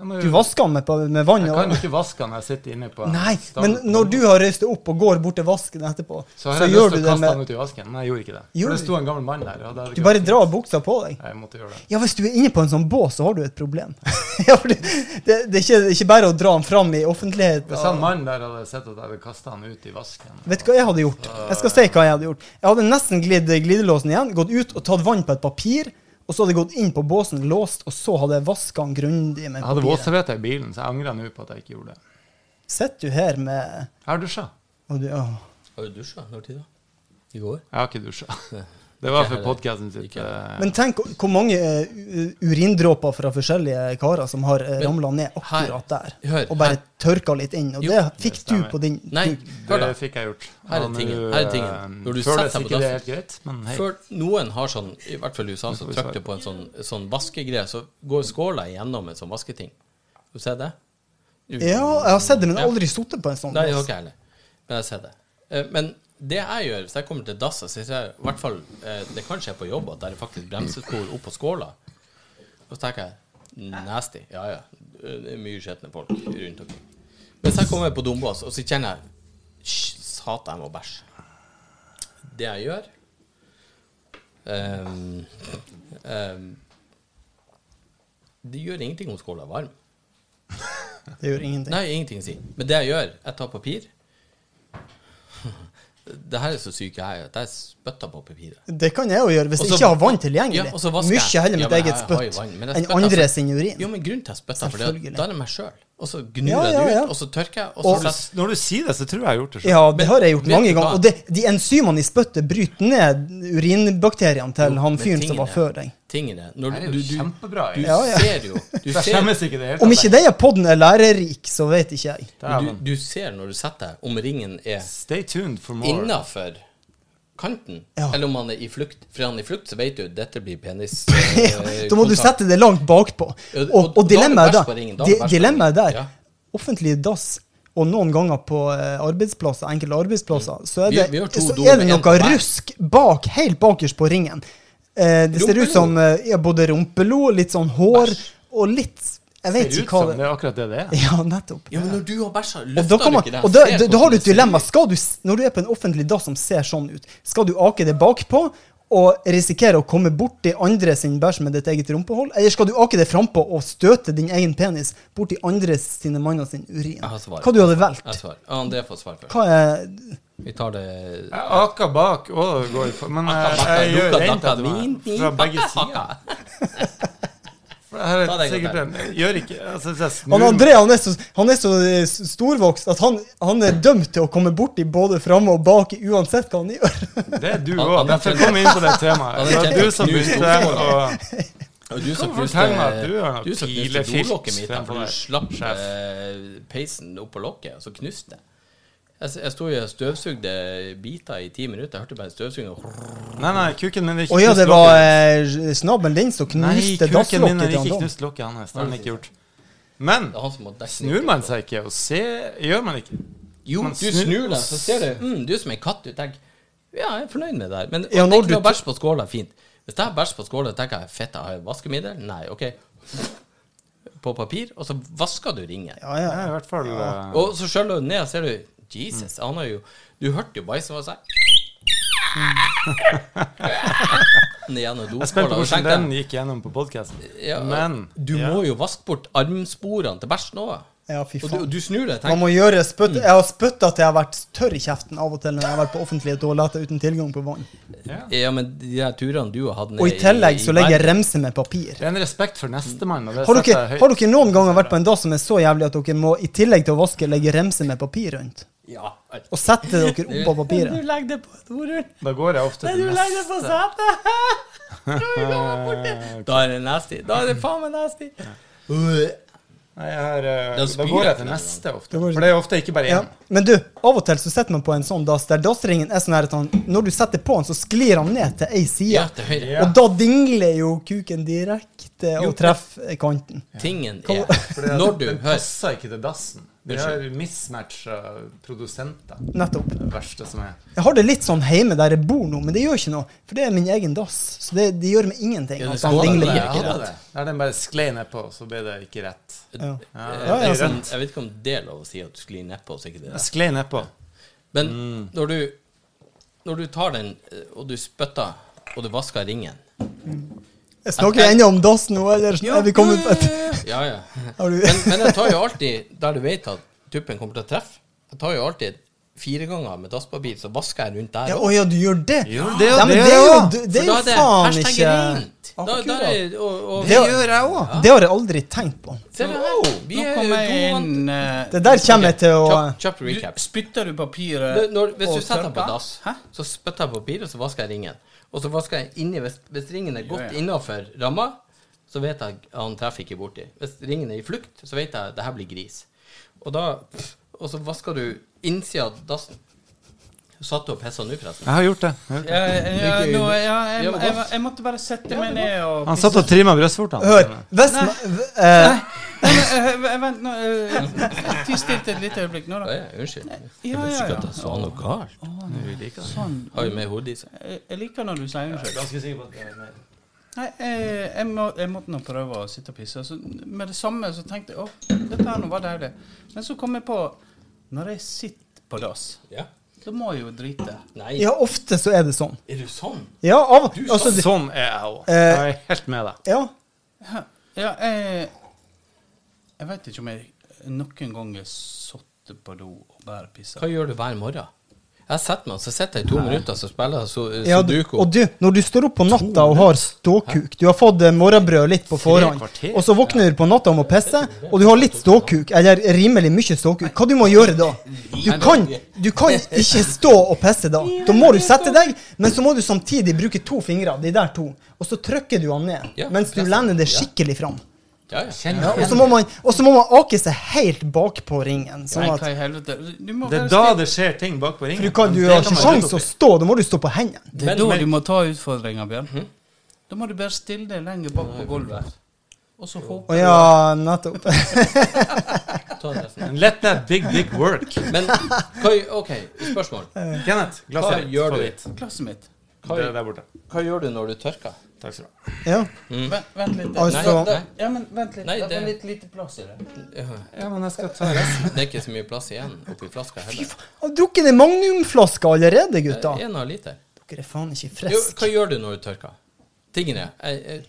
Jeg må jo-
Du vasker den med, på- med vann?
Mm. Jeg
Og,
kan jo ikke vaske den når jeg sitter inne på
nei, men når du har reist deg opp og går bort til vasken etterpå,
Så
så,
har jeg
gjør du
lyst til å
det
kaste den
med
ut i vasken. Nei, jeg gjorde ikke det.
Gjorde
For det
du?
sto en gammel mann der. Og da hadde
Du
jeg
bare
ikke-
drar buksa på deg.
Nei, Jeg måtte gjøre det.
Ja, hvis du er inne på en sånn bås, så har du et problem. ja, for det, det, det, er ikke, det er ikke bare å dra den fram i offentlighet.
Hvis han mannen der hadde sett at jeg hadde kasta han ut i vasken
Vet du hva jeg hadde gjort? Jeg skal si hva jeg hadde gjort. Jeg hadde nesten glidd glidelåsen igjen, gått ut og tatt vann på et papir, og så hadde jeg gått inn på båsen, låst, og så hadde jeg vaska den grundig med
Jeg hadde
papiret.
våtservietter i bilen, så jeg angrer nå på at jeg ikke gjorde det.
Sitter du her med
Jeg har dusja.
og du, åh.
Har du dusja? Når tid da? I går?
Jeg har ikke dusja. Det var for
heller.
podkasten sitt.
Ikke
eh,
Men tenk hvor mange eh, u- urindråper fra forskjellige karer som har
Men-
ramla ned akkurat der,
Hør,
og bare
her.
tørka litt inn. Og
Jo,
det fikk
det
du
stemmer.
på din
Nei, hør da.
Det fikk jeg gjort.
Her er
Og
tingen,
nå,
her er tingen.
eh,
Når du
føles
setter deg på
ikke det helt greit, men hei.
Før noen har sånn, i hvert fall i USA, så
får vi
trykker du
svare.
på en sånn, sånn vaskegreie, så går skåla igjennom en sånn vasketing. Du ser det?
Ja, jeg har sett det, men
Ja.
aldri sittet på en sånn.
Nei, jeg har ikke heller. Men jeg ser det. Eh, Men det jeg gjør, hvis jeg kommer til dass, så ser jeg i hvert fall eh, Det kan skje på jobb at det er faktisk bremsespor opp på skåla. Og så tenker jeg nasty. Ja ja. Eh, Det er mye skjetne folk rundt omkring. Hvis jeg kommer på dombås, og så kjenner jeg «Sj, Satan, jeg må bæsje. Det jeg gjør ehm, ehm, Det gjør ingenting om skåla er varm.
Det gjør ingenting.
Nei, ingenting å si. Men det jeg gjør, jeg tar papir. det her er så syk jeg er at jeg spytter på papiret.
Det kan jeg jo gjøre, hvis
Og
jeg
så-
ikke har vann tilgjengelig.
Ja, og så vasker jeg.
Mye heller
Ja,
mitt
men jeg
eget
har jo
spytt
vann, men jeg
enn
spytter,
andre
altså.
sin urin.
Jo, men grunnen til at jeg spytter, for det,
Selvfølgelig.
da er det meg sjøl. Og så gnur
Ja,
jeg
ja,
det
ja.
ut, og så tørker jeg, og
Og-
så setter
Når du sier det, så tror jeg jeg har gjort det sjøl.
Ja, det
Men
har jeg gjort
vet
mange
du
ganger.
hva?
Og det, de enzymene i spyttet bryter ned urinbakteriene til han
men
fyren
tingen
som var
er-
før deg.
tingene Når
Det
du,
er
du,
jo
du,
kjempebra.
du
egentlig.
Ja, ja.
ser jo du
Jeg
ser,
skjemmes ikke i det hele
Om ikke denne podden er lærerik, så vet ikke jeg.
men
Dæven.
du, du ser når du setter deg, om ringen er
Stay tuned for more.
innafor kanten,
Ja.
eller om han er i flukt. For er han i flukt, så vet du dette blir penis.
Ja,
eh,
da må du
kontakt.
sette det langt bakpå.
Ja, og-
Og,
og da
og
er det
dilemmaet
bæsj på
der,
ringen, da er det
di-
bæsj på ringen.
dilemmaet der
Ja.
Offentlig dass og noen ganger på eh, arbeidsplasser, enkelte arbeidsplasser, så
Mm.
er
Vi-
det,
vi har to
så
do
er det
med en
noe
på hver.
rusk bak, helt bakerst på ringen. Eh, det ser ut
Rumpelo.
som eh, ja, både rumpelo, litt sånn hår og litt Jeg
Det
vet
ser ut
ikke hva
som
det
det er akkurat det det er.
Ja, nettopp.
Ja, men når du har bæsja,
Og da,
løfter
kan
du
man,
ikke det?
og da,
Ser sånn
da, da
hvordan
har du
det
et
ser
dilemma.
ut.
Skal du, s- når du er på en offentlig dass som ser sånn ut, skal du ake det bakpå og risikere å komme borti andre sin bæsj med ditt eget rumpehold, eller skal du ake det frampå og støte din egen penis borti andre sine manner sin
Jeg
urin?
har svar.
Hva du
Jeg
hadde valgt?
svarer. Ja, André får svar først.
Hva er
Vi tar det
Jeg aker bak og går for Men jeg,
Akka,
jeg
bakka,
gjør
dukka,
rent
dakka,
etter
din,
meg
din,
fra begge
bakka,
sider.
bakka.
For Her
Ta
er
deg
sikkert
godt
en jeg Gjør ikke altså, hvis jeg snur
han
meg-
André han er så, han er så eh, s- storvokst at han, han er dømt til å komme borti både framme og bak uansett hva han gjør.
Det er du
Han-
òg.
han er
Derfor
kjent-
kom vi inn på det
Han
temaet.
er
Det var
kjent-
du som
knust
begynte å
Og du som
Hvorfor
knuste
forteller meg at du har noe
Du som knuste
pilefilt
dolokket mitt, da,
fremfor
for du
deg,
slapp
sjef.
eh, peisen opp på lokket, og så knuste jeg. Jeg, jeg sto jo og støvsugde biter i ti minutter. Jeg hørte bare støvsuging og
Nei, nei, kuken min er
Å
ikke
ja,
knust
det var
lokket.
eh, snabelen din som
Nei,
knuste
kuken min
dasslokket
er
til
ikke
han da.
knust lokket hans. Det har han ikke gjort. Men
Det er han som må dekke
snur man seg ikke og ser Gjør man ikke
Jo,
Man
du
snur-
snur deg, så ser du mm, Du er som en katt, du tenker Ja, jeg er fornøyd med det her. Men
Ja,
å
når
tenke
du
på bæsj på skåla er fint. Hvis jeg har bæsj på skåla, tenker jeg fett, jeg har jeg vaskemiddel? Nei, OK. På papir, og så vasker du ringen.
Ja, ja, ja.
Nei, i hvert fall eh,
Og så skjøller du ned, og ser du Jesus, han har jo Du hørte jo bæsjen var sånn Ned gjennom
Jeg er spent
doskåla.
på
og
hvordan
tenkte
den gik gjennom på podkasten.
ja,
Men
Du må jo vaske bort armsporene til bæsj nå.
Ja, fy
Og du,
faen.
du snur deg,
Man
tenker
må gjøre spytt.
Mm.
Jeg har spytta til jeg har vært tørr i kjeften av og til når jeg har vært på offentlige toaletter uten tilgang på vann.
Ja, men de der turene du har hatt ned
Og i tillegg så legger jeg
verden-
remse med papir.
det er en respekt for nestemann. og det
Har dere,
setter jeg høyt.
har dere noen ganger vært på en dag som er så jævlig at dere må i tillegg til å vaske legge remse med papir rundt?
Ja, alt.
Og sette dere oppå papiret?
legger det på dorull.
Da går jeg ofte til neste.
på setet. da er det nasty. Da er det faen meg nasty.
Nei, jeg har, eh,
Da
da
spyr
går
jeg
jeg til
ikke
neste ofte.
går-
For det er ofte ikke bare
Ja.
én.
Men du, av og til så sitter man på en sånn dass der dassringen er sånn her at han, når du setter på den, så sklir han ned til ei
Ja,
side.
til høyre.
Ja.
Og da dingler jo kuken direkte og treffer kanten.
Tingen er Når du
Den
hører
passer ikke til dassen. Vi har mismatcha produsenter.
Nettopp.
Det verste som er.
Jeg har det litt sånn hjemme der jeg bor nå, men det gjør ikke noe. For det er min egen dass. Så det, det gjør meg ingenting.
Ja, det
at
skal
han
være
dingler.
det.
Jeg
ikke
hadde
rett.
det. Der den bare sklei nedpå, så ble det ikke rett.
Ja.
Ja,
Jeg,
det er
ja,
vet ikke om-
sant.
jeg vet ikke om det er lov å si at du sklir nedpå, så ikke det
Jeg
er.
sklei nedpå.
Men
Mm.
når du Når du tar den, eh, og du spytter, og du vasker ringen
Jeg snakker ennå om dass nå, eller er vi kommet på et
Ja, ja.
Har du
Men, men jeg tar jo alltid der du vet at tuppen kommer til å treffe. Jeg tar jo alltid fire ganger med dasspapir, så vasker jeg rundt der
ja,
òg.
Å ja, du gjør det?
Gjør det, og
ja, men
det
det er jo,
også.
det, det er jo
For da
faen
hashtag
ikke
rent. Da, da
Akkurat.
er, og, og,
Det gjør
jeg òg.
Det har jeg aldri tenkt på.
Se det her. Vi
Nå
er jo
kommer
to
jeg
vant-
inn eh,
Det der kommer jeg til å
Kjapp kjapp
du,
recap.
Spytter du
Når,
papiret
når, hvis
Eh, og
du setter den på
tørker?
dass,
Hæ?
så spytter jeg på papiret, så vasker jeg ringen. Og så vasker jeg inni Hvis, hvis ringen er godt
Ja, ja.
innenfor innafor ramma, så vet jeg at han treffer ikke borti. Hvis ringen er i flukt, så vet jeg at det her blir gris. Og da Og så vasker du innsida av dassen. Satt du og pissa nå, forresten?
Jeg har gjort det. Jeg har gjort det.
Ja, ja,
Ikke-
nå, ja, jeg,
Ja,
jeg,
men
jeg,
godt.
måtte bare sette meg ned og
Han satt og trimma brystvortene.
Hør. Hvis man, v- eh,
Nei, men, eh, eh, Vent nå. eh, Ti stilt et lite øyeblikk nå,
Å,
da.
ja, unnskyld. Jeg
Ja,
visste
ja,
ikke at
ja.
jeg sa noe galt.
Sånn.
Har jo med hodet i seg.
Jeg jeg liker når du sier unnskyld.
Ganske sikker på at det er mer.
Nei, jeg, jeg, må, jeg måtte nå prøve å sitte og pisse. Så med det samme så tenkte jeg at dette her nå var deilig. Men så kom jeg på Når jeg sitter på dass,
Ja.
da må jeg jo drite.
Nei,
ja, ofte så er det sånn.
er du sånn?
Ja, av altså, det-
Sånn er jeg òg.
Eh.
Jeg er helt med deg.
ja.
Hæ? Ja, jeg Jeg vet ikke om jeg noen gang har sittet på do og bare pissa.
Hva gjør du hver morgen? Jeg setter meg, så sitter jeg i to minutter så spiller jeg su-
ja du,
sudoku.
og du, når du står opp på natta og har ståkuk Du har fått eh, morgenbrød litt på forhånd,
kvarter?
og så våkner du på natta og må pisse, og du har litt ståkuk, eller rimelig mye ståkuk, hva du må gjøre da? Du kan, du kan ikke stå og pisse da. Da må du sette deg, men så må du samtidig bruke to fingre, de der to, og så trykker du han ned,
Ja,
mens du
pressen.
lener det
Ja.
skikkelig fram.
Ja, ja.
Ja, og så må man, og så må man ake seg helt bakpå ringen,
Nei,
sånn at
hva i helvete. Du må
Det
være
er da
stille.
det skjer ting bak på
For
ringen.
du, kan, du
Det
har
kan
ikke
man
sjans å
rydde opp i.
stå, da må du stå på hendene.
Det er
Men-
da
men-
du må ta utfordringa, Bjørn. Da må du bare stille deg lenger bak på gulvet. Og så
Å
håpe
ja, nettopp.
Ta det resten.
Let that big dick work.
Men hva, OK, spørsmål.
Kenneth,
Hva
glasset ditt.
gjør
Få
du?
ditt.
Glasset mitt.
Hva,
Det er der borte.
hva gjør du når du tørker?
Takk skal du ha.
Ja.
Vent, vent litt.
Nei,
Altså,
det,
Ja, men vent litt.
Nei,
det
det-
var litt lite plass i det.
Ja, men jeg skal ta resten.
det er ikke så mye plass igjen oppi flaska heller.
har drukket ei magnumflaske allerede, gutta?
En halv liter.
Dere er faen ikke
Jo,
friske.
hva gjør du når du tørker? Tingene jeg, jeg,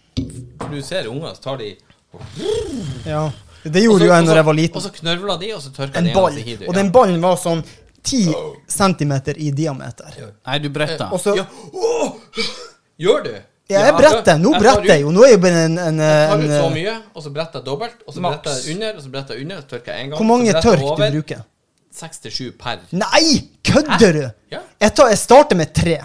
for Du ser unger, så tar de
Ja. Det gjorde jo jeg da jeg var
Og
liten.
så knørvler de, og så tørker
En
de
ball.
så hiver du.
Og den ballen var sånn 10 centimeter i diameter.
Nei, du bretter.
Og så
ja. altså, Åh! Gjør du?
Ja, jeg bretter. Nå bretter jeg jo. Nå er jeg jo bare en, en,
Tar
en, eh,
ut så
en
mye, og så bretter jeg dobbelt, og så
Maks.
bretter jeg under, og så bretter jeg under, og så tørker jeg en gang.
Hvor mange
så bretter jeg
tørk du
over.
bruker?
Seks til sju per.
Nei! Kødder du?
Ja.
Jeg, tar, jeg starter med tre,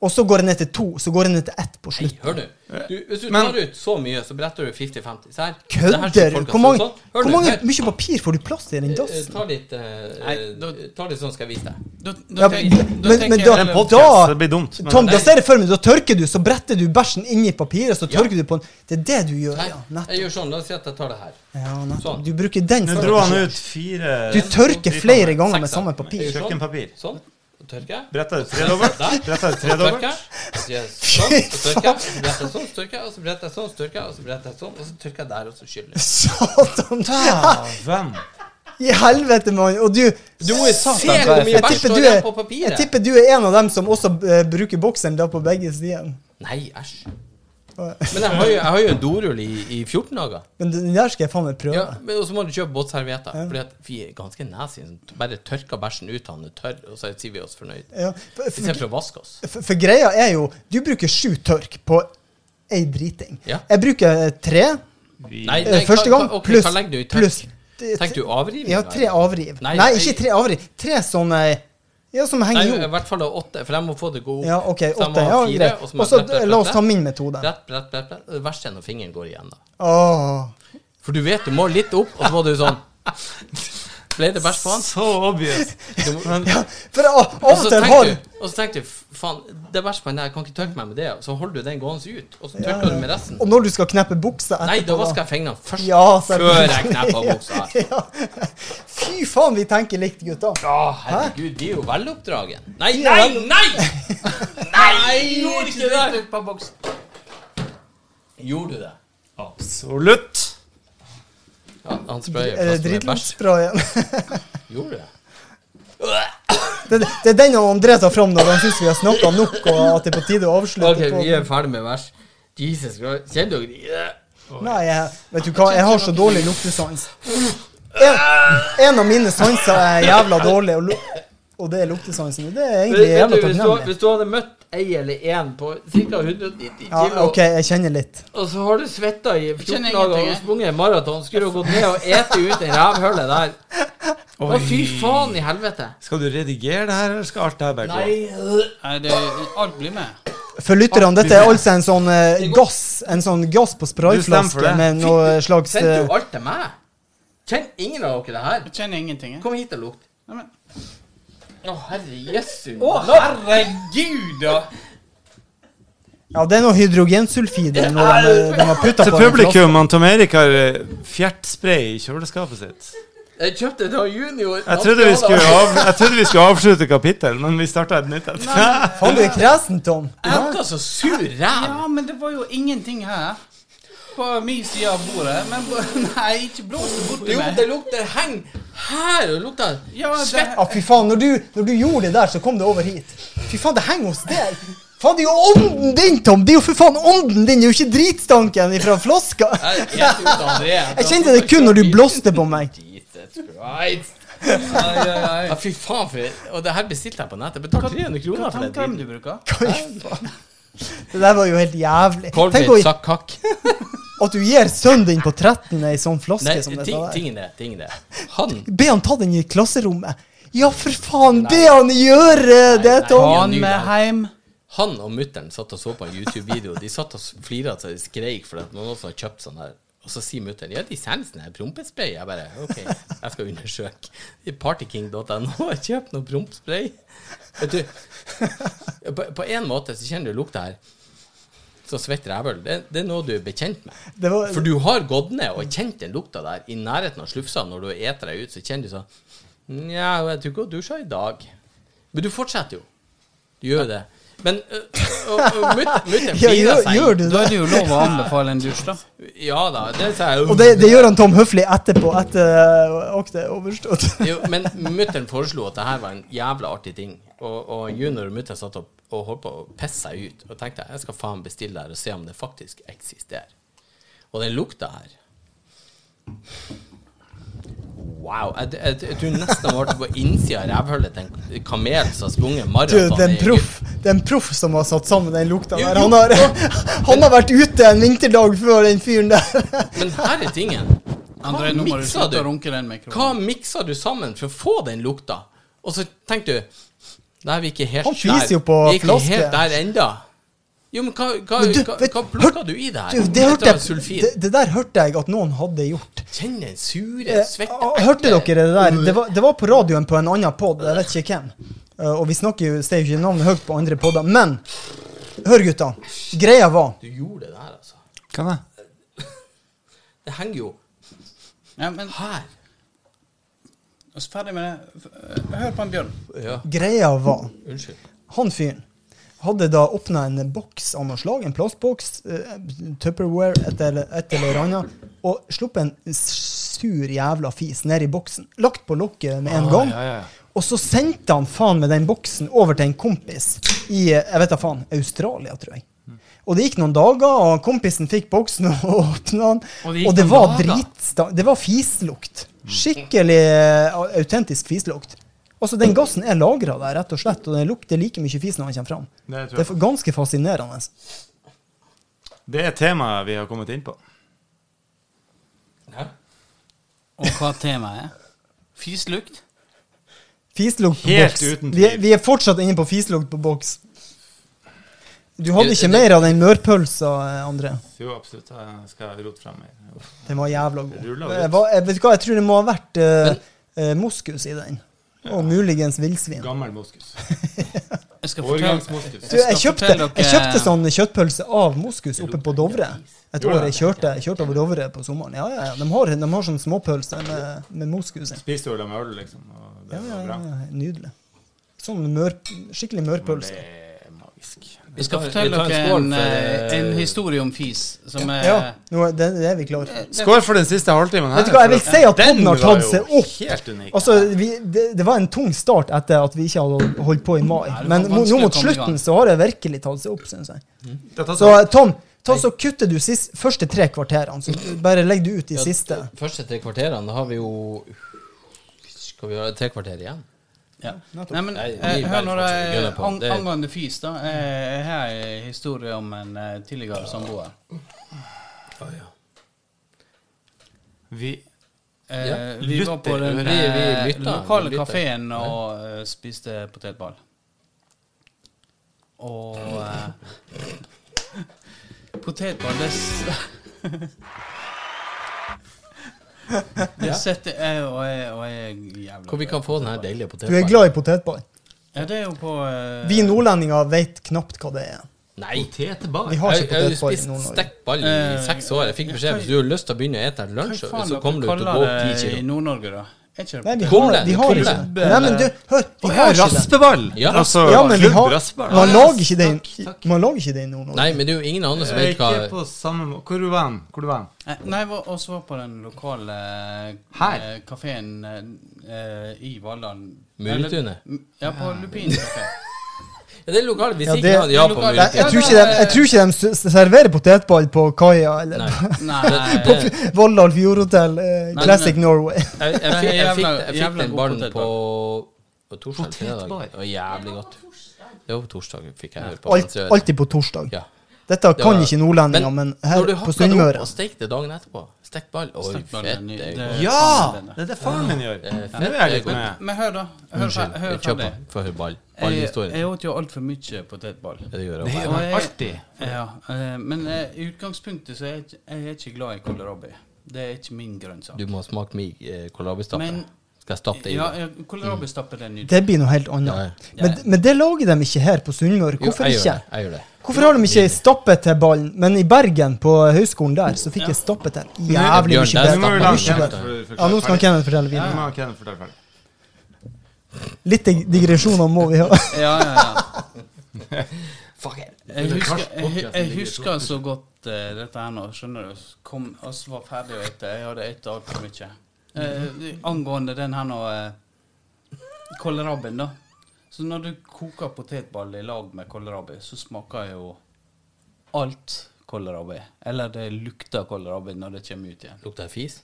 og så går jeg ned til to, så går jeg ned til ett på
Nei,
slutt.
hør du. du hvis du
Men-
tar ut så mye, så bretter du 50-50. Se her. Det her
Kødder
skal
du?
folk ha
Hvor mange,
sånn. Hør
hvor
du,
mange
her.
mye papir får du plass til i den
Eh,
dassen?
Ta litt eh,
Nei, da-
eh, Ta litt sånn, skal jeg vise deg.
Da,
Ja,
da, tenk-
men-
da
men
tenker
da-
jeg
En
heller-
podcast, det blir dumt. men-
Tom, da ser jeg for meg, da tørker du, så bretter du bæsjen inn i papiret, så
Ja.
tørker du på den. Det er det du gjør,
Nei,
ja. Nettopp.
jeg gjør sånn. La oss si at jeg tar det her.
Ja, nettopp.
Sånn.
Du bruker den
Nå dro han
strategien.
ut fire
Du tørker flere ganger med
Sekser. Jeg
samme papir.
gjør sånn,
Kjøkkenpapir.
Sånn. Og tørker jeg.
Bretta ut tre dobbelt.
Der.
Bretta ut tre
Så tørker
dobbelt.
jeg. Så gjør jeg Sånn. Så tørker jeg. Så bretter jeg sånn, så tørker jeg, og så bretter jeg sånn, så tørker jeg, og så bretter jeg sånn, og så tørker jeg der, og så skyller jeg.
Satan!
Hvem?
I helvete, mann! Og du
Du må jo se hvor mye
jeg
bæsj
tipper,
står
du
igjen
er,
på
jeg
papiret.
tipper du er en av dem som også eh, bruker bokseren da på begge sider.
Nei, æsj. Men jeg har jo, jeg har jo en dorull i, i 14 dager.
Men den der skal jeg faen meg prøve.
Ja, men Og så må du kjøpe båtservietter. Fordi at vi er ganske nazi. som Bare tørker bæsjen ut av den er tørr, og så sier vi oss fornøyd.
Ja. For,
I stedet
for,
for å vaske oss.
for, for greia er jo Du bruker sju tørk på ei driting.
Ja.
Jeg bruker eh, tre
Nei,
eh, første gang,
hva, ok,
pluss
hva legger du i tørk?
pluss t-
Tenker du avrivning?
Ja, tre avriv. Nei,
Nei,
ikke
jeg-
tre avriv. Tre sånne ja, som
Nei, eh,
henger
i
jo.
hvert fall åtte, for jeg må få det til å gå opp.
Ja, OK,
Så jeg må
åtte.
ha
Ja,
fire,
greit.
og så må
Og så
jeg brette, brette,
la oss ta
brette.
min metode.
Brett, brett, brett, brett. Det verste er når fingeren går igjen, da.
Åh.
For du vet, du må litt opp, og så må du sånn Ble det bæsj på han?
Så obvious. Men
For å-
Og
av
så
og til
tenkte
har
du, og så tenkte du f- faen, det er bæsj på den der, jeg kan ikke tørke meg med det. Og så holder du den gående ut, og så
Ja,
tørker
ja.
du med resten.
Og når du skal kneppe buksa etterpå
Nei, da vasker jeg fingrene først.
ja,
før
selvfølgelig.
jeg knepper buksa. her.
Ja. Fy faen, vi tenker likt, gutta.
Å, herregud, de er jo veloppdragen. Nei,
De er
nei,
vel-
nei! Nei, jeg gjorde ikke det der!
På boks.
Gjorde du det?
absolutt.
Ja, han sprayer
Er det
flasker med bæsj.
dritlortsprayen?
Gjorde du det?
Det, det er den han André tar fram når han syns vi har snakka nok, og at det er på tide å avslutte.
OK,
på.
vi er ferdig med vers. Jesus Christ. Kjenner dere
Nei, jeg, vet du hva, jeg har så dårlig luktesans. En, en av mine sanser er jævla dårlig, og, lu- og det er luktesansen. Det er egentlig
Vet
jævla
du, hvis, du,
takknemlig.
hvis du hadde møtt ei eller én på ca. 190 kilo,
Ja, OK, jeg kjenner litt.
og så har du svetta i 14
Kjenner
dager
ingenting,
og
jeg.
sprunget en maraton, skulle du gått ned og ete ut det rævhullet der Å, fy faen i helvete.
Skal du redigere det her, eller skal alt det her bare gå?
Nei, det, alt blir med.
For lytterne, dette er altså en sånn eh, gass En sånn gass på
Du stemmer for
sprayflaske
det.
med noe slags
Sendte
eh,
jo alt til meg. Kjenner ingen av dere det her?
Jeg kjenner ingenting. Jeg.
Kom hit og lukt.
Nei, men,
Å, herre jesu. Å, herregud, da.
Ja, det er noe hydrogensulfid eller noe de, de har putta
Til
på. den flasken.
publikum, han Tom Erik har eh, fjertspray i kjøleskapet sitt.
Jeg kjøpte det av junior.
Jeg trodde vi skulle, av, jeg trodde vi skulle avslutte kapittel, men vi starta et nytt. et.
Faen, du er kresen, Tom.
Jeg var så sur ræv.
ja, men det var jo ingenting her. På min side av bordet. Men nei, ikke blås det borti
Jo,
meg.
det lukter heng her, og det lukter
Ja, det-
svett.
Ja, fy faen, når du, når du gjorde det der, så kom det over hit. Fy faen, det henger hos deg. Faen, det er jo ånden din, Tom! Det er jo for faen ånden din! Det er jo ikke dritstanken ifra flaska.
Jeg er ut av det.
Jeg kjente det kun når du blåste på meg.
Jesus Christ. Ja, fy faen, for Og det her bestilte jeg på nettet. Jeg Betalte 300
Hva
kroner for den
tannkrem
driten.
du bruker?
Hva i faen? Det der var jo helt jævlig. Tenk
Colgate
å,
sa kakk.
at du gir sønnen din på 13 ei sånn flaske
Nei,
som dette
ting,
der.
tingen er, tingen er Han
Be han ta den i klasserommet. Ja, for faen! Be han gjøre det, Tom!
Ny
Han med
dag.
heim.
Han og mutter'n satt og så på en YouTube-video. De satt og s- flira til de skreik fordi at noen også har kjøpt sånn her. Og så sier mutter'n ja, de selger sånn her prompespray. Jeg bare OK, jeg skal undersøke. I Partyking.no har jeg kjøpt noe prompespray. Vet du, på- på en måte så kjenner du lukta her. Så svett rævøl. Det, det er noe du er bekjent med.
Det var,
For du har gått ned og kjent den lukta der i nærheten av slufsa. Når du eter deg ut, så kjenner du sånn Nja, jeg tror ikke hun dusja i dag. Men du fortsetter jo. Du gjør jo det. Men mutter'n
ja,
flirer
gjør,
seg.
gjør du
Da
det?
er det jo lov å anbefale en dusj, da.
Ja da. Det sier jeg
Og det, det gjør han Tom høflig etterpå, etter eh, at det er overstått.
jo. Men mutter'n foreslo at det her var en jævla artig ting. Og, og junior og mutter'n satt og, og holdt på å pisse seg ut. Og tenkte jeg skal faen bestille det her og se om det faktisk eksisterer. Og den lukta her Wow. Jeg, jeg, jeg tror nesten jeg ble på innsida av rævhullet til en kamel som har sprunget
Du,
maraton.
det er en
i
proff Det er en proff som har satt sammen den lukta der. Han har, han har vært ute en vinterdag før den fyren der.
Egypt. Men her er tingen.
André,
Hva
nå må du
miksa
slutte
du?
å runke den
Hva
mikrofonen.
mikser du sammen for å få den lukta? Og så tenkte du Nei, vi er ikke helt
Han fiser
der.
jo på
Vi er ikke
flaske.
helt der enda. Jo, men hva, hva,
Men du,
hva,
vet-
hva plukka
hør-
du i det her?
Du, det, hørte
Dette er
jeg,
sulfid.
det, det der hørte jeg at noen hadde gjort.
Kjenn den sure,
Eh,
svette
Hørte dere det der? Det var, det var på radioen på en annen pod, jeg vet ikke hvem. Eh, Og vi snakker jo, sier jo ikke navnet høyt på andre podder. Men hør, gutta. Greia var
Du gjorde det der, altså.
Kan jeg?
Det henger jo
Ja, men
her.
oss ferdig med det. eh, Hør på en bjørn.
Ja,
Greia var
unnskyld.
Han fyren hadde da åpna en boks av noe slag, en plastboks, eh, Tupperware, et eller, et eller annet, og sluppet en sur jævla fis ned i boksen. Lagt på lokket med en gang.
Ah, ja, ja, ja.
Og så sendte han faen med den boksen over til en kompis i eh, jeg vet da faen, Australia, tror jeg.
Mm.
Og det gikk noen dager, og kompisen fikk boksen og åpna den. Og det,
gikk noen
var
dager?
dritsta... Det var fislukt. Skikkelig eh, autentisk fislukt. Altså, Den gassen er lagra der, rett og slett, og den lukter like mye fis når den kommer fram.
Det tror
Det
jeg
er f- ganske fascinerende.
Det er temaet vi har kommet inn på.
Hæ?
Og hva temaet er? Fislukt?
Fislukt på
Helt
boks.
uten
Vi er,
tvil.
vi er fortsatt inne på fislukt på boks. Du hadde
Det-
ikke
det-
mer av den mørpølsa, eh, André?
Jo, absolutt. Jeg skal rote frem mer.
Den var jævla god. eh,
Det rullet
Jeg, var, jeg, vet du hva, jeg tror det må ha vært eh, eh, moskus i den. Og muligens villsvin.
Gammel moskus.
Jeg skal fortelle,
Årgangsmoskus.
Du, jeg,
skal
kjøpte,
fortelle
jeg
dere-
kjøpte sånn kjøttpølse av moskus oppe på Dovre. Et år jeg kjørte, jeg kjørte over Dovre på sommeren. Ja, ja, ja. De har, de har sånn småpølse med, med moskus i.
Spiste jo det med øl, liksom. Og det
Ja, ja,
var
ja,
bra.
ja. Nydelig. Sånn mør, skikkelig mørpølse.
Det er magisk.
jeg skal
Vi tar-
fortelle
vi tar en
dere
skål
en,
for,
eh,
eh,
en historie om fis som er
Ja, nå er det, det er vi klar for.
Skål for den siste halvtimen her.
Vet du hva, jeg vil
for
si at
den
podden har
var
tatt
jo
seg opp.
Helt unik.
Altså, vi, det, det var en tung start etter at vi ikke hadde holdt på i mai.
det var
Men nå,
vanskelig
nå
å
mot
komme i gang.
slutten så har det virkelig tatt seg opp, syns jeg.
Det har tatt
Så
seg opp.
eh, Tom, ta så kutter du sist, første tre kvarterene. Så du bare legg det ut de siste.
Første tre kvarterene da har vi jo Skal vi ha tre kvarter igjen?
Ja. Nei, men
Nei,
eh,
vi
hør
velger
nå,
faktisk ikke
det
det på.
ang-
Det-
angående fis, da. eh, Her er en historie om en eh, tidligere samboer.
Vi,
Eh,
Ja,
vi var på
lytter,
den
vi- vi
eh,
lytter, vi
lokale
lytter.
kafeen og eh, spiste potetball. Og eh, Potetball, det s- Det setter jeg og jeg og jeg er jævla
Hvor vi kan få den her deilige
Du er
potetballen?
glad i potetball.
Ja, det er jo på eh,
Vi nordlendinger vet knapt hva det er.
Nei. Potetball?
Vi har
Jeg
ikke
jeg har jo
potetball i
spist
Nord-Norge.
stekt ball i
Eh,
seks år. Jeg fikk beskjed hvis du har lyst til å begynne å spise lunsj,
Hva faen
så
dere
kommer du til å gå
kaller
opp
det
ti
i
kilo.
Nord-Norge, da? Er ikke det
Nei, vi
potet?
har, vi har
Kumle.
ikke det. Nei, men du, hør, vi har ikke det.
raspeball!
Ja.
Altså,
Ja, men vi
klubb
har,
raspeball.
man lager ikke det i- man lager ikke det i Nord-Norge.
Nei, men det er jo ingen andre som vet
ikke
hva
på samme må Hvor var han? Hvor var han?
Eh, Nei, vi også var på den lokale eh,
Her?
kafeen eh, i Valland.
Muletunet?
Eller- Ja, på Lupin kafé.
Ja, Det er lokalt. Hvis
Ja,
ikke
det-
han ja på
lokale-
Jeg,
mulighet.
jeg, tror ikke de, jeg tror ikke de s- s- serverer potetball på kaia eller
Nei.
Nei,
Det- det-
Valhall Fjordhotell, eh,
men-
Classic Norway.
Jeg, jeg, fikk, jeg, fikk, jeg
Jævla-
fikk den
jævla
ballen
god
på, på torsdag. Fredag. Det var jævlig godt. Det var på torsdag fikk jeg det på.
Alt,
Sør.
alltid på torsdag.
Ja.
Dette
Det
kan
var-
ikke nordlendinger, men her
Når du
på
hakker det opp
Sunnmøre
og steker det dagen etterpå Stekt ball. Oi,
Stekt ball,
fett.
ny-
Det er
det-
godt.
Ja! Det er det faren min gjør.
Eh,
Nå er jeg litt
men,
med.
men hør, da. Hør,
Unnskyld.
fe- hør
jeg Kjør på.
ferdig.
Få høre ball.
Jeg,
Ballhistorien.
jeg åt jo altfor mye potetball.
Ja, det gjør
Det
jeg
gjør
også.
man alltid.
Ja, eh, men eh, i utgangspunktet så er jeg, ikke- jeg er ikke glad i kålrabi. Det er ikke min grønnsak.
Du må smake min eh, kålrabistappe.
Men-
Skal jeg stappe det i
Ja,
deg?
ja, kålrabistappe det er nydelig.
Det blir noe helt annet.
Ja,
Men, men det lager de ikke her på Sunnmøre.
Jo,
Hvorfor
jeg gjør
ikke?
det, Jeg gjør det.
Hvorfor har de ikke stappet til ballen? Men i Bergen, på høyskolen der, så fikk jeg stappet til. Jævlig
Bjørn, der
mye bedre.
Nå må vi la
Mye
Kenneth
bedre.
for-
Ja, nå skal
forklare ferdig.
Kenneth fortelle
Ja, nå
videre.
må Kenneth fortelle ferdig.
Litt dig- digresjoner må vi ha.
Ja, ja, ja.
Fuck it.
Jeg husker, jeg, jeg husker så godt eh, dette her nå. Skjønner du? Kom, oss var ferdig å ete. Jeg hadde ete altfor mye. Eh, angående den her nå eh, kålrabien, da. Så når du koker potetball i lag med kålrabi, så smaker jo alt kålrabi. Eller det lukter kålrabi når det kommer ut igjen.
Lukter jeg fis?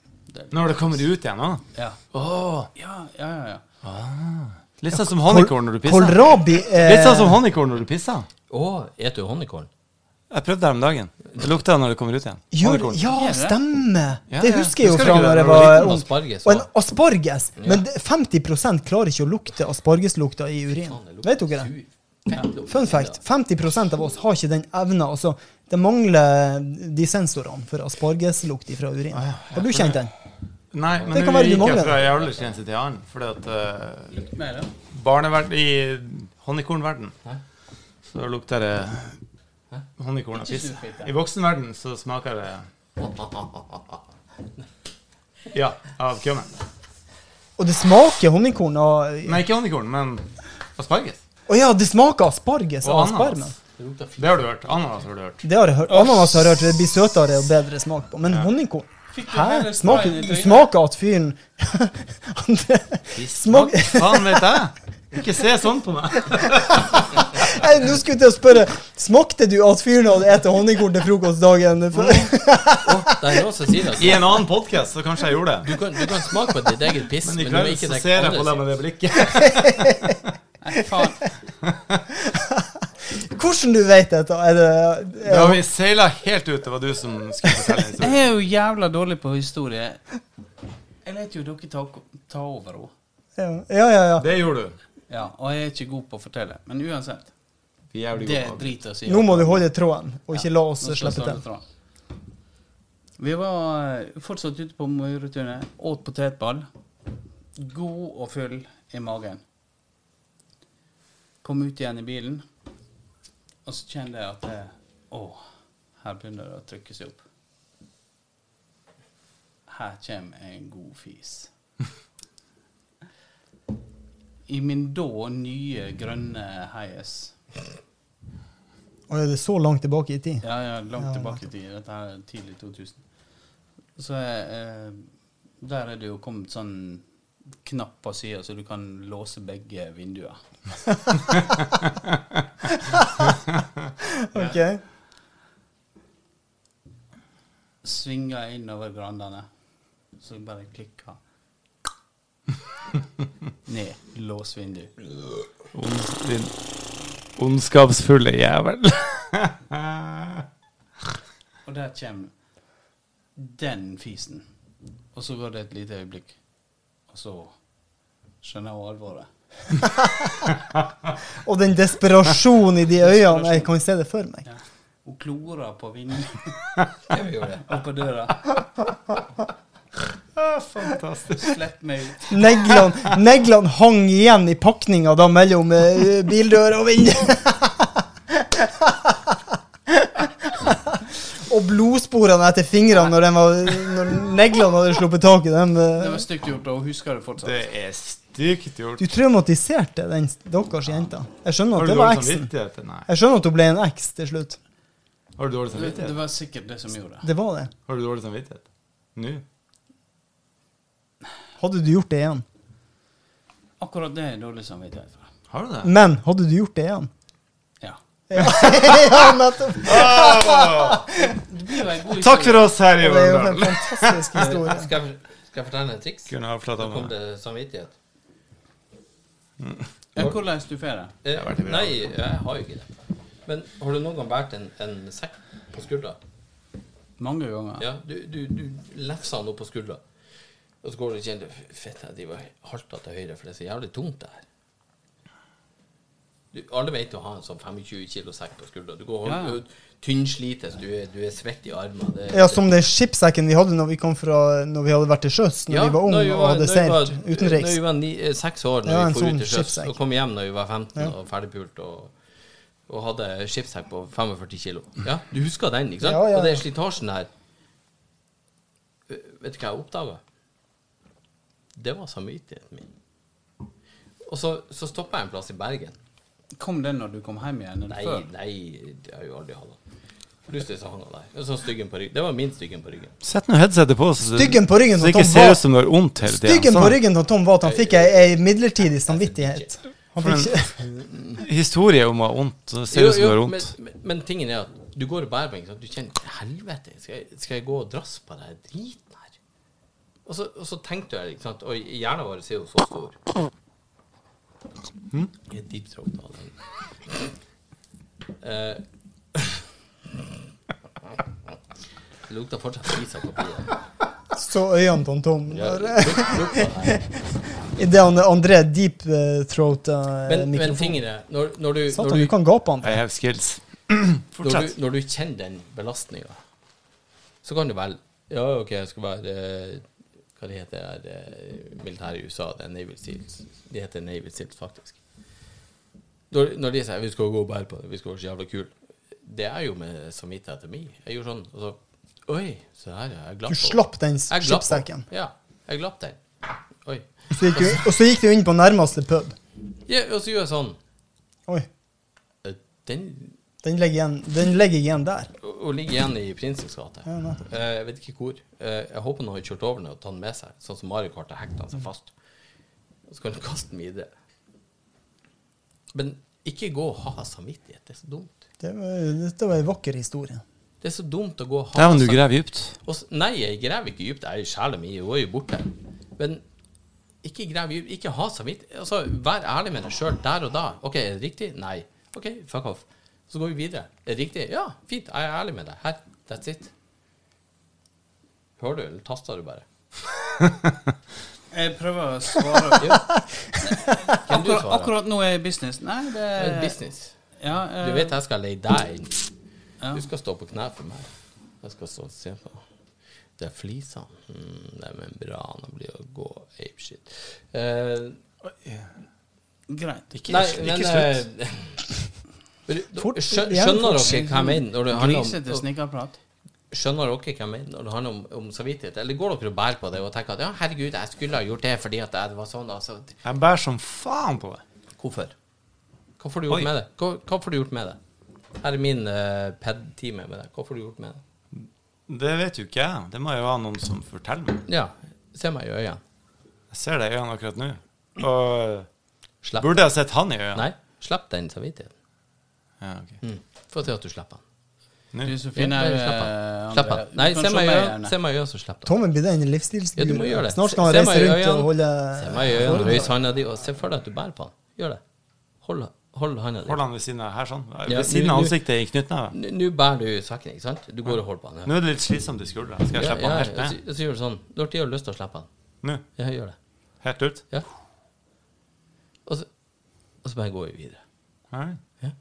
Når det kommer ut igjen, da.
Ja,
Åh,
ja, ja. ja, ja.
litt sånn som honningkorn når du pisser.
Kålrabi er
Litt sånn som honningkorn når du pisser.
Å, spiser du honningkorn?
Jeg prøvde det her om dagen. Det lukter når det kommer ut igjen.
Gjør,
Honningkorn.
ja, stemmer!
Ja,
Det
ja.
husker jeg jo
Husker
fra
du ikke
når
det?
jeg
Når du var
var
liten?
ung.
Asparges,
Og en
da.
asparges. Men det- 50 klarer ikke å lukte aspargeslukta i urin. Vet dere det? Fun fact. 50 av oss har ikke den evna. Altså, det mangler de sensorene for aspargeslukt fra urin.
Ah,
Har du kjent den?
Nei, men
Det
det
kan
nå
være du
gikk
mangler
jeg fra en aldersgrense til en annen. Fordi at uh,
Litt mer, da.
barneverden I honningkornverden så lukter det honningkorn og piss.
snufete.
I voksenverden så smaker det Ja, av kummen.
Og det smaker honningkorn av
Nei, ikke honningkorn, men asparges.
Å ja, det smaker asparges
Og
av
ananas.
asparmen.
Det har du hørt. Ananas har du hørt.
Det har jeg hørt. Ananas har jeg hørt det blir søtere og bedre smak på. Men honningkorn
Fikk du
Hæ?
hele sprayen i
Smaker,
trynet?
smaker at fyren Smak-
Hva faen vet jeg? Ikke se sånn på meg.
Nei, Nå skulle jeg til å spørre Smakte du at fyren hadde spist honningkorn til frokost dagen før?
Det er noen som sier det.
I en annen podkast så kanskje jeg gjorde
Du
det.
kan, du kan smake på ditt eget piss, men,
Men i
du er
kveld
ikke
så
det
ser jeg på
andre
deg
sier.
med det blikket.
Nei, faen.
Hvordan du vet dette? Er det
Da vi seila helt ut, det var du som skulle fortelle historien.
Jeg er jo jævla dårlig på historie. Jeg lar jo dere ta, ta over henne.
Ja, ja, ja. ja.
Det gjorde du.
Ja, og jeg er ikke god på å fortelle. Men uansett,
Vi er jævlig
det
gode på det.
driter oss i.
Nå må du holde tråden, og ikke la oss
Nå skal jeg
slippe
starte
til.
fra. Vi var eh, fortsatt ute på Møyretunet, åt potetball. god og full i magen. Kom ut igjen i bilen, og så kjente jeg at det, Å, her begynner det å trykke seg opp. Her kommer en god fis. I min da nye grønne heis
Og er det så langt tilbake i tid?
ja, ja, langt
Ja,
tilbake i tid. Dette her er tidlig 2000. Så eh, der er det jo kommet sånn knapp på sida, så du kan låse begge vinduer.
Ok.
Svinga innover grandene, så jeg bare klikka. Ned. Lås vindu.
Ons- Din ondskapsfulle jævel.
Og der kommer den fisen. Og så går det et lite øyeblikk, og så skjønner jeg alvoret.
Og den desperasjonen i de øynene. Jeg kan se det for meg.
Ja. Hun klorer på vinduet
Jeg gjorde det.
og på døra.
Fantastisk.
Slipp meg ut.
Neglene neglene hang igjen i pakninga da mellom eh, bildør og vind. og blodsporene etter fingrene når, den var, når neglene hadde sluppet tak i dem. eh.
Det var stygt gjort, og hun husker det fortsatt.
Det er stygt gjort.
Du traumatiserte den deres jenta. Jeg skjønner at
Har du
det var
dårlig
eksen.
samvittighet? Nei.
Jeg skjønner at hun ble en eks til slutt.
Har du dårlig
Det, det
samvittighet?
var sikkert det som gjorde det.
Det var det.
Har du dårlig samvittighet? Nå?
Hadde du gjort det igjen?
Akkurat det er jeg dårlig samvittighet for.
Har du det?
Men hadde du gjort det igjen?
Ja.
ja, nettopp.
Det blir jo en god
Takk for oss her
Det
i
er jo en
Vårdal.
fantastisk historie.
Skal jeg, skal jeg fortelle et triks?
Kunne ha
Da
flata
kom
med.
det samvittighet.
historie. Ja, Hvordan du får det?
Eh, nei, jeg har jo ikke det. Men har du noen gang båret en, en sekk på skuldra?
Mange ganger.
Ja, du, du, du lefser den opp på skuldra. Og så går du og kjenner "Fy, Fett, jeg driver og halter til høyre, for det er så jævlig tungt det her. Du, alle vet å ha en sånn 25 kilo sekk på skuldra. Du går
Ja.
og tynnslites, du er, du er svett i armene. det-
Ja, som den skipssekken vi hadde når vi kom fra Når vi hadde vært til sjøs, når
Ja,
vi var unge
når vi
og hadde
når vi var-
seilt utenriks.
Når vi var ni, eh, seks år, når
Ja,
vi
en
for
sånn
ut til sjøs,
skipssekk.
og kom hjem når vi var 15
Ja.
og ferdigpult og, og hadde skipssekk på 45 kilo. Ja, du husker den, ikke sant?
Ja, ja,
Og den
ja.
slitasjen her. Eh, Vet du hva jeg oppdaga? Det var samvittigheten min. Og så, så stoppa jeg en plass i Bergen.
Kom den når du kom hjem igjen? Eller
Nei,
før?
nei, det har jeg jo aldri hatt. Plutselig så hang han der. Og så styggen på ryggen. Det var min styggen på ryggen.
Sett nå headsetet på, så du
Styggen på ryggen
så det
til
ikke
Tom
ser ut
var
som du har vondt hele tiden.
Styggen på
Sånn.
ryggen til Tom var at han fikk ei, ei midlertidig samvittighet. Han
For
fikk ikke
Historie om å ha vondt. så Ser ut som du har
men,
vondt.
men, men tingen er at du går og bærer på en, sant? du kjenner Helvete, skal jeg, skal jeg gå og drasse på den driten her? Og så, og så tenkte jeg, ikke sant? og hjernen vår er jo så stor.
Hm?
Jeg deep throat av den. Eh, Det lukter fortsatt fis av papiret.
så øynene til Tom.
Ja, lukt, lukt av det.
Idet André deep eh, throat eh,
Men, men
mikrofonen.
tingen er når, når, du, når,
Satan, du
du,
kan gape han.
I have skills.
når,
Fortsett.
du, når du kjenner den belastninga, så kan du vel Ja, OK, jeg skal være eh, Hva det heter det militæret i USA? Det er Naval Seals. De heter Naval Seals, faktisk. Når, når de sier 'vi skal gå og bære på det, vi skal være så jævla kule', det er jo med samvittigheten min. Jeg gjorde sånn, og så Oi, se her, jeg glapp
Du slapp den
Jeg glapp på.
skipssekken.
Ja, jeg glapp den. Oi.
Så gikk du- Og så gikk du inn på nærmeste pub.
Ja, og så gjør jeg sånn.
Oi,
Eh, Den
den ligger igjen, den ligger igjen der.
Hun ligger igjen i Prinsens gate.
Ja, nettopp.
Eh, jeg vet ikke hvor. Eh, jeg håper han har kjørt over den og tatt den med seg, sånn som Mario Kart har hekta den seg fast. Og så kan du kaste den videre. Men ikke gå og ha samvittighet. Det er så dumt.
Det var, dette var ei vakker historie.
Det er så dumt å gå og ha
Dæven, du
samvittighet.
graver dypt.
Og s- Nei, jeg graver ikke dypt. Jeg er sjela mi, hun er jo borte. Men ikke grav dypt. Ikke ha samvittighet. Altså, vær ærlig med deg sjøl der og da. OK, er det riktig? Nei. OK, fuck off. Så går vi videre. Er det riktig? Ja, fint. Jeg er ærlig med deg. Her. That's it. Hører du, eller taster du bare?
Jeg prøver å svare.
Jo. Kan du
Akkurat,
svare?
akkurat nå er jeg i business. Nei, det
Det er
er
business.
Ja, eh,
Du vet jeg skal leie deg inn.
Ja.
Du skal stå på knær for meg. Jeg skal stå og se på. Det er flisene. Mm, det er membraner blir å gå apeshit. Eh,
Greit. Ikke
nei,
sl-
men
ikke slutt.
eh,
Fort-
skjø- Skjønner dere hva jeg mener når det handler
Grisete
om
snikkerprat.
Skjønner dere hva jeg mener når det handler om, om samvittighet? Eller går dere og bærer på det og tenker at ja, herregud, jeg skulle ha gjort det fordi at det var sånn? Altså.
Jeg bærer som faen på det.
Hvorfor? Hva får du gjort
Oi.
med det? Hva, hva får du gjort med det? Her er min uh, PED-time med deg. Hva får du gjort med det?
Det vet jo ikke jeg. Det må jo ha noen som forteller meg.
Ja, se meg i øynene.
Jeg ser det i øynene akkurat nå. Og
Slipp.
burde jeg sett han i øynene?
Nei, slipp den samvittigheten.
Ja, ok.
Mm. Få til at du slipper den.
Du som
Ja,
finner
slapp av.
eh,
Slapp
andre-
av. Nei,
Du kan
se
se
meg i
meg
øynene,
gjerne.
se meg i øynene, så slipper den.
Tommy blir den
Ja,
livsstilsguru.
du må gjøre det.
Snart skal han
Se- se
reise
meg i
rundt og
øynene.
holde
Se meg i øynene, røys handa di, og se for deg at du bærer på den. Gjør det. Hold, hold handa di.
Hold han ved siden av her sånn.
Ja,
Ved siden
nå-
av
nå-
ansiktet i knyttneven.
N- Nå bærer du sekken, ikke sant? Du går og holder på den.
Nå er det litt slitsomt i skuldra. Skal jeg
Ja,
slippe
ja,
han
ja,
helt
så,
ned?
så gjør du sånn. Når tid har du lyst til å slippe den?
Nå?
Ja, gjør det.
Helt ut?
Ja. Og så, og så bare går vi videre.
Alright.
Ja.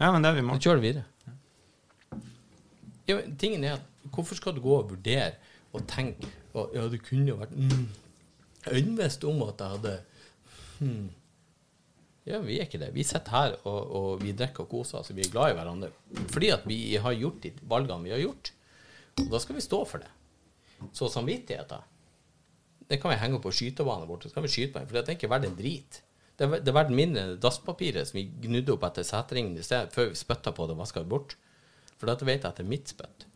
Ja, men det er vi i
Så
morgen.
kjører du videre. Ja, men tingen er at hvorfor skal du gå og vurdere og tenke og, Ja, det kunne jo vært mm, Øyenvisst om at jeg hadde hmm. Ja, vi er ikke det. Vi sitter her og, og vi drikker og koser oss, og vi er glad i hverandre. Fordi at vi har gjort de valgene vi har gjort. Og da skal vi stå for det. Så samvittigheten det kan vi henge opp på skytebanen vår, så kan vi skyte på den, for det er ikke verdt en drit. Det er, ver- det er verdt mindre enn det dasspapiret som vi gnudde opp etter seteringen i sted, før vi spytta på det og vaska det bort. For dette vet jeg at det er mitt spytt.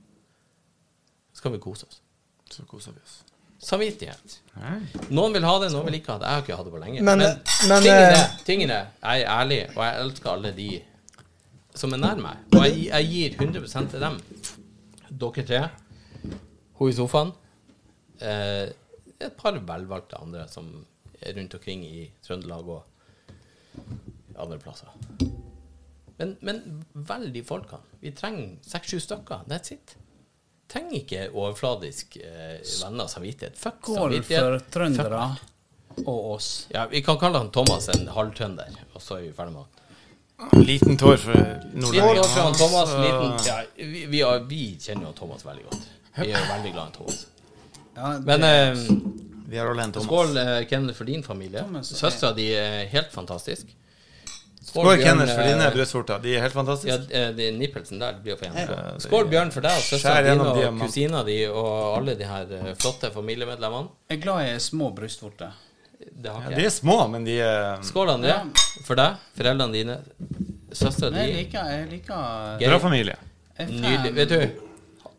Så kan vi kose oss.
Så koser vi oss.
Samvittighet. Noen vil ha det, noen vil ikke ha det. Jeg har ikke hatt det på lenge.
Men- men,
tingene,
eh,
tingene Jeg er ærlig, og jeg elsker alle de som er nær meg. Og jeg, jeg gir 100 til dem. Dere tre, hun i sofaen, eh, et par velvalgte andre som er rundt omkring i Trøndelag og andre plasser. Men, men velg de folkene. Vi trenger seks-sju stykker. That's it. Trenger ikke overfladisk eh, venner samvittighet. Fuck
Skål for
samvittighet.
trøndere og oss.
Ja, vi kan kalle han Thomas en halvtrønder, og så er vi ferdig med han.
Liten tår for
Liten
nordlendingen.
år fra han Thomas, liten
eh,
ja, vi, vi, har- vi kjenner jo Thomas veldig godt. Vi er jo veldig glad i Thomas.
Ja, det-
Men eh,
Vi har alle en Thomas.
skål, eh, Kenneth, for din familie.
Thomas er-
Søstera di er helt fantastisk.
Skål, Kenneth, for
eh,
dine brystvorter. De er helt
Ja,
fantastiske.
eh, det er Nippelsen der blir jo for jævlig. Skål, Bjørn, for deg og
Skjær
søstera di
gjennom
og
diamant.
kusina di og alle de her eh, flotte familiemedlemmene.
Jeg er glad jeg er små brystvorter.
Det har
Ja,
ikke
de
jeg.
er små, men de eh, er
Skål, André. For deg, foreldrene dine, søstera
Men jeg
di.
liker Jeg liker
Bra familie.
jeg er
Nydelig.
fan-
Vet du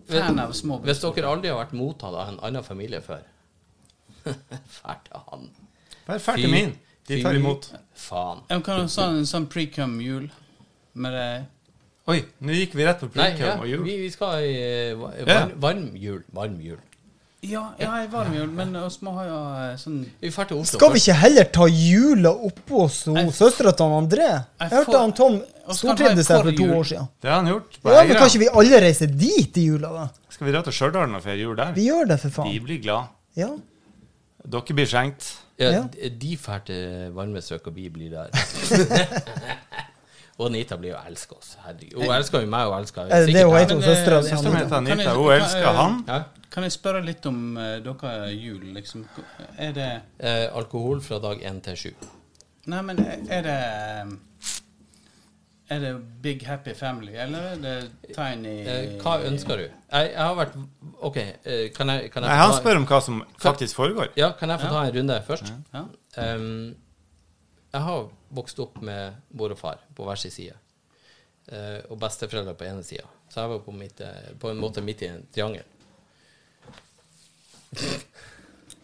Fan av små
Hvis dere aldri har vært mottatt av en annen familie før Fælt av han.
Vær ferdig min. De tar
Fy
imot.
Faen.
Jeg kan ha sånn, sånn pre-cum-jul med det.
Oi, nå gikk vi rett på
Nei, ja,
publikum og
vi,
jul.
vi skal i eh, va-
Ja.
varm, varm jul. Varm jul.
Ja, ja, jeg var med jul, men oss må ha jo eh, sånn
Vi drar til Oslo.
Skal vi
først.
ikke heller ta jula oppå hos
Jeg-
søstera til han André? Jeg
får-
hørte han Tom
Og så kan han
stortrivde
ha
seg
en
for to
forjul.
år siden.
Det har han gjort. på
Ja, men
Eigra.
kan ikke vi alle reise dit i jula, da?
Skal vi dra til Stjørdal og feire jul der?
Vi gjør det, for
De
faen.
blir glad.
Ja.
Dere blir skjenkt.
Ja,
Ja.
d- de drar til varme strøk, og vi blir der. og Anita blir jo elsker oss. Herregud. Hun elsker jo meg, og elsker
Er det det
sikkert
hun heter,
meg.
hun
Men, eh,
søstera til
søsteren
han
Som
André?
heter
Kan jeg-
Anita.
kan
Hun
jeg-
elsker han.
Ja.
Kan jeg spørre litt om uh, dere jul, liksom? Er det
Eh, alkohol fra dag én til sju.
Nei, men er det um, Er det Big Happy Family, eller er det Tiny
Eh, hva ønsker du? Jeg, jeg har vært OK, eh, kan jeg, kan jeg få
Nei, han
ta-
spør om hva som faktisk foregår.
Ja, kan jeg få ta en runde først?
Ja.
Ehm, jeg har vokst opp med mor og far på hver sin side. Eh, og besteforeldre på ene sida. Så jeg var på, mitt, eh, på en måte midt i en triangel.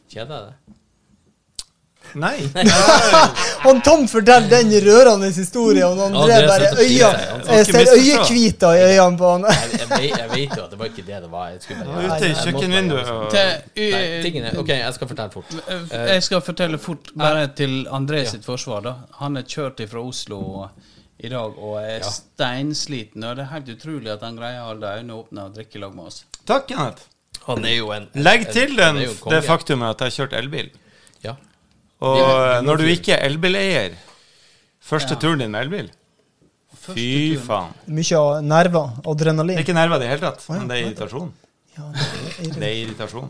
Kjeder jeg deg?
Nei.
Han Tom forteller den rørende historien, og han André
André
bare
sitter og
øya,
flirer, han
skal
Jeg
ikke
ser
misforstå.
øyekvita i øynene på han.
Jeg, jeg, vet- jeg vet jo at det var ikke det det var. Jeg skulle
Han
bare
var ute i
jeg måtte bare gjøre
kjøkkenvinduet
sånn.
og
Til,
Nei, tingene OK, jeg skal fortelle fort.
Eh, Jeg skal fortelle fort, bare til André sitt forsvar. da Han er kjørt ifra Oslo i dag og er steinsliten. Og det er helt utrolig at han greier å holde øynene åpne og drikke i lag med oss.
Takk, Kenneth.
Han er jo en
Legg til
han
den,
er jo en konge.
det faktumet at jeg har kjørt elbil.
Ja.
Og
Det-
når du ikke er elbileier Første
Ja.
turen din med elbil Fy faen.
Mye av nerver,
Det er
adrenalin.
ikke nerver i det hele tatt, men det er irritasjon.
Ja, det er
Det er irritasjon.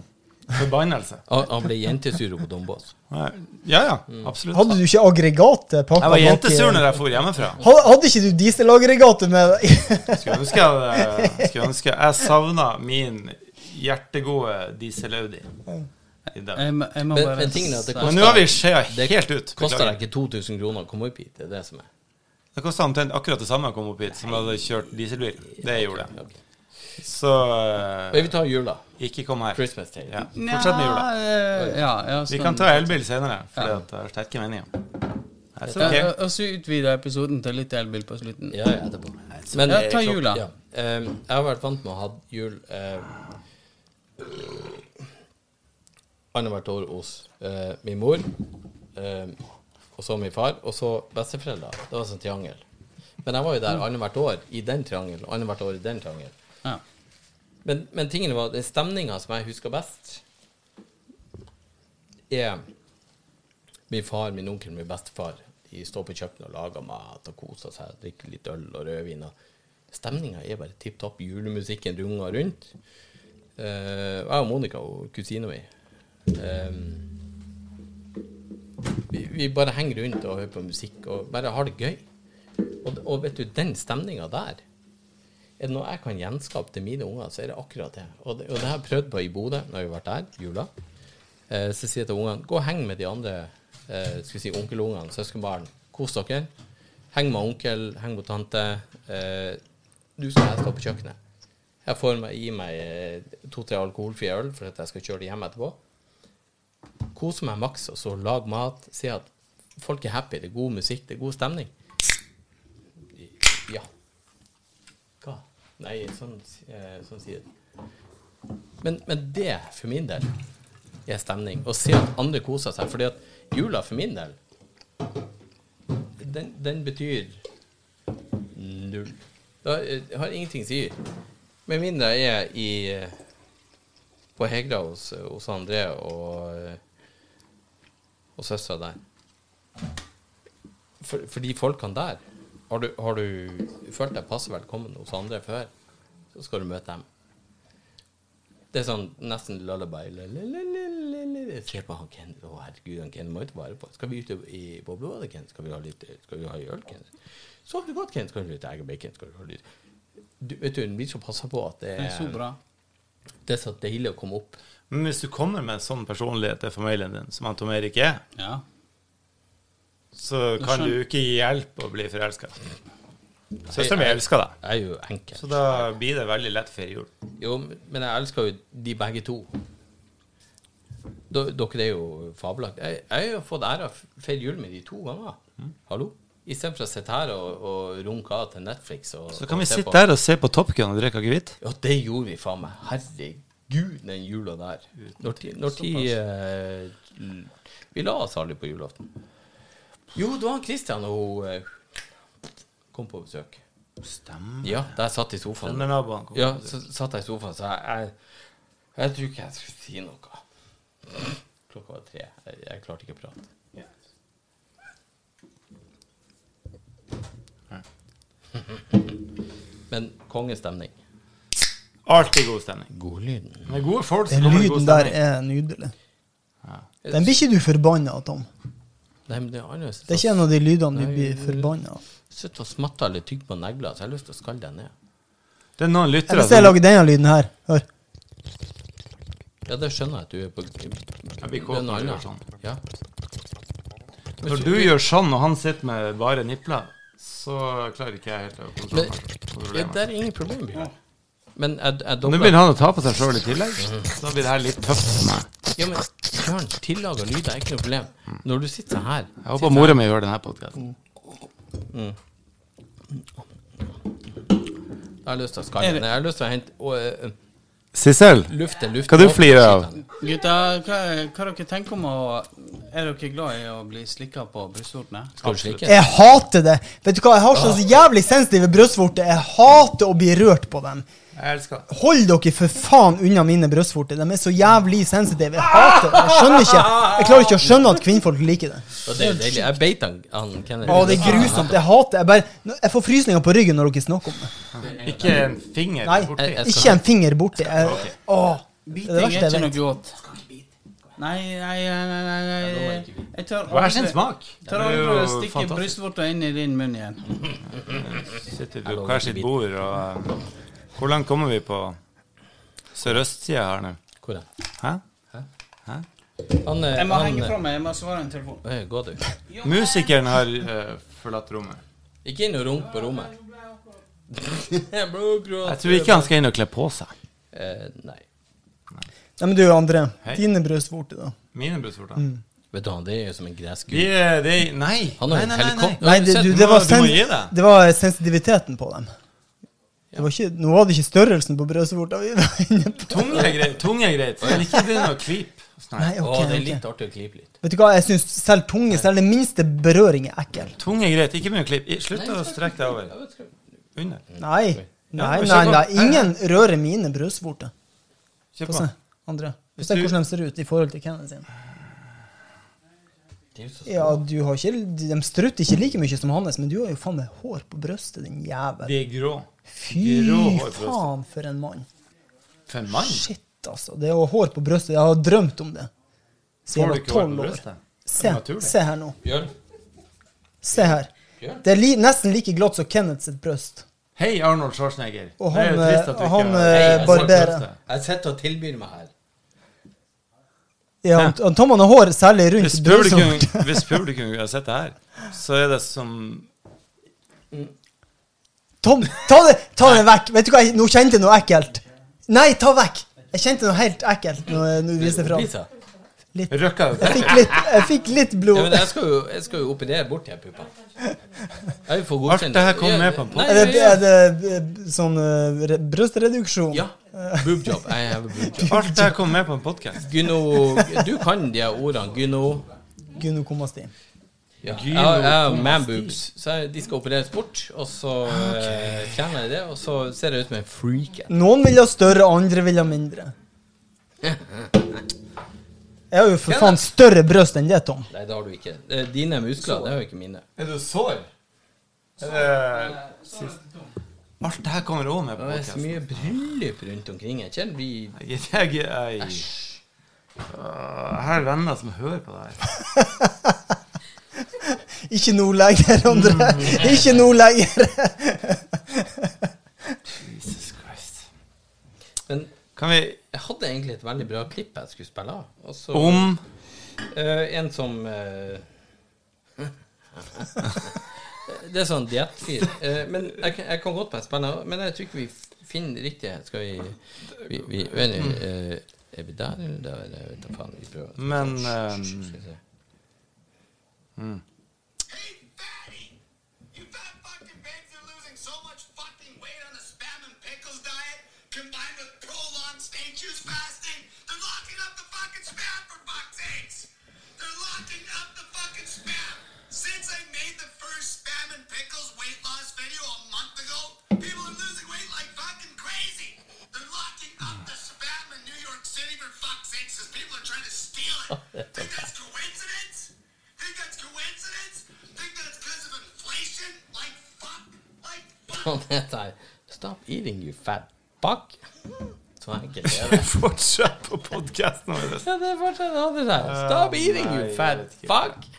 Forbannelse.
Han han ble jentesur på Dombås.
Ja, ja. Absolutt.
Hadde du ikke eh, aggregatet pakka
Jeg var jentesur når jeg for hjemmefra.
Hadde, hadde ikke du dieselaggregatet med deg?
Skulle ønske jeg, hadde- skulle ønske jeg savna min hjertegode diesel-Audi. i dag.
Jeg, må- jeg må
Men-
bare
men tingen er at det
si-
Men nå har vi skjea helt ut.
Koster
Beklager.
deg ikke 2000 kroner å komme opp hit? Det er det som er.
Det kosta omtrent akkurat det samme å komme opp hit som jeg hadde kjørt dieselbil. Det gjorde det.
Ok.
Så
Men vi tar jula.
eh, ikke kom her.
Christmas Tale.
Ja. Fortsett med jula.
Nja, eh, Ja, ja,
Vi
sånn-
kan ta elbil senere, fordi
Ja.
at jeg har sterke meninger. That's
Ja,
okay.
og- Og så utvider jeg episoden til litt elbil på slutten.
Ja, ja, etterpå. Men,
Ja, ta jula.
Ja. Eh, jeg har vært vant med å ha jul uh, annethvert år hos eh, min mor, eh, og så min far, og så besteforeldre. Det var sånn triangel. Men jeg var jo der annethvert år i den triangelen, og annethvert år i den triangelen.
Ja.
Men, men tingene var den stemninga som jeg husker best, er min far, min onkel, min bestefar. De står på kjøkkenet og lager mat og koser seg, drikker litt øl og rødvin. og Stemninga er bare tipp topp. Julemusikken runger rundt. Eh, jeg og Monica og kusina mi eh, vi, vi bare henger rundt og hører på musikk og bare har det gøy. Og, og vet du, den stemninga der er det noe jeg kan gjenskape til mine unger, så er det akkurat det. Og det, og det har jeg prøvd på i Bodø når vi har vært der, jula. Eh, så sier jeg til ungene gå og heng med de andre eh, skal vi si onkelungene, søskenbarn. Kos dere. Heng med onkel, heng med tante. Eh, du skal jeg stå på kjøkkenet. Jeg får meg, i meg eh, to-tre alkoholfrie øl for at jeg skal kjøre det hjem etterpå. Kose meg maks, og så lag mat. Si at folk er happy, det er god musikk, det er god stemning. Ja. Hva? Nei, sånn, eh, sånn sier det. Men, men det, for min del, er stemning. Å se at andre koser seg. Fordi at jula, for min del, den, den betyr null. Da, eh, jeg har ingenting å si. Med mindre jeg er i eh, på Hegra hos, hos André og, eh, og søstera der. For, for de folkene der har du, har du følt deg passe velkommen hos andre før, så skal du møte dem. Det er sånn nesten lullaby lalalalala. Se på han Ken. Å, herregud, han Ken må jo ta vare på. Skal vi ut i boblebadet, Ken? Skal vi ha litt Skal vi ha øl, Ken? Sov du godt, Ken? Skal du ha litt egg og bacon? Skal du ha litt du, Vet du, en blir så passa på at det
Det er så bra.
det er så deilig å komme opp.
Men hvis du kommer med en sånn personlighet til familien din, som han Tom Erik er,
Ja.
så kan
skjønner.
du ikke gi hjelp å bli forelska. Søstera mi elsker deg,
Jeg er jo enkel.
så da blir det veldig lett for jul.
Jo, men jeg elsker jo de begge to. D dere er jo fabelaktige. Jeg, jeg har jo fått æra av å feire jul med de to ganger.
Mm.
Hallo? Istedenfor å sitte her og, og runke av til Netflix. Og,
Så kan
og
vi
se
sitte
på.
der og se på Top Gun og drikke akevitt.
Ja, det gjorde vi faen meg. Herregud, den jula der. Når ti, når ti eh, l- Vi la oss aldri på julaften. Jo, det var han Christian og hun eh, kom på besøk.
Stemmer.
Ja, der satt i sofaen.
Denne naboen kom.
Ja, så satt jeg i sofaen, så jeg, jeg, jeg tror ikke jeg skulle si noe. Klokka var tre. Jeg, jeg klarte ikke å prate. Men kongestemning.
Alltid god stemning.
Godlyden.
Med gode folk så
Den
kommer det god
lyden der
stemning.
er nydelig. Den blir ikke du forbanna av, Tom.
Nei, men det er annerledes.
Det er ikke en av de lydene du blir forbanna av.
Sitt og smatte eller tygge på negler, så jeg har lyst til å skalle deg ned.
Det er noen lyttere
Hvis jeg lager denne lyden her, hør.
Ja, det skjønner jeg at du er på Jeg
blir kåt når du gjør sånn.
Ja.
Når du gjør sånn, og han sitter med bare nipler, så klarer ikke jeg helt å
Men, ja,
kontrollere meg.
det er ingen problem, Bjørn. Men jeg, jeg
Nå begynner han å ta på seg sjøl i tillegg. Da blir det her litt tøft for meg.
Ja, men Bjørn, tillaga lyder er ikke noe problem. Når du sitter her
Jeg håper mora mi hører denne podkasten.
Jeg har lyst til å skalle ned. Jeg har lyst til å hente å, eh,
Sissel,
luft til luft.
hva du flirer av?
Gutta, hva, hva dere tenker om å Er dere glad i å bli slikka på brystvortene?
Skal du slikke?
Jeg hater det! Vet du hva, jeg har så jævlig sensitive brystvorter. Jeg hater å bli rørt på dem.
Jeg elsker det.
Hold dere for faen unna mine brystvorter. De er så jævlig sensitive. Jeg hater det. Jeg skjønner ikke. Jeg klarer ikke å skjønne at kvinnfolk liker det.
Og Det er jo deilig. Jeg beit han, han Kennedy.
Å, det er grusomt. Jeg hater det. Jeg, bare, jeg får frysninger på ryggen når dere snakker om det.
Ikke en finger
Nei,
borti.
jeg-
ikke en finger borti. Jeg, å, det
Biting
er
er
det verste
ikke
jeg
noe
vet.
godt. Nei, nei, nei, nei, nei. Jeg tør
Hver sin
aldri,
smak.
tør
Det er
aldri
jo
å stikke
fantastisk.
brystvorta inn i din munn igjen.
Sitter vi på hver sitt bord, og eh, Hvor langt kommer vi på sørøstsida her nå?
Hvor er han?
Hæ?
Han, eh,
Jeg må
han
henge
eh,
fra meg. Jeg må svare en telefon.
eh, Gå, du.
Musikeren har eh, forlatt rommet.
Ikke inn og runk på rommet. Jeg
Jeg tror ikke han skal inn og kle på seg.
Eh, Nei.
Nei, men du, André.
Hei.
Dine brystvorter, da.
Mine brystvorter.
Vet du, han, det er jo som en gresk
De
gud.
eh, er de, Nei!
Han har jo
nei, nei,
en
nei, nei.
helikopter.
Nei,
Har du
det,
sett-
du, det, var
Du må-
sen,
du må gi deg.
det var sensitiviteten på dem. Det var ikke, nå var det ikke størrelsen på brystvorta vi var inne på.
Tunge er greit, tunge er greit. Men ikke begynn å klype.
Nei,
Å,
ok,
det er
ok.
litt artig å klype litt.
Vet du hva, jeg syns selv tunge, selv den minste berøring er ekkel.
Tunge er greit, ikke begynn å klype. I- Slutt å strekke deg over. Under.
Nei, nei,
men
nei,
sjekk
nei.
opp.
ingen rører mine brystvorter.
Kjør
Få
på.
se, André. Få se hvordan de ser ut i forhold til Kenneth sin.
Det er jo så
Ja, du har ikke, De strutter ikke like mye som hans, men du har jo faen meg hår på brystet, din jævel.
De er grå.
Fy
grå hår på brystet.
faen, for en mann.
For en mann.
Shit, altså. Det å ha hår på brystet, jeg har drømt om det. Siden
Får du
jeg var
ikke hår
tolv
på
år.
brystet?
Se,
naturlig.
se her nå.
Bjørn?
Se her. Det er li, nesten like glatt som Kenneth sitt bryst.
Hei, Arnold Schwarzenegger.
Og
Det er
han,
jo trist at du
eh,
ikke
han, eh,
har- Hei, jeg ser
barberer.
brystet.
Jeg sitter og tilbyr meg her.
Ja, han- han Tommen har hår særlig rundt
Hvis publikum,
brystvorten.
hvis publikum har sett det her, så er det som
Tom, ta det, ta det vekk. Vet du hva, jeg- nå kjente jeg noe ekkelt. Nei, ta vekk. Jeg kjente noe helt ekkelt når når du viste fram.
Lisa.
Litt.
Røkka
Jeg fikk litt, jeg fikk litt
Ja, men
blod.
jeg skal jo, jeg skal jo operere bort de her puppene. Jeg vil få
Alt
godkjent
det her kom med på en
Nei,
Er det,
ja, ja.
er det eh, sånn eh, re- brystreduksjon?
Ja. Boobjob. I have a boobjob.
Alt det her kom med på en podkast.
Gyno Du kan de her ordene. Gyno
Gynekomastin.
ja. Jeg har- jeg har man boobs. Så jeg- de skal opereres bort, og så eh, fjerner jeg det, og så ser jeg ut som en freak.
Noen vil ha større, andre vil ha mindre. Jeg har jo for faen større bryst enn det, Tom.
Nei, det har du ikke. Det er dine muskler, det er jo ikke mine.
Er du sår? Alt det her kommer òg med på
Det er så
podkasten.
mye bryllup rundt omkring. Jeg kjenner vi
Jeg, jeg, Øh, jeg har venner som hører på det her.
Ikke nå lenger, André. Ikke nå lenger.
Jesus Christ.
Men
Kan vi
jeg hadde egentlig et veldig bra klipp jeg skulle spille av. Og så
Om
Eh, en som eh, Det er sånn diettfyr. Eh, men jeg kan, jeg kan godt være spennende, men jeg tror ikke vi f- finner riktig Skal vi, vi, vi men, eh, Er vi der, eller der? Jeg vet da faen. Vi prøver.
Men eh,
Skal vi se.
You fat fucking pigs are losing so much fucking weight on the spam and pickles diet, combined with prolonged state juice fasting. They're locking up the fucking spam for fuck's sakes. They're locking up the fucking spam. Since I made the first spam and pickles weight loss video a month ago, people are losing weight like fucking crazy. They're locking up the spam in New York City for fuck's sakes because people are trying to steal it. Think that's coincidence? Think that's coincidence? Think that's because of inflation? Like fuck? Like fuck?
Og Sånn, det der, Stop eating, you fat fuck. Så enkelt er det.
Fortsett på podkasten vår.
Ja, det er fortsatt det andre der. Stop eating,
Eh, nei,
you
jeg
fat
vet ikke.
fuck.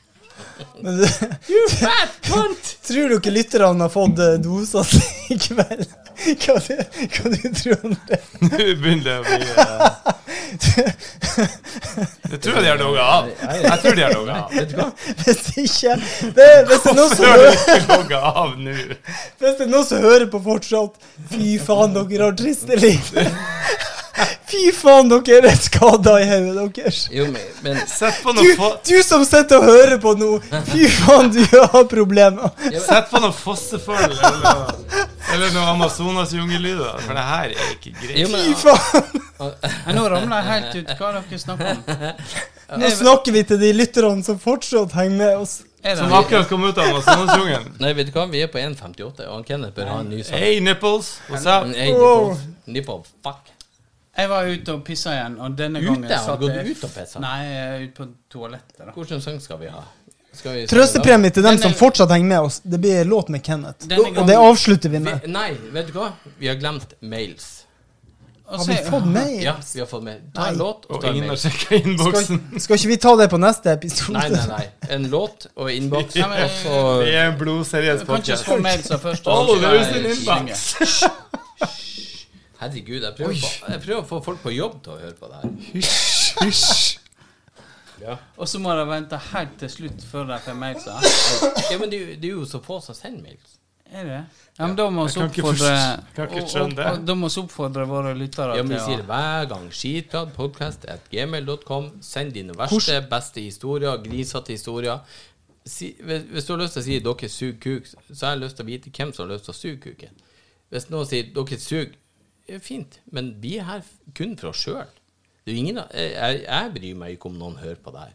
Men det-
You fat cunt.
Tror du ikke lytterne har fått eh, dosa si i kveld? Hva, det, hva du tror om det?
Nå begynner det å bli eh, Jeg tror de har logga av. Jeg tror de har logga av.
Vet du hva?
Hvis ikke det, hvis, det er noen som
Hvorfor har de
hører,
ikke logga av nå?
hvis det er noen som hører på fortsatt Fy faen, dere har triste liv. Fy faen, dere er skada i hodet deres.
Jo, men, men
Sett på
Du,
noe fo-
du som sitter og hører på nå, fy faen, du har problemer.
Sett på noe fossefall eller noe Eller noe Amazonas-jungellyder. For det her er ikke greit.
Jo, men,
Fy faen!
Ja, nå ramler jeg helt ut. Hva er det dere snakker om?
Nå snakker vi til de lytterne som fortsatt henger med oss.
Er det
Som akkurat kom ut av Amazonas-jungelen.
Nei, vet du hva? Vi er på 1,58, og han Kenneth bør ha en ny sak.
Hey, nipples! What's up?
Hey, nipple. Nipple, fuck.
Jeg var ute og pissa igjen, og denne
Ute?
gangen
Har du
satt
gått
jeg-
ut og pisset?
Nei, jeg er ute på toalettet, da.
Hvilken sang skal vi ha? Skal vi
Trøstepremie til dem
Denne-
som fortsatt henger med oss. Det blir en låt med Kenneth.
Denne
Og det
gangen-
avslutter vi
Vi,
med.
nei, vet du hva? Vi har glemt mails.
Og
Har
så-
vi fått
Ja,
mail?
vi har fått mail. Ta
Nei.
en låt og
Og
ta en
ingen
mail.
har sjekka innboksen.
Skal ikke vi ta det på neste episode?
Nei, nei, nei. En låt og innboks,
Nei, men-
og så
Vi er en blodseriøs
Du kan ikke
podcast.
slå mail som først.
All
og så
there is
skal jeg
in inbox.
synge.
Herregud, jeg prøver, på, jeg prøver å få folk på jobb til å høre på det her.
Og så må de vente helt til slutt før de får mail. sa.
Ja, men det, er jo- det er jo så få som sender mails.
Er det? Ja, men da må vi
Jeg kan ikke
oppfordre
forst- kan ikke skjønne det.
og- og- Da må vi oppfordre våre lyttere
Ja, men vi
å-
sier hver gang skitpratpodkast.gmail.com. Send dine verste, beste historier, grisete historier. Si, hvis hvis du har lyst til å si 'dere suger kuk', så har jeg lyst til å vite hvem som har lyst til å suge kuken. Hvis noen sier 'dere suger', er fint, men vi er her kun for oss sjøl. Jeg, jeg, jeg bryr meg ikke om noen hører på det her.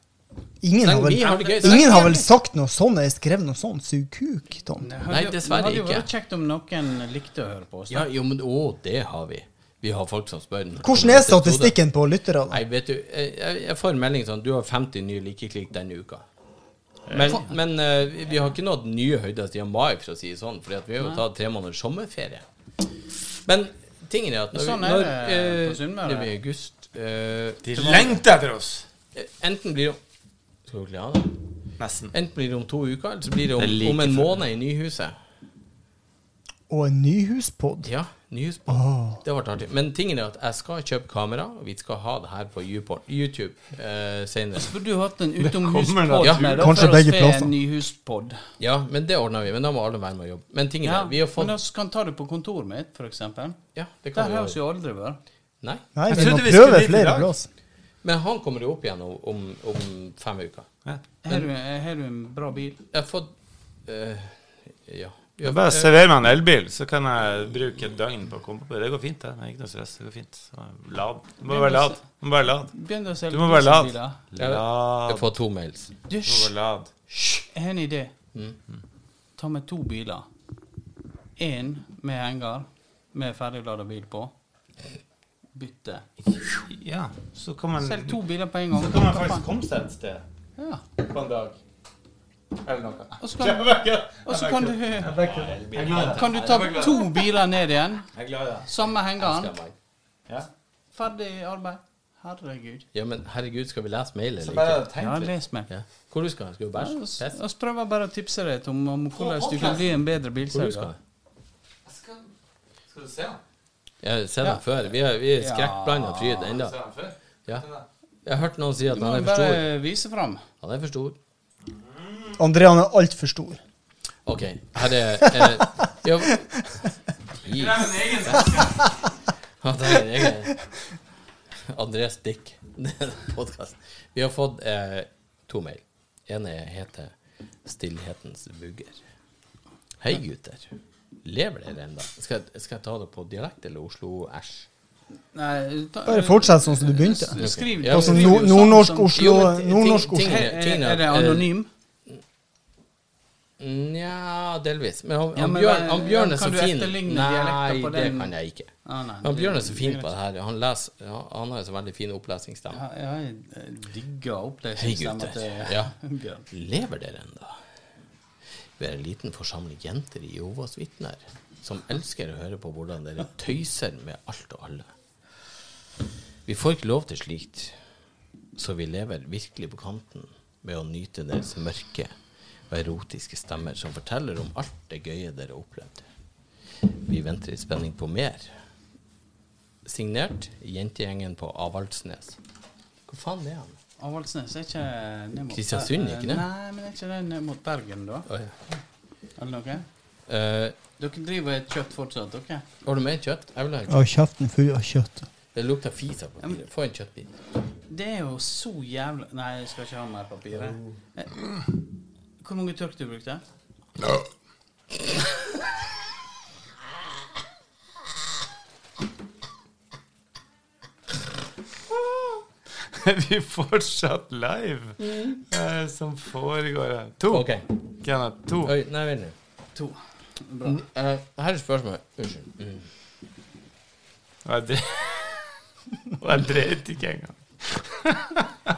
Ingen har
Nei, vi har det gøy.
vel, ingen har vel sagt noe sånn? Jeg skrev noe sånn? Sug kuk, Tom.
Det hadde-
Nei, dessverre
Det hadde jo
ikke.
vært kjekt om noen likte å høre på oss. da.
Ja, jo, men å, det har vi. Vi har folk som spør. når det
Hvordan
kommer
er
neste episode.
statistikken på lyttere? da?
Nei, vet du, jeg, jeg- jeg får en melding sånn Du har 50 nye likeklikk denne uka. Men, men eh, vi- vi har ikke nådd nye høyder siden mai, for å si det sånn. For vi har jo tatt tre måneders sommerferie. Men tingen er at når, vi-
Sånn er
når
det
eh,
på Sunnmøre.
det blir august eh,
De lengter etter oss.
eh, Enten blir det Skal dere ha det?
Nesten.
Enten blir det om to uker, eller så blir det om,
Det er like
om en
før.
måned i Nyhuset.
Og en nyhuspodd?
Ja, nyhusbåt. Det ble artig. Men tingen er at jeg skal kjøpe kamera, og vi skal ha det her på YouPorn- YouTube eh, senere.
Burde jo hatt en
kommer
utomhuspodd.
nok.
Ja, med, da,
Kanskje
for oss
begge
får
plasser.
En nyhuspodd.
Ja, men det ordner vi. Men da må alle være med og jobbe. Men tingen
Ja,
er, vi har
Men
fått
vi kan ta det på kontoret mitt, for eksempel.
Ja, det
Der
kan vi
har vi
gjøre.
jo aldri vært.
Nei.
Nei,
Jeg
vi må
trodde vi skulle
prøve
dit i
flere
dag.
plass.
Men han kommer jo opp igjen om, om, om fem uker.
Har du, har du en bra bil?
Jeg har fått eh, Ja. Vi
Det
har-
er Bare server meg en elbil, så kan jeg bruke et døgn på å komme på det. Det går fint, det. Det er ikke noe stress. Det går fint. Så Lad. Du må bare lad. Du må bare lad.
Begynn å selge
Du må bare lad.
dieselbiler.
jeg har
Lad.
fått to mails.
Du,
Du må
hysj,
bare lad.
jeg har en idé.
Mm.
Ta med to biler. Én med henger med ferdiglada bil på. Bytte.
Ja, så kan man
Selg to biler på en gang.
Så kan man faktisk komme seg et sted
Ja.
på en dag. Eller noe.
Og så kan, og så kan du Kan du ta to biler ned igjen?
Jeg er glad i deg.
Samme hengeren.
Ja.
Ferdig arbeid. Herregud.
Ja, men herregud, skal vi lese mail eller
Bare
ikke?
Ja,
tenk litt.
les meg.
Ja. Hvor du skal? Skal du bæsje? Pess?
Vi prøver bare å tipse deg om, om hvordan du kan bli en bedre
Hvor du skal?
bilselger.
Skal du se den?
Jeg ser
Ja.
den før. Vi er, vi er
Ja.
skrekkblanda fryd ennå.
Se den før?
Ja. Jeg har hørt noen si at
Du må
han er for stor.
bare vise fram.
Han er for stor.
Andrean er altfor stor.
OK, her er eh, ja. Jeez. Han tar en egen Andres Dick. Det er en podcast. Vi har fått eh, to mail. En er- heter 'Stillhetens vugger'. Hei, gutter. Lever dere ennå? Skal, jeg- skal jeg ta det på dialekt eller Oslo-æsj?
Nei, ta-
Bare fortsett sånn som du begynte.
s- Skriv
Ja,
skriv
Altså
men-
jo
nord-
sånn
nordnorsk
som-
Oslo.
Jo, men ting-
Nordnorsk
ting-
Oslo.
Er, er,
Tingene-
er det anonym?
Nja, delvis. Men han,
Ja,
han
men
Bjørn,
hva-
han Bjørn er
kan
så
du
fin.
etterligne
Nei,
dialekter på
det
den?
kan jeg ikke.
Ah, nei,
Han
det-
Bjørn er så fin
det er
på det her. Han, leser, ja, han har jo så veldig fin opplesningsstemme.
Ja, ja, jeg digger
Hei, gutter.
opplesningsstemmen til
Ja.
Bjørn.
Lever dere ennå? Vi er en liten forsamling jenter i Jehovas vitner som elsker å høre på hvordan dere tøyser med alt og alle. Vi får ikke lov til slikt, så vi lever virkelig på kanten med å nyte deres mørke og erotiske stemmer som forteller om alt det gøye dere opplevde. Vi venter i spenning på mer. Signert jentegjengen på Avaldsnes. Hvor faen er han?
Avaldsnes er ikke ned mot
Kristiansund, ikke det?
Nei, men er ikke det ned mot Bergen, da?
Oi.
Eller noe?
Eh,
Dere driver et kjøtt fortsatt, dere?
har du mer kjøtt? Jeg vil ha kjøtt.
Og kjeften full av kjøtt.
Det lukter fis av papiret. Få en kjøttbit.
Det er jo så jævla Nei, jeg skal ikke ha mer papir. jeg. Eh, Hvor mange tørk du brukte?
er vi fortsatt live. Hva er det som foregår her? To.
OK.
Kenneth, to.
Oi, nei, vent nå.
To. Bra.
N- eh, her er spørsmålet. Unnskyld. Mm.
Og jeg dre- Og jeg dreit ikke engang.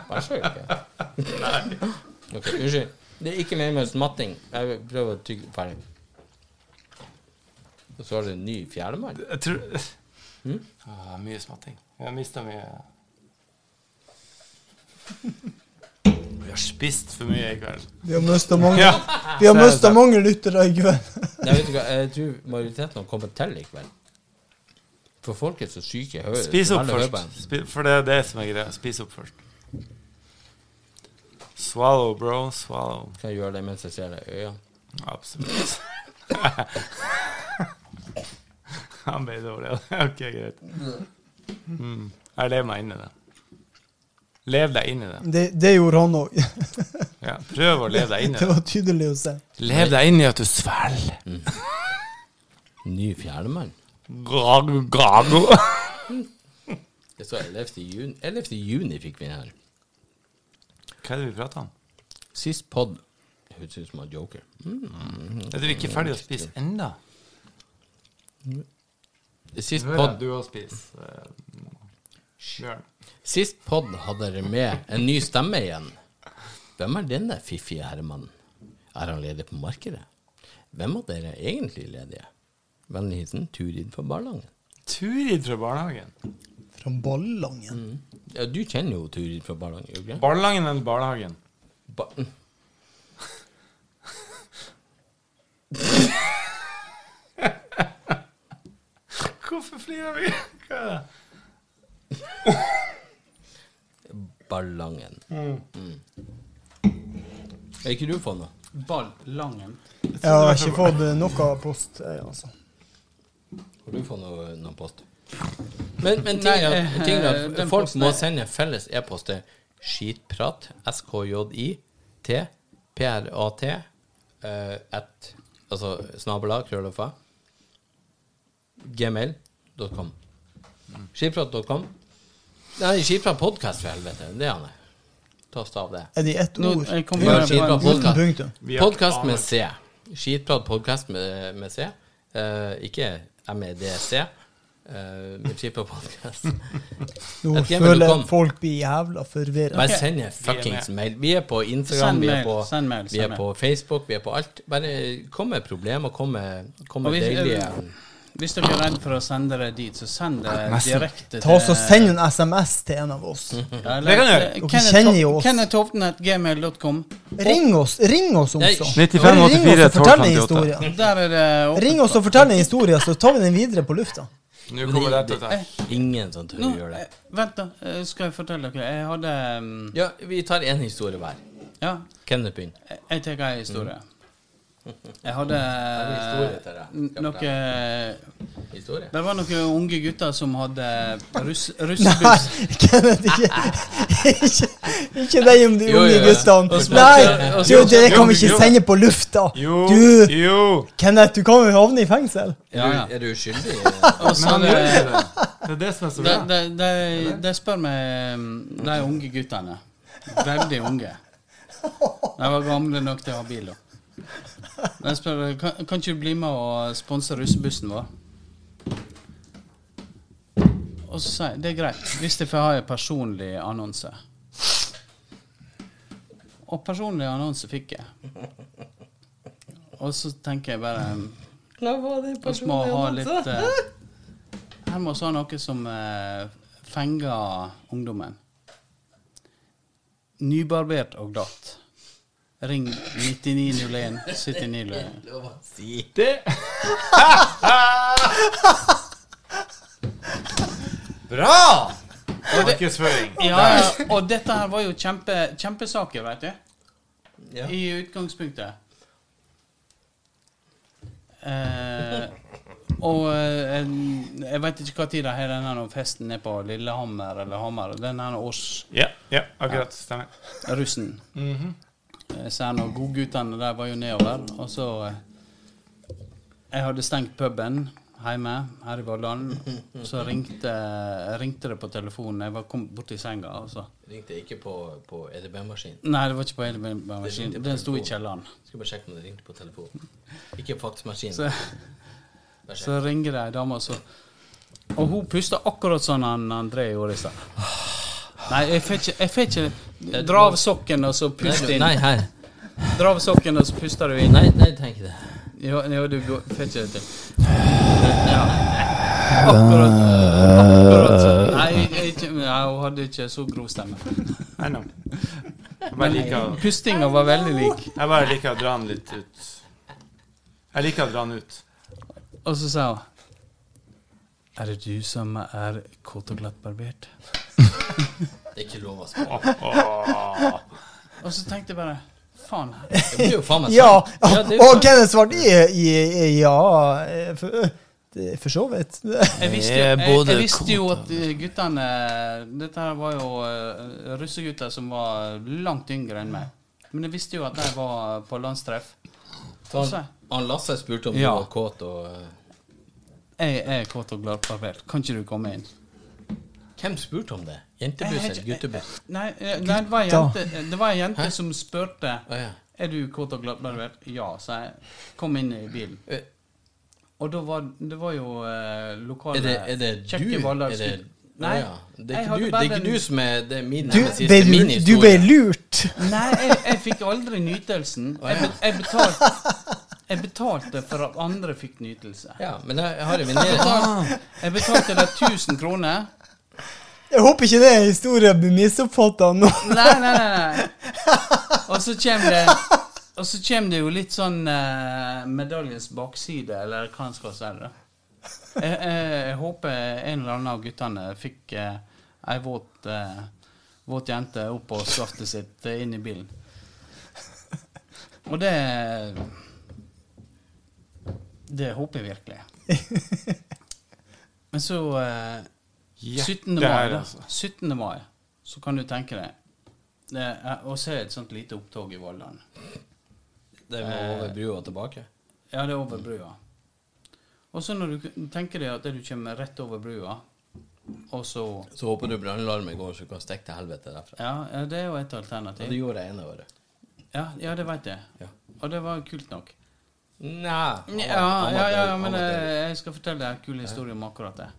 Vær så god. Nei. OK, unnskyld. Det er ikke mer med matting. Jeg vil prøve å tygge ferdig. Og så har du en ny fjerdemann.
Jeg tror Ah, Mye smatting. Jeg har mista mye Vi har spist for mye i kveld.
Vi har mista mange,
Ja.
vi har
Så er det
mistet
sant.
mange lyttere i kveld.
Nei, vet du hva, jeg tror majoriteten har kommet til i kveld. For folk er så syke i hodet.
Spis
så
opp
veldig
først.
høybeint.
Spi- for det er det som er greia. Spis opp først. Swallow, bro. Swallow.
Kan jeg gjøre det mens jeg ser deg i øynene?
Absolutt. Han ble dårlig av det. Ok, greit. Mm. Jeg lever meg inn i det. Lev deg inn i det.
Det, det gjorde han òg.
Ja, prøv å leve deg inn i
Det
det.
var tydelig å se.
Lev deg inn i at du svelger.
Ny fjerdemann?
Gago, gago.
Det står 11. juni. 11. juni fikk vi den her.
Hva er det vi prater om?
Sist pod Høres ut som en joker. Mm.
Er du ikke ferdig å spise ennå?
Sist pod
du eh, òg spiser. Bjørn.
Sist pod hadde dere med en ny stemme igjen. Hvem er denne fiffige herremannen? Er han ledig på markedet? Hvem av dere er egentlig ledige? Vennlig hilsen Turid fra Barlangen.
Turid fra barnehagen.
Fra Ballangen.
Ja, du kjenner jo Turid fra Barlangen, gjør du ikke?
Barnehagen eller barnehagen?
Ba
Hvorfor flirer vi? Hva er det?
Ballangen. Mm. Er ikke du på noe?
Ball Langen.
Jeg har ikke fått eh, noe post, jeg, altså.
Har du fått noe, noen post? Men, men ting
Nei,
er
eh,
at, ting er at
den
folk
posten
må
er-
sende felles e-post til skitprat, skjit, prat, eh, at, altså snabela, krøllofa, gmail.com. Skitprat.com. Nei, skitprat podcast, for helvete. Det er han er. Ta oss av det.
Er det i ett
Nå,
ord?
jeg kom
eh, Vi har
på en-
skitprat
Uten
podcast.
punktum.
Vi har-
Podkast med C. Skitprat podkast med, med C. Eh, ikke MEDC. Uh, med skitprat podkast.
Nå
Et
føler jeg
gmail.com.
at folk blir jævla forvirra.
Bare send en fuckings mail. Vi er på Instagram,
Send
vi er
mail,
på,
send mail,
vi er
send
på Facebook, vi er på alt. Bare kom med problemer, kom med, kom
Og
med
vi-
deilige
Hvis dere er redd for å sende det dit, så send det direkte
Ta oss og Send en SMS til en av oss.
Ja,
Det kan du gjøre.
Dere kjenner jo oss.
Kennethovden.gmail.com.
Ring oss ring oss om
Nei,
så.
95
Ring oss
84
og fortell en
12 58.
historie.
Der er det åpent.
Ring oss og fortell en historie, så tar vi den videre på lufta.
Nå kommer dette til å ta.
Ingen som tør å
Nå,
gjøre det.
eh, vent, da. eh, Skal jeg fortelle dere? Jeg hadde mm,
Ja, vi tar én historie hver.
Ja,
Kenneth begynner.
jeg- jeg tar en historie. Jeg hadde
historie til deg.
n- noe
Historie?
Det var noen unge gutter som hadde russ,
Nei,
russebuss.
Kenneth, ikke Ikke, ikke deg om de
Jo,
unge
jo, jo.
guttene.
Og så-
Nei,
og så-
du, det
Jo,
kan vi ikke
jo.
sende på lufta.
Jo,
Du,
jo.
Kenneth, du kan jo havne i fengsel.
Ja, ja.
Er du- Er du skyldig?
Og så
Men han
hadde-
gjør ikke det. Det er det som er så
De,
bra.
de, de, de spør meg mm, De unge guttene. Veldig unge. De var gamle nok til å ha bil. da. De spør kan, kan ikke du bli med og sponse russebussen vår. Og så sier jeg det er greit, hvis jeg får ha en personlig annonse. Og personlig annonse fikk jeg. Og så tenker jeg bare Vi må ha litt eh, her må vi ha noe som eh, fenger ungdommen. Nybarbert og glatt. Ring 9901 7901.
Lov å si.
Bra! Markedsføring.
Ja, ja, og dette her var jo kjempe, kjempesaker, vet du.
Ja.
I utgangspunktet. Eh, og eh, en- jeg vet ikke hva tid de har denne nå festen nede på Lillehammer eller Hamar. Den her årsrussen.
Ja, ja, akkurat. Stemmer.
Eh, Så han og godguttene der var jo nedover. Og så eh, Jeg hadde stengt puben, hjemme her i Vårdalen. Så ringte, ringte det på telefonen. Jeg var kom borti senga. Altså.
Ringte ikke på, på E EDB-maskinen.
Nei, det var ikke på hele maskinen. Den sto i kjelleren.
Skal bare sjekke om det ringte på telefonen. Ikke faksmaskinen.
Så, så ringer det ei dame, og så Og hun puster akkurat sånn han André gjorde i stad. Nei, jeg får ikke, jeg får ikke Dra av sokken, og så pust
Nei,
inn.
nei, her.
Dra av sokken, og så puster du inn.
Nei, nei, tenk det.
Jo, jo du går, får ikke det til. Ja. Akkurat, akkurat sånn. Nei, jeg, jeg, nei, hun hadde ikke så grov stemme.
I know. Jeg bare liker, å-
Pustinga var veldig lik.
jeg bare liker å dra den litt ut. Jeg liker å dra den ut.
Og så sa hun Er det du som er kåt og glattbarbert?
Det er ikke lov å spørre.
Og så tenkte jeg bare Faen.
Det blir jo faen meg
Ja!
sant. Altså, det er jo
Og Kenneth svarte i- i- ja eh, for, det- for så vidt.
Jeg visste, jo-
Jeg er
jeg, jeg,
både
visste jo at eh, guttene Dette her var jo eh, russegutter som var langt yngre enn meg. Men jeg visste jo at de var på landstreff. Og så-
Han, han Lasse spurte om
Ja.
du var kåt og eh,
Jeg er kåt og glattbarbert. Kan ikke du komme inn?
Hvem spurte om det? Jentebuss
Jeg-
eller guttebuss?
Nei, eh, nei det, var en jente, det var ei jente som spurte
Å, ja.
Er du kåt og glattbarbert. Ja, sa jeg. Kom inn i bilen.
Eh.
Og da var det var jo eh, lokale
Er det, er det du?
eh, kjekke Valdags-
Er det,
Nei,
Å ja. det er
jeg
ikke,
hadde
du, det
bare
er ikke
den-
du som er Det er min
Du
nemesis,
ble,
det er min
du ble
historie.
lurt.
Nei, jeg, jeg fikk aldri nytelsen. Jeg, be, jeg, betalte, jeg betalte for at andre fikk nytelse.
Ja, men jeg, jeg har en venninne
Betalt- Jeg betalte deg 1000 kroner.
Jeg håper ikke det er en historie jeg blir misoppfatta nå.
Nei, nei, nei. nei. Og så kommer det Og så kommer det jo litt sånn eh, medaljens bakside, eller hva en skal si. det. Jeg, jeg, jeg håper en eller annen av guttene fikk eh, ei våt, eh, våt jente opp på skaftet sitt eh, inn i bilen. Og det Det håper jeg virkelig. Men så eh, 17. mai,
det her,
da.
altså.
17. mai, så kan du tenke deg det er, Å se et sånt lite opptog i Valdalen.
Det må over brua tilbake.
Ja, det er over brua. Og så når du k- tenker deg at du kommer rett over brua, og så
Så håper du brannalarmen går, så du kan stikke til helvete derfra.
Ja, ja, det er jo et
Og det
alternativ.
gjorde jeg ene året.
Ja, ja det veit jeg.
Ja.
Og det var kult nok.
Nei. han var-
Ja,
han
ja,
var
ja,
død, han
men
var død.
eh, jeg skal fortelle deg en kul historie om akkurat det.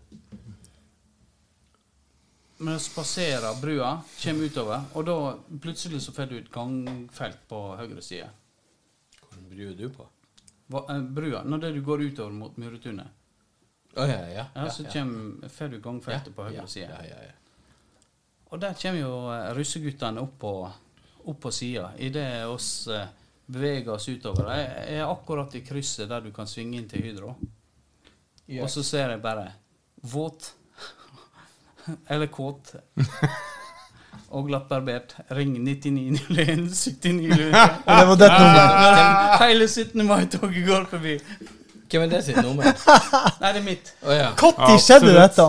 Men jeg spaserer brua, kommer utover, og da plutselig så får du et gangfelt på høyre side.
Hvordan bryr du på?
Hva, eh, brua, når det du går utover mot Muretunet,
Å ja, ja.
ja, så kommer, får du gangfeltet på høyre
ja,
side.
Ja, ja, ja.
Og der kommer jo eh, russeguttene opp på, opp på sida idet oss eh, beveger oss utover. Jeg jeg er akkurat i krysset der du kan svinge inn til Hydro, og så ser jeg bare våt eller kåt og glattbarbert. Ring 9901 7901.
Og det var det nummeret.
Hele 17. mai-toget går forbi.
Hvem er det sitt nummer?
Nei, det er mitt.
Å ja.
Når skjedde dette?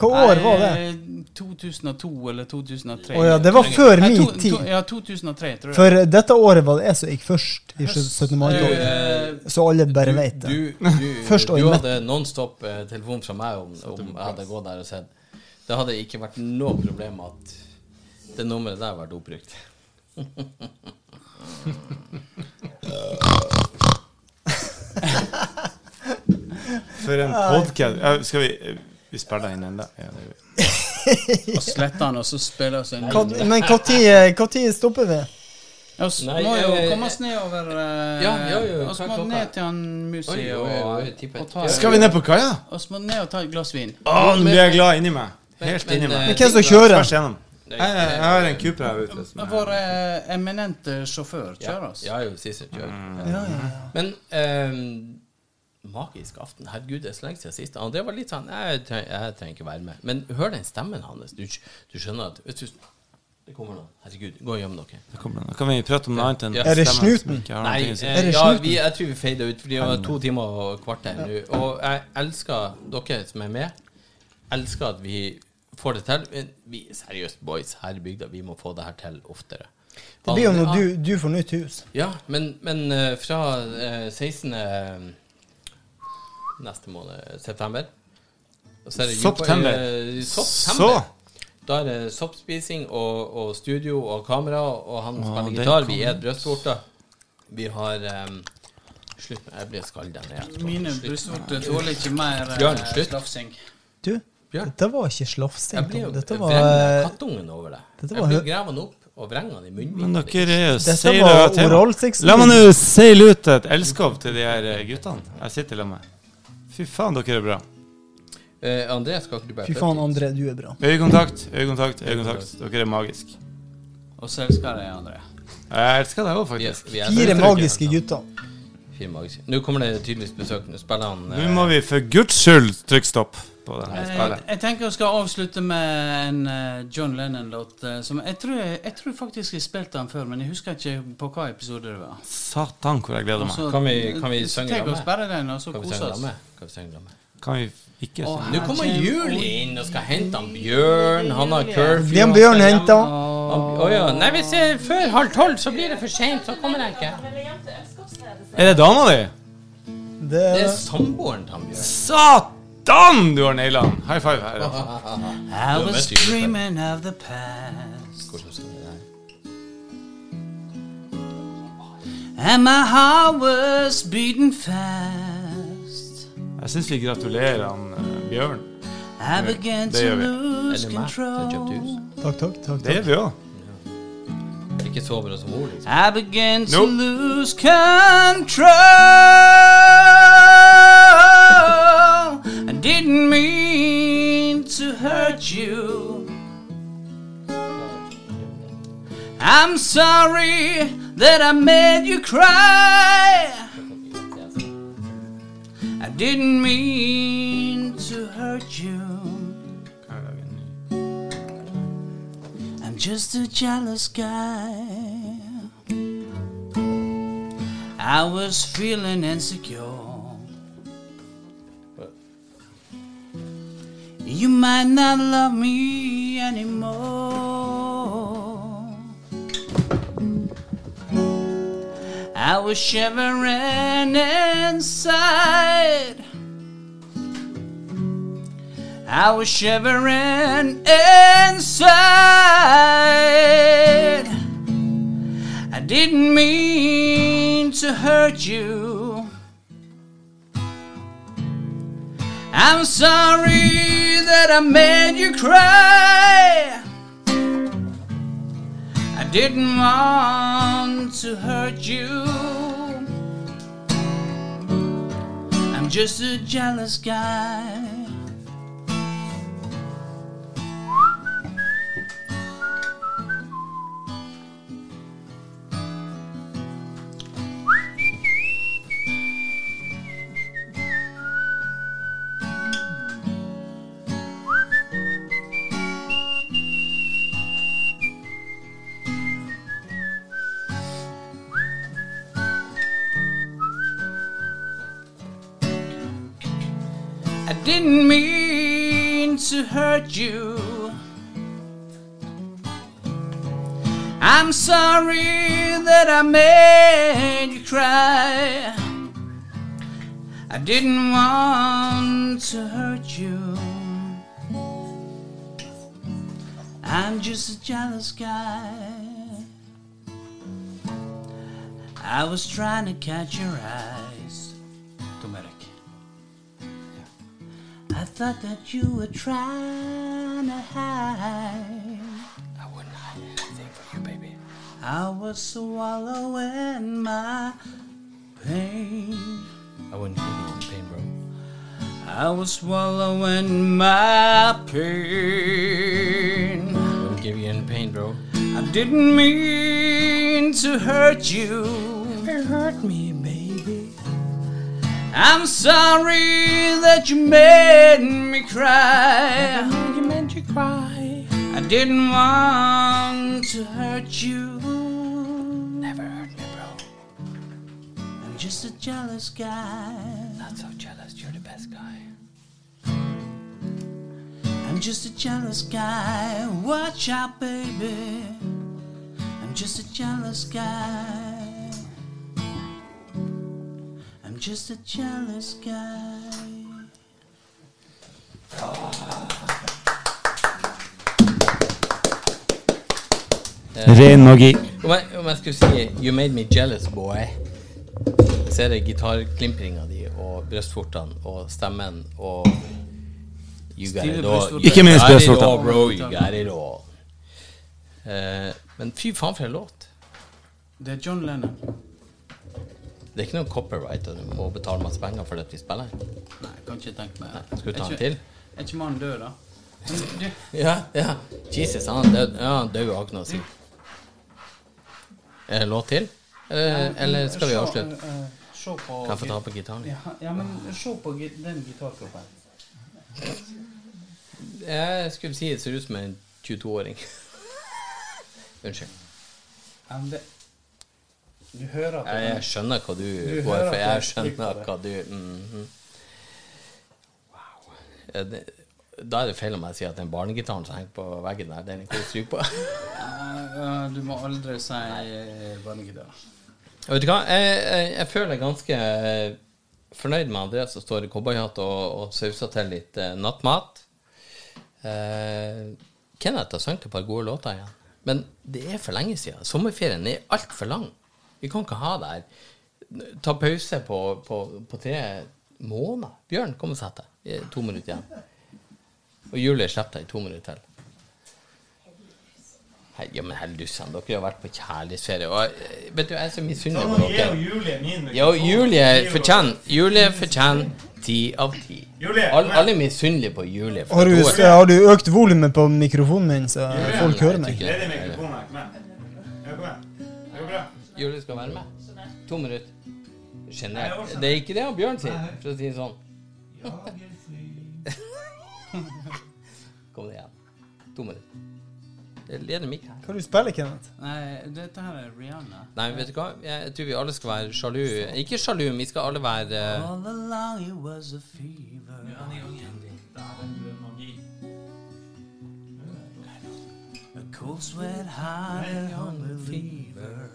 Hva år var det?
Nei, eh, 2002 eller 2003.
Å ja, det var før
Nei,
min
to-
tid.
to- Ja, 2003, tror jeg.
For dette året var det jeg som gikk først i 17. mai-toget.
Eh,
Så alle bare vet det.
Du, du,
Først og
du
inne.
hadde nonstop eh, telefon fra meg om, om jeg hadde gått der og sett. Det hadde ikke vært noe problem at det nummeret der ble oppbrukt.
For en podcast Ja, Skal vi eh, Vi spiller inn ennå. Ja, det gjør vi.
og sletta han, og så spiller oss en ny.
Hva- Men når stopper vi?
Ja, så
Nei,
må jo
eh,
komme oss nedover eh,
Ja, ja, ja,
og så
hva er
må
klokka?
ned til han Musi
Oi, oi,
og,
oi, oi, tippet.
og ta
Skal vi ned på kaia?
og så må ned og ta et glass vin.
Å, nå blir jeg glad inni meg. Helt inni
eh,
meg.
Men hvem som kjører?
Tvers igjennom. Jeg, jeg, jeg har en Cooper her ute. som er-
Vår eh, eminente sjåfør kjører
altså?
oss.
Ja, jeg er jo sist jeg kjører. Men eh, magisk aften. Herregud, det er så lenge siden sist. Og det var litt sånn Jeg trenger, jeg trenger ikke være med. Men hør den stemmen hans. Du, skj- du skjønner at vet du, Det kommer noen. Herregud, gå og gjem dere.
Det kommer an. Da kan vi prate om noe annet enn
Ja.
Er det
stemmen som
snuten?
ikke har
Nei,
noe å si.
eh,
det
ja,
slutten?
vi, jeg tror vi feida ut, for det var to timer og kvarter nå. Og jeg elsker dere som er med. Elsker at vi får det til. Men vi er seriøst boys her i bygda. Vi må få det her til oftere.
Det blir jo når du, du får nytt hus.
Ja, men, men eh, fra eh, 16. neste måned, september. Og så er det
September.
eh,
Så
September. Da er det soppspising og, og studio og kamera, og han spiller
det
gitar. Vi er brystvorter. Vi har em, Slutt med Jeg blir skalda ned. jeg tror.
Mine
Slutt.
brystvorter tåler ikke mer eh,
Bjørn, slutt.
slafsing.
Du,
Bjørn.
dette var ikke
Jeg
slafsing.
blir jo
Tom. Dette
vrengt av
var, eh,
kattungen over det.
dette
Jeg
var
blir
hø-
grevet den opp og vrengt den i munnviken.
Men dere er jo
dette
seiler av
var
tema.
oralsexen.
La meg nå seile ut et elskov til de her eh, guttene jeg sitter sammen med. Fy faen, dere er bra.
Eh, André, skal ikke du bare
Fy faen, André, du er bra.
Øyekontakt, øyekontakt, øyekontakt. Dere er magiske.
Og så elsker jeg andre.
Jeg elsker deg òg,
Vi-
faktisk.
vi er-
Fire magiske gutter.
Fire magiske. Nå kommer det tydeligvis besøk. Nå spiller han eh,
Nå må vi for guds skyld trykke stopp på den her
Jeg,
spillet.
Eh, jeg tenker jeg skal avslutte med en eh, John Lennon-låt. eh, som Jeg tror, jeg, jeg tror faktisk jeg spilte den før, men jeg husker ikke på hva episode det var.
Satan, hvor jeg gleder meg.
Så-
Kan vi- kan vi synge
Tenk
den
oss
med?
bare den, og så
Skal vi
kose
synge
oss.
sammen? Skal vi synge sammen?
Kan vi ikke
Å,
Nå kommer Juli inn og skal hente han Bjørn. Han har curfew.
Bjørn Bjørn henta.
Han- Å ja. Nei, hvis jeg før halv tolv, så blir det for seint. Så kommer jeg ikke.
Er det dama di?
Det
Det er samboeren til han Bjørn.
Satan, du har naila den! High five her. altså.
I
Du har
was
møtt Juli før.
dreaming of the past
Hvordan skal det være?
And my heart was beating fast
Jeg syns vi gratulerer han eh, Bjørn.
I began
Det
to
gjør vi.
Er
lose
det meg som har kjøpt hus?
control
Takk, takk. takk,
Det
takk.
er vi òg.
Ikke sover og sover, liksom.
I began to
Nope.
lose control. I didn't mean to hurt you. I'm sorry that I made you cry. I didn't mean to hurt you. I'm just a jealous guy. I was feeling insecure. You might not love me anymore. I was shivering inside. I was shivering inside. I didn't mean to hurt you. I'm sorry that I made you cry. I didn't want to hurt you. I'm just a jealous guy. I didn't mean to hurt you. I'm sorry that I made you cry. I didn't want to hurt you. I'm just a jealous guy. I was trying to catch your eyes. Tom Erik. I thought that you were trying to hide.
I wouldn't hide anything for you, baby.
I was swallowing my pain.
I wouldn't give you any pain, bro.
I was swallowing my pain.
I wouldn't give you any pain, bro.
I didn't mean to hurt you. You hurt me, baby. I'm sorry that you made me cry. you made you cry. I didn't want to hurt you. Never hurt me, bro. I'm just a jealous guy. Not so jealous, you're the best guy. I'm just a jealous guy. Watch out, baby. I'm just a jealous guy. I'm I'm just a jealous guy.
Ren magi.
Om jeg, om jeg skulle si 'You made me jealous, boy', så er det gitarklimpringa di og brystvortene og stemmen og You got
Stive
it all.
brystvorter.
You
Ikke minst
got it
brystvorter.
all, bro, you got it all. Eh, men fy faen for en låt.
Det er John Lennon.
Det er ikke noe copyright, og du må betale masse penger for at vi spiller. den.
Nei, jeg kan ikke tenke meg det.
Skal vi ta
Er
en
ikke-
til?
Er ikke mannen død, da? Men du,
Ja, ja. Jesus, han er død. Ja, han dør jo, har ikke noe å si. Er det låt til? Eller, Eh, eller skal vi
se-
avslutte?
eh, eh, Se på
Kan jeg få ta på gitaren?
Ja, ja, men se på gi- den gitarkroppen.
Jeg skulle si det ser ut som en 22-åring. Unnskyld.
Ja, men det- Du hører på
Jeg, jeg
den.
skjønnner hva du
Du
går
hører
for.
at
Jeg
jeg
skjønner
liker det.
hva du mhm. Wow. Eh, det- Da er det feil om jeg sier at den barnegitaren som henger på veggen der, den er ikke å stryke på.
Ja, ja, Eh, Du må aldri si eh, barnegitar.
Og Vet du hva, jeg, jeg, jeg føler jeg er ganske eh, fornøyd med Andreas som står i cowboyhatt og, og sauser til litt eh, nattmat. Eh, Kenneth har sunget et par gode låter igjen. Men det er for lenge siden. Sommerferien er altfor lang. Vi kan ikke ha det her. Ta pause på, på, på tre måneder. Bjørn, kom og sett deg. Eh, To minutter igjen. Og Julie, slipp deg i to minutter til. Hei, ja, men heldussen, dere har vært på kjærlighetsferie. Og eh, vet du, jeg er så misunnelig på dere.
Julie min
Jo, Julie fortjener Julie fortjener ti av ti.
Julie,
Alle, alle er misunnelige på Julie. for
Har du,
at hun er-
har du økt volumet på mikrofonen min, så folk hører meg?
Nei, jeg tror ikke det.
mikrofonen her. Kom igjen. Det går bra.
Julie skal være med. To minutter.
sånn.
Genert. Det er ikke det han Bjørn sier, for å si det sånn. Kom igjen. To minutter. Det leder Mikk her.
Hva er det du spiller, Kenneth?
Nei, dette her er Rihanna.
Nei, vet du hva? Jeg tror vi alle skal være sjalu. Ikke sjalu, men vi skal alle være eh,
All along it was a fever. er A cold sweat high on the fever.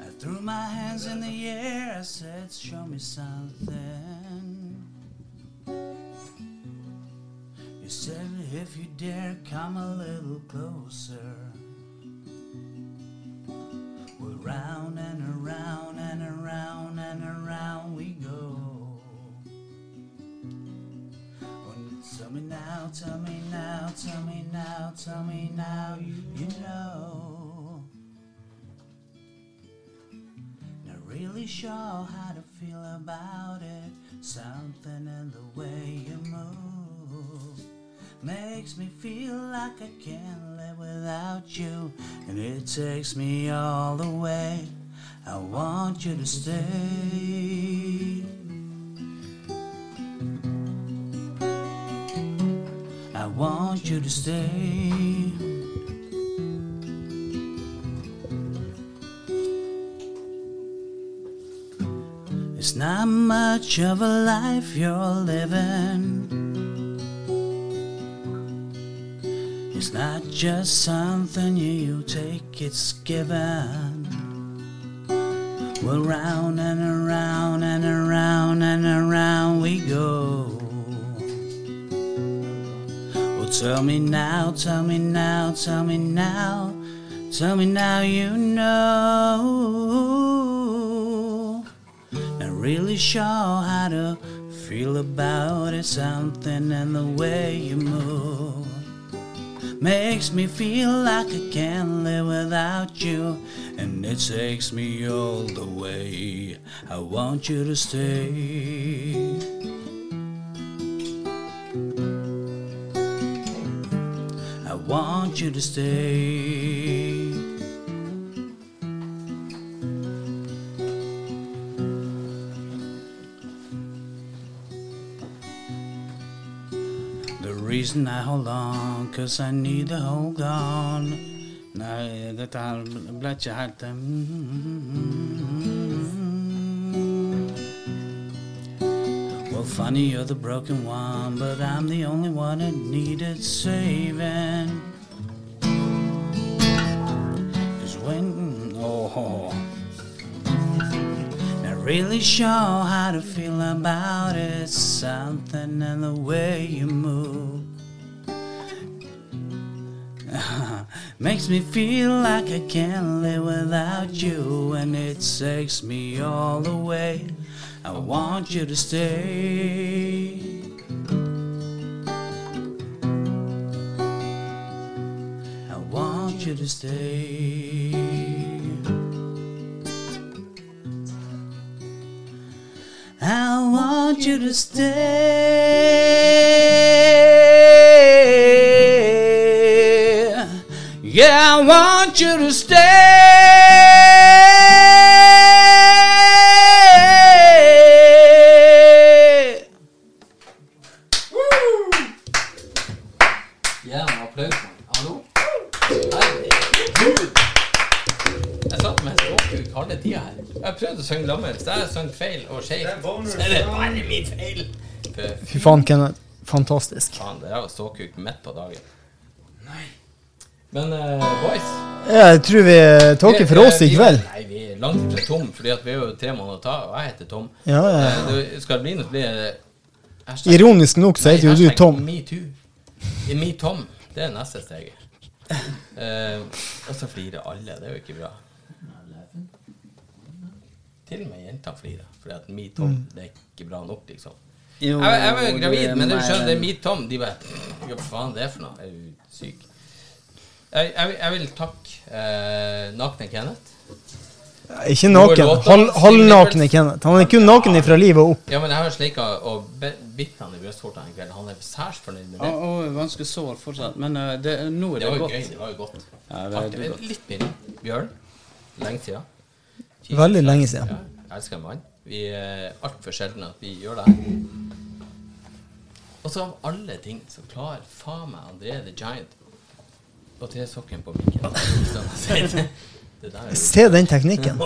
I threw my hands in the air. I said, "Show me something." You said, "If you dare, come a little closer." Well, round and around and around and around we go. Oh, tell me now, tell me now, tell me now, tell me now, you, you know. Not really sure how to feel about it. Something in the way you move makes me feel like I can't live without you, and it takes me all the way. I want you to stay. I want you to stay. It's not much of a life you're living. It's not just something you take, it's given. Well, round and around and around and around we go. Well, tell me now, tell me now, tell me now, tell me now you know. Not really sure how to feel about it, something in the way you move makes me feel like I can't live without you, and it takes me all the way. I want you to stay. I want you to stay. The reason I hold on, cause I need to hold on. Nei, dette her ble ikke helt eh, Well, funny you're the broken one, but I'm the only one that needed saving. Cause when, oh, Really sure how to feel about it. Something in the way you move makes me feel like I can't live without you, and it takes me all the way. I want you to stay. I want you to stay. I want you to stay. Yeah, I want you to stay.
Gjerne applaus, mann. Hallo? Herregud! Jeg satt med språkut halve tida her. Jeg prøvde å synge lammet. Så jeg sang feil og skeivt. Så er det bare min feil! Fy
Fy faen, Kenneth. Fantastisk.
faen, det der var ståkuk midt på dagen. Nei. Men eh, boys
Jeg tror vi eh, takker for oss i
Vi-
kveld.
Nei, vi er langt fra tom, fordi at vi er jo tre måneder å ta, og jeg heter Tom.
Ja, ja, ja.
Eh, det skal det bli noe, så blir det hashtag-
Ironisk nok så heter jo
Nei,
du
hashtag
Tom.
Me too. Eh, Me Tom. Det er neste steget. Eh, og så flirer alle. Det er jo ikke bra. Til og med jenter flirer, fordi at Me Tom,
Mm.
det er ikke bra nok, liksom.
Jo,
Jeg, jeg var jo gravid,
det
men eh, du
mer
skjønner, det er
enn-
Me Tom. De bare Hva faen det er for noe? Er du syk? Jeg, jeg, jeg vil takke eh, Nakne Kenneth.
Ikke naken.
Noe låter.
Hal- Halvnakne Kenneth. Han er kun naken ifra livet og opp.
Ja, men jeg har sleika og be- bitt han i brystvortene en kveld. Han er særs fornøyd med
Å,
det.
å, ganske sår fortsatt, men eh, det, nå er
Det
det,
var jo
godt.
gøy. Det var jo godt.
Ja, det er
Artig.
godt.
Litt mindre. Bjørn. Lenge siden. Jesus
Veldig lenge
Christ.
siden.
Ja, jeg elsker en mann. Vi er altfor sjelden at vi gjør det her. Og så av alle ting så klarer faen meg André the Giant å tre sokken på mikken. Sånn at jeg sier det. Det der er jo
Se den teknikken.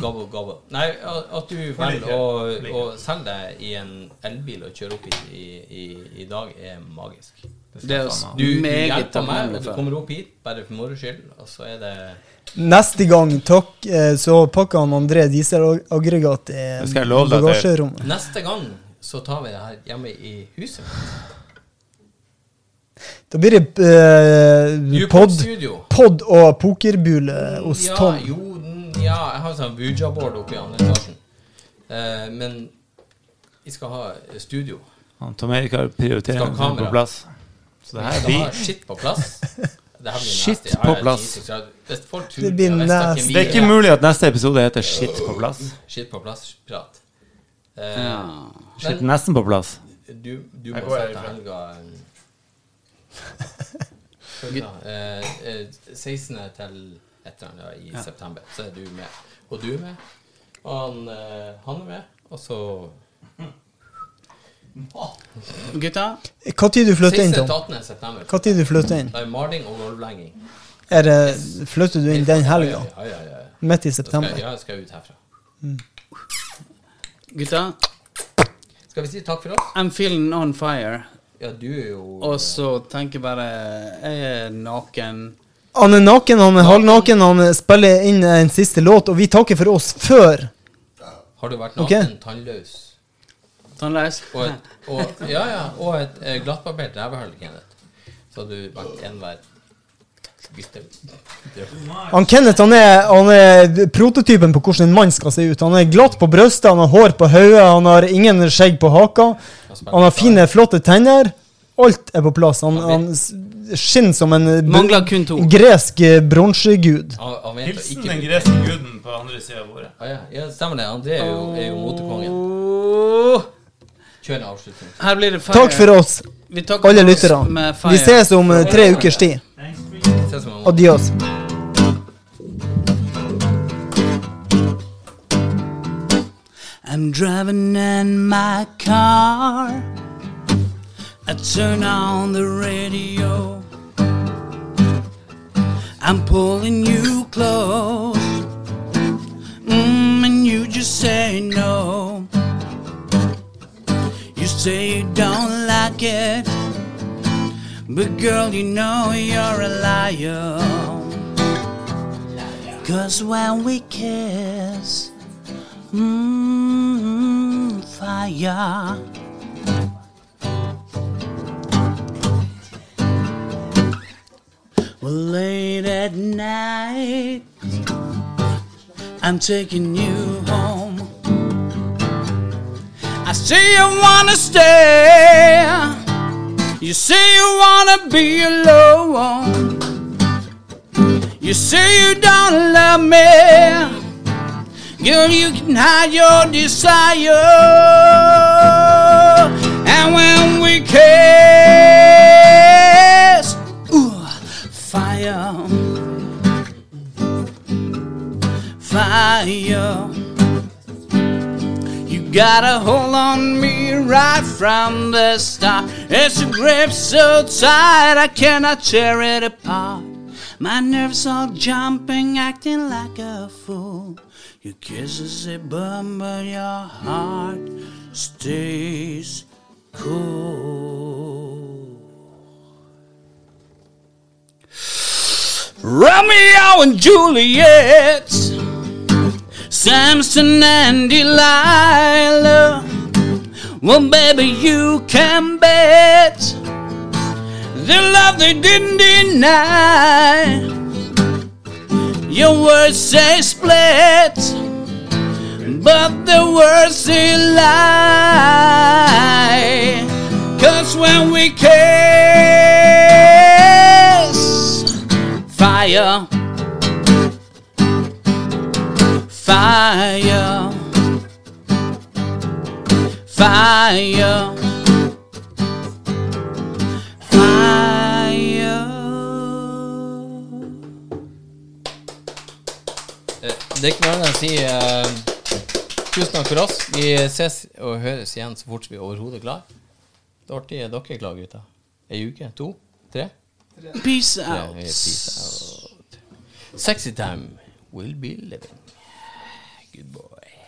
Gobble, gobble. Nei, at at du velger å, å selge deg i en elbil og kjøre opp hit i, i, i dag, er magisk.
Det er oss
Du, du
meget
hjelper meg,
takknemlig
og du
for.
kommer opp hit bare for moro skyld, og så er det
Neste gang takk, eh, så pakker han André dieselaggregat i
Det skal jeg love deg, det.
bagasjerommet.
Neste gang så tar vi det her hjemme i huset.
Da blir det eh,
Dupont
pod,
Studio.
pod og pokerbule hos
Ja,
Tom.
jo, den- ja, jeg har sånn Vuja-board oppe i andre etasjen. Eh, men vi skal ha studio.
Han Tom Erik har prioriteringen
Skal ha
sin på
kamera.
plass. Så
Vi
det her
skal ha
blir
skitt på plass. Det her blir
Skitt
nasty. Ja,
på
ja,
plass.
Jesus Christ. Hvis folk tror
Det blir
jeg visste hvem
nasty.
vi
Det er ikke mulig at neste episode heter 'Shit på plass'.
Skitt på plass-prat. Eh,
Ja.
Shit nesten på plass.
Du, du må sette helga eh, eh, eh, 16. til et eller annet i september, så er du med. Og du er med. Og han, eh, han er med. Og så
Gutta,
Hva tid du flytter
16.
inn,
til
Tom?
18. september.
Hva tid du flytter inn?
Da er maling og gulvlenging.
Er det, flytter du inn den helga?
Ja, ja, ja. ja.
Midt
Da skal
i
jeg,
september?
ja, jeg skal ut herfra.
gutta,
Skal vi si takk for oss?
I'm feeling on fire.
Ja, du er jo
Og så tenker jeg bare Jeg er naken.
Han er naken, han er halvnaken, han spiller inn en siste låt, og vi takker for oss før.
Har du vært
Ok.
naken, tannløs
Tannleis.
og et, og, ja, ja, og et eh, glattbarbert rævehull, Kenneth? Så har du vært enhver bytte.
Han Kenneth han er, han er prototypen på hvordan en mann skal se ut. Han er glatt på brystet, han har hår på hodet, han har ingen skjegg på haka. Han har fine, flotte tenner. Alt er på plass. Han, han s- skinner som en br-
Mangler kun to.
gresk eh, bronsegud.
Han- han vet å
Hilsen
ikke-
den greske guden på andre sida av bordet.
Ah, ja, ja, stemmer det. André er jo, er jo motekongen.
Åh,
Kjør en avslutning.
Her blir det fire.
Takk for oss,
Vi takker
alle
for oss
lytterne.
med fire.
Vi ses om eh, tre ukers tid.
Se som en
Adios.
I'm driving in my car. I turn on the radio. I'm pulling you close. Mm, and you just say no. You say you don't like it. But girl, you know you're a liar. Cause when we kiss, mmm, fire. Well, late at night, I'm taking you home. I say you wanna stay. You say you wanna be alone. You say you don't love me. Girl, you can hide your desire. And when we kiss, ooh, fire. Fire. You got a hold on me right from the start. It's a grip so tight I cannot tear it apart. My nerves all jumping, acting like a fool. Your kisses a burn, but your heart stays cool. Romeo and Juliet. Samson and Delilah. Well, baby, you can bet the love they didn't deny. Your words say split, but the words say lie. Cause when we kiss, fire fire, fire, fire.
Det er ikke noe annet enn å si eh, tusen takk for oss. Vi ses og høres igjen så fort vi overhodet klarer. Det artige er dere klare, gutter. Ei uke? To? Tre?
Peace
Tre.
out.
Peace out. Sexy time will be living. Good boy.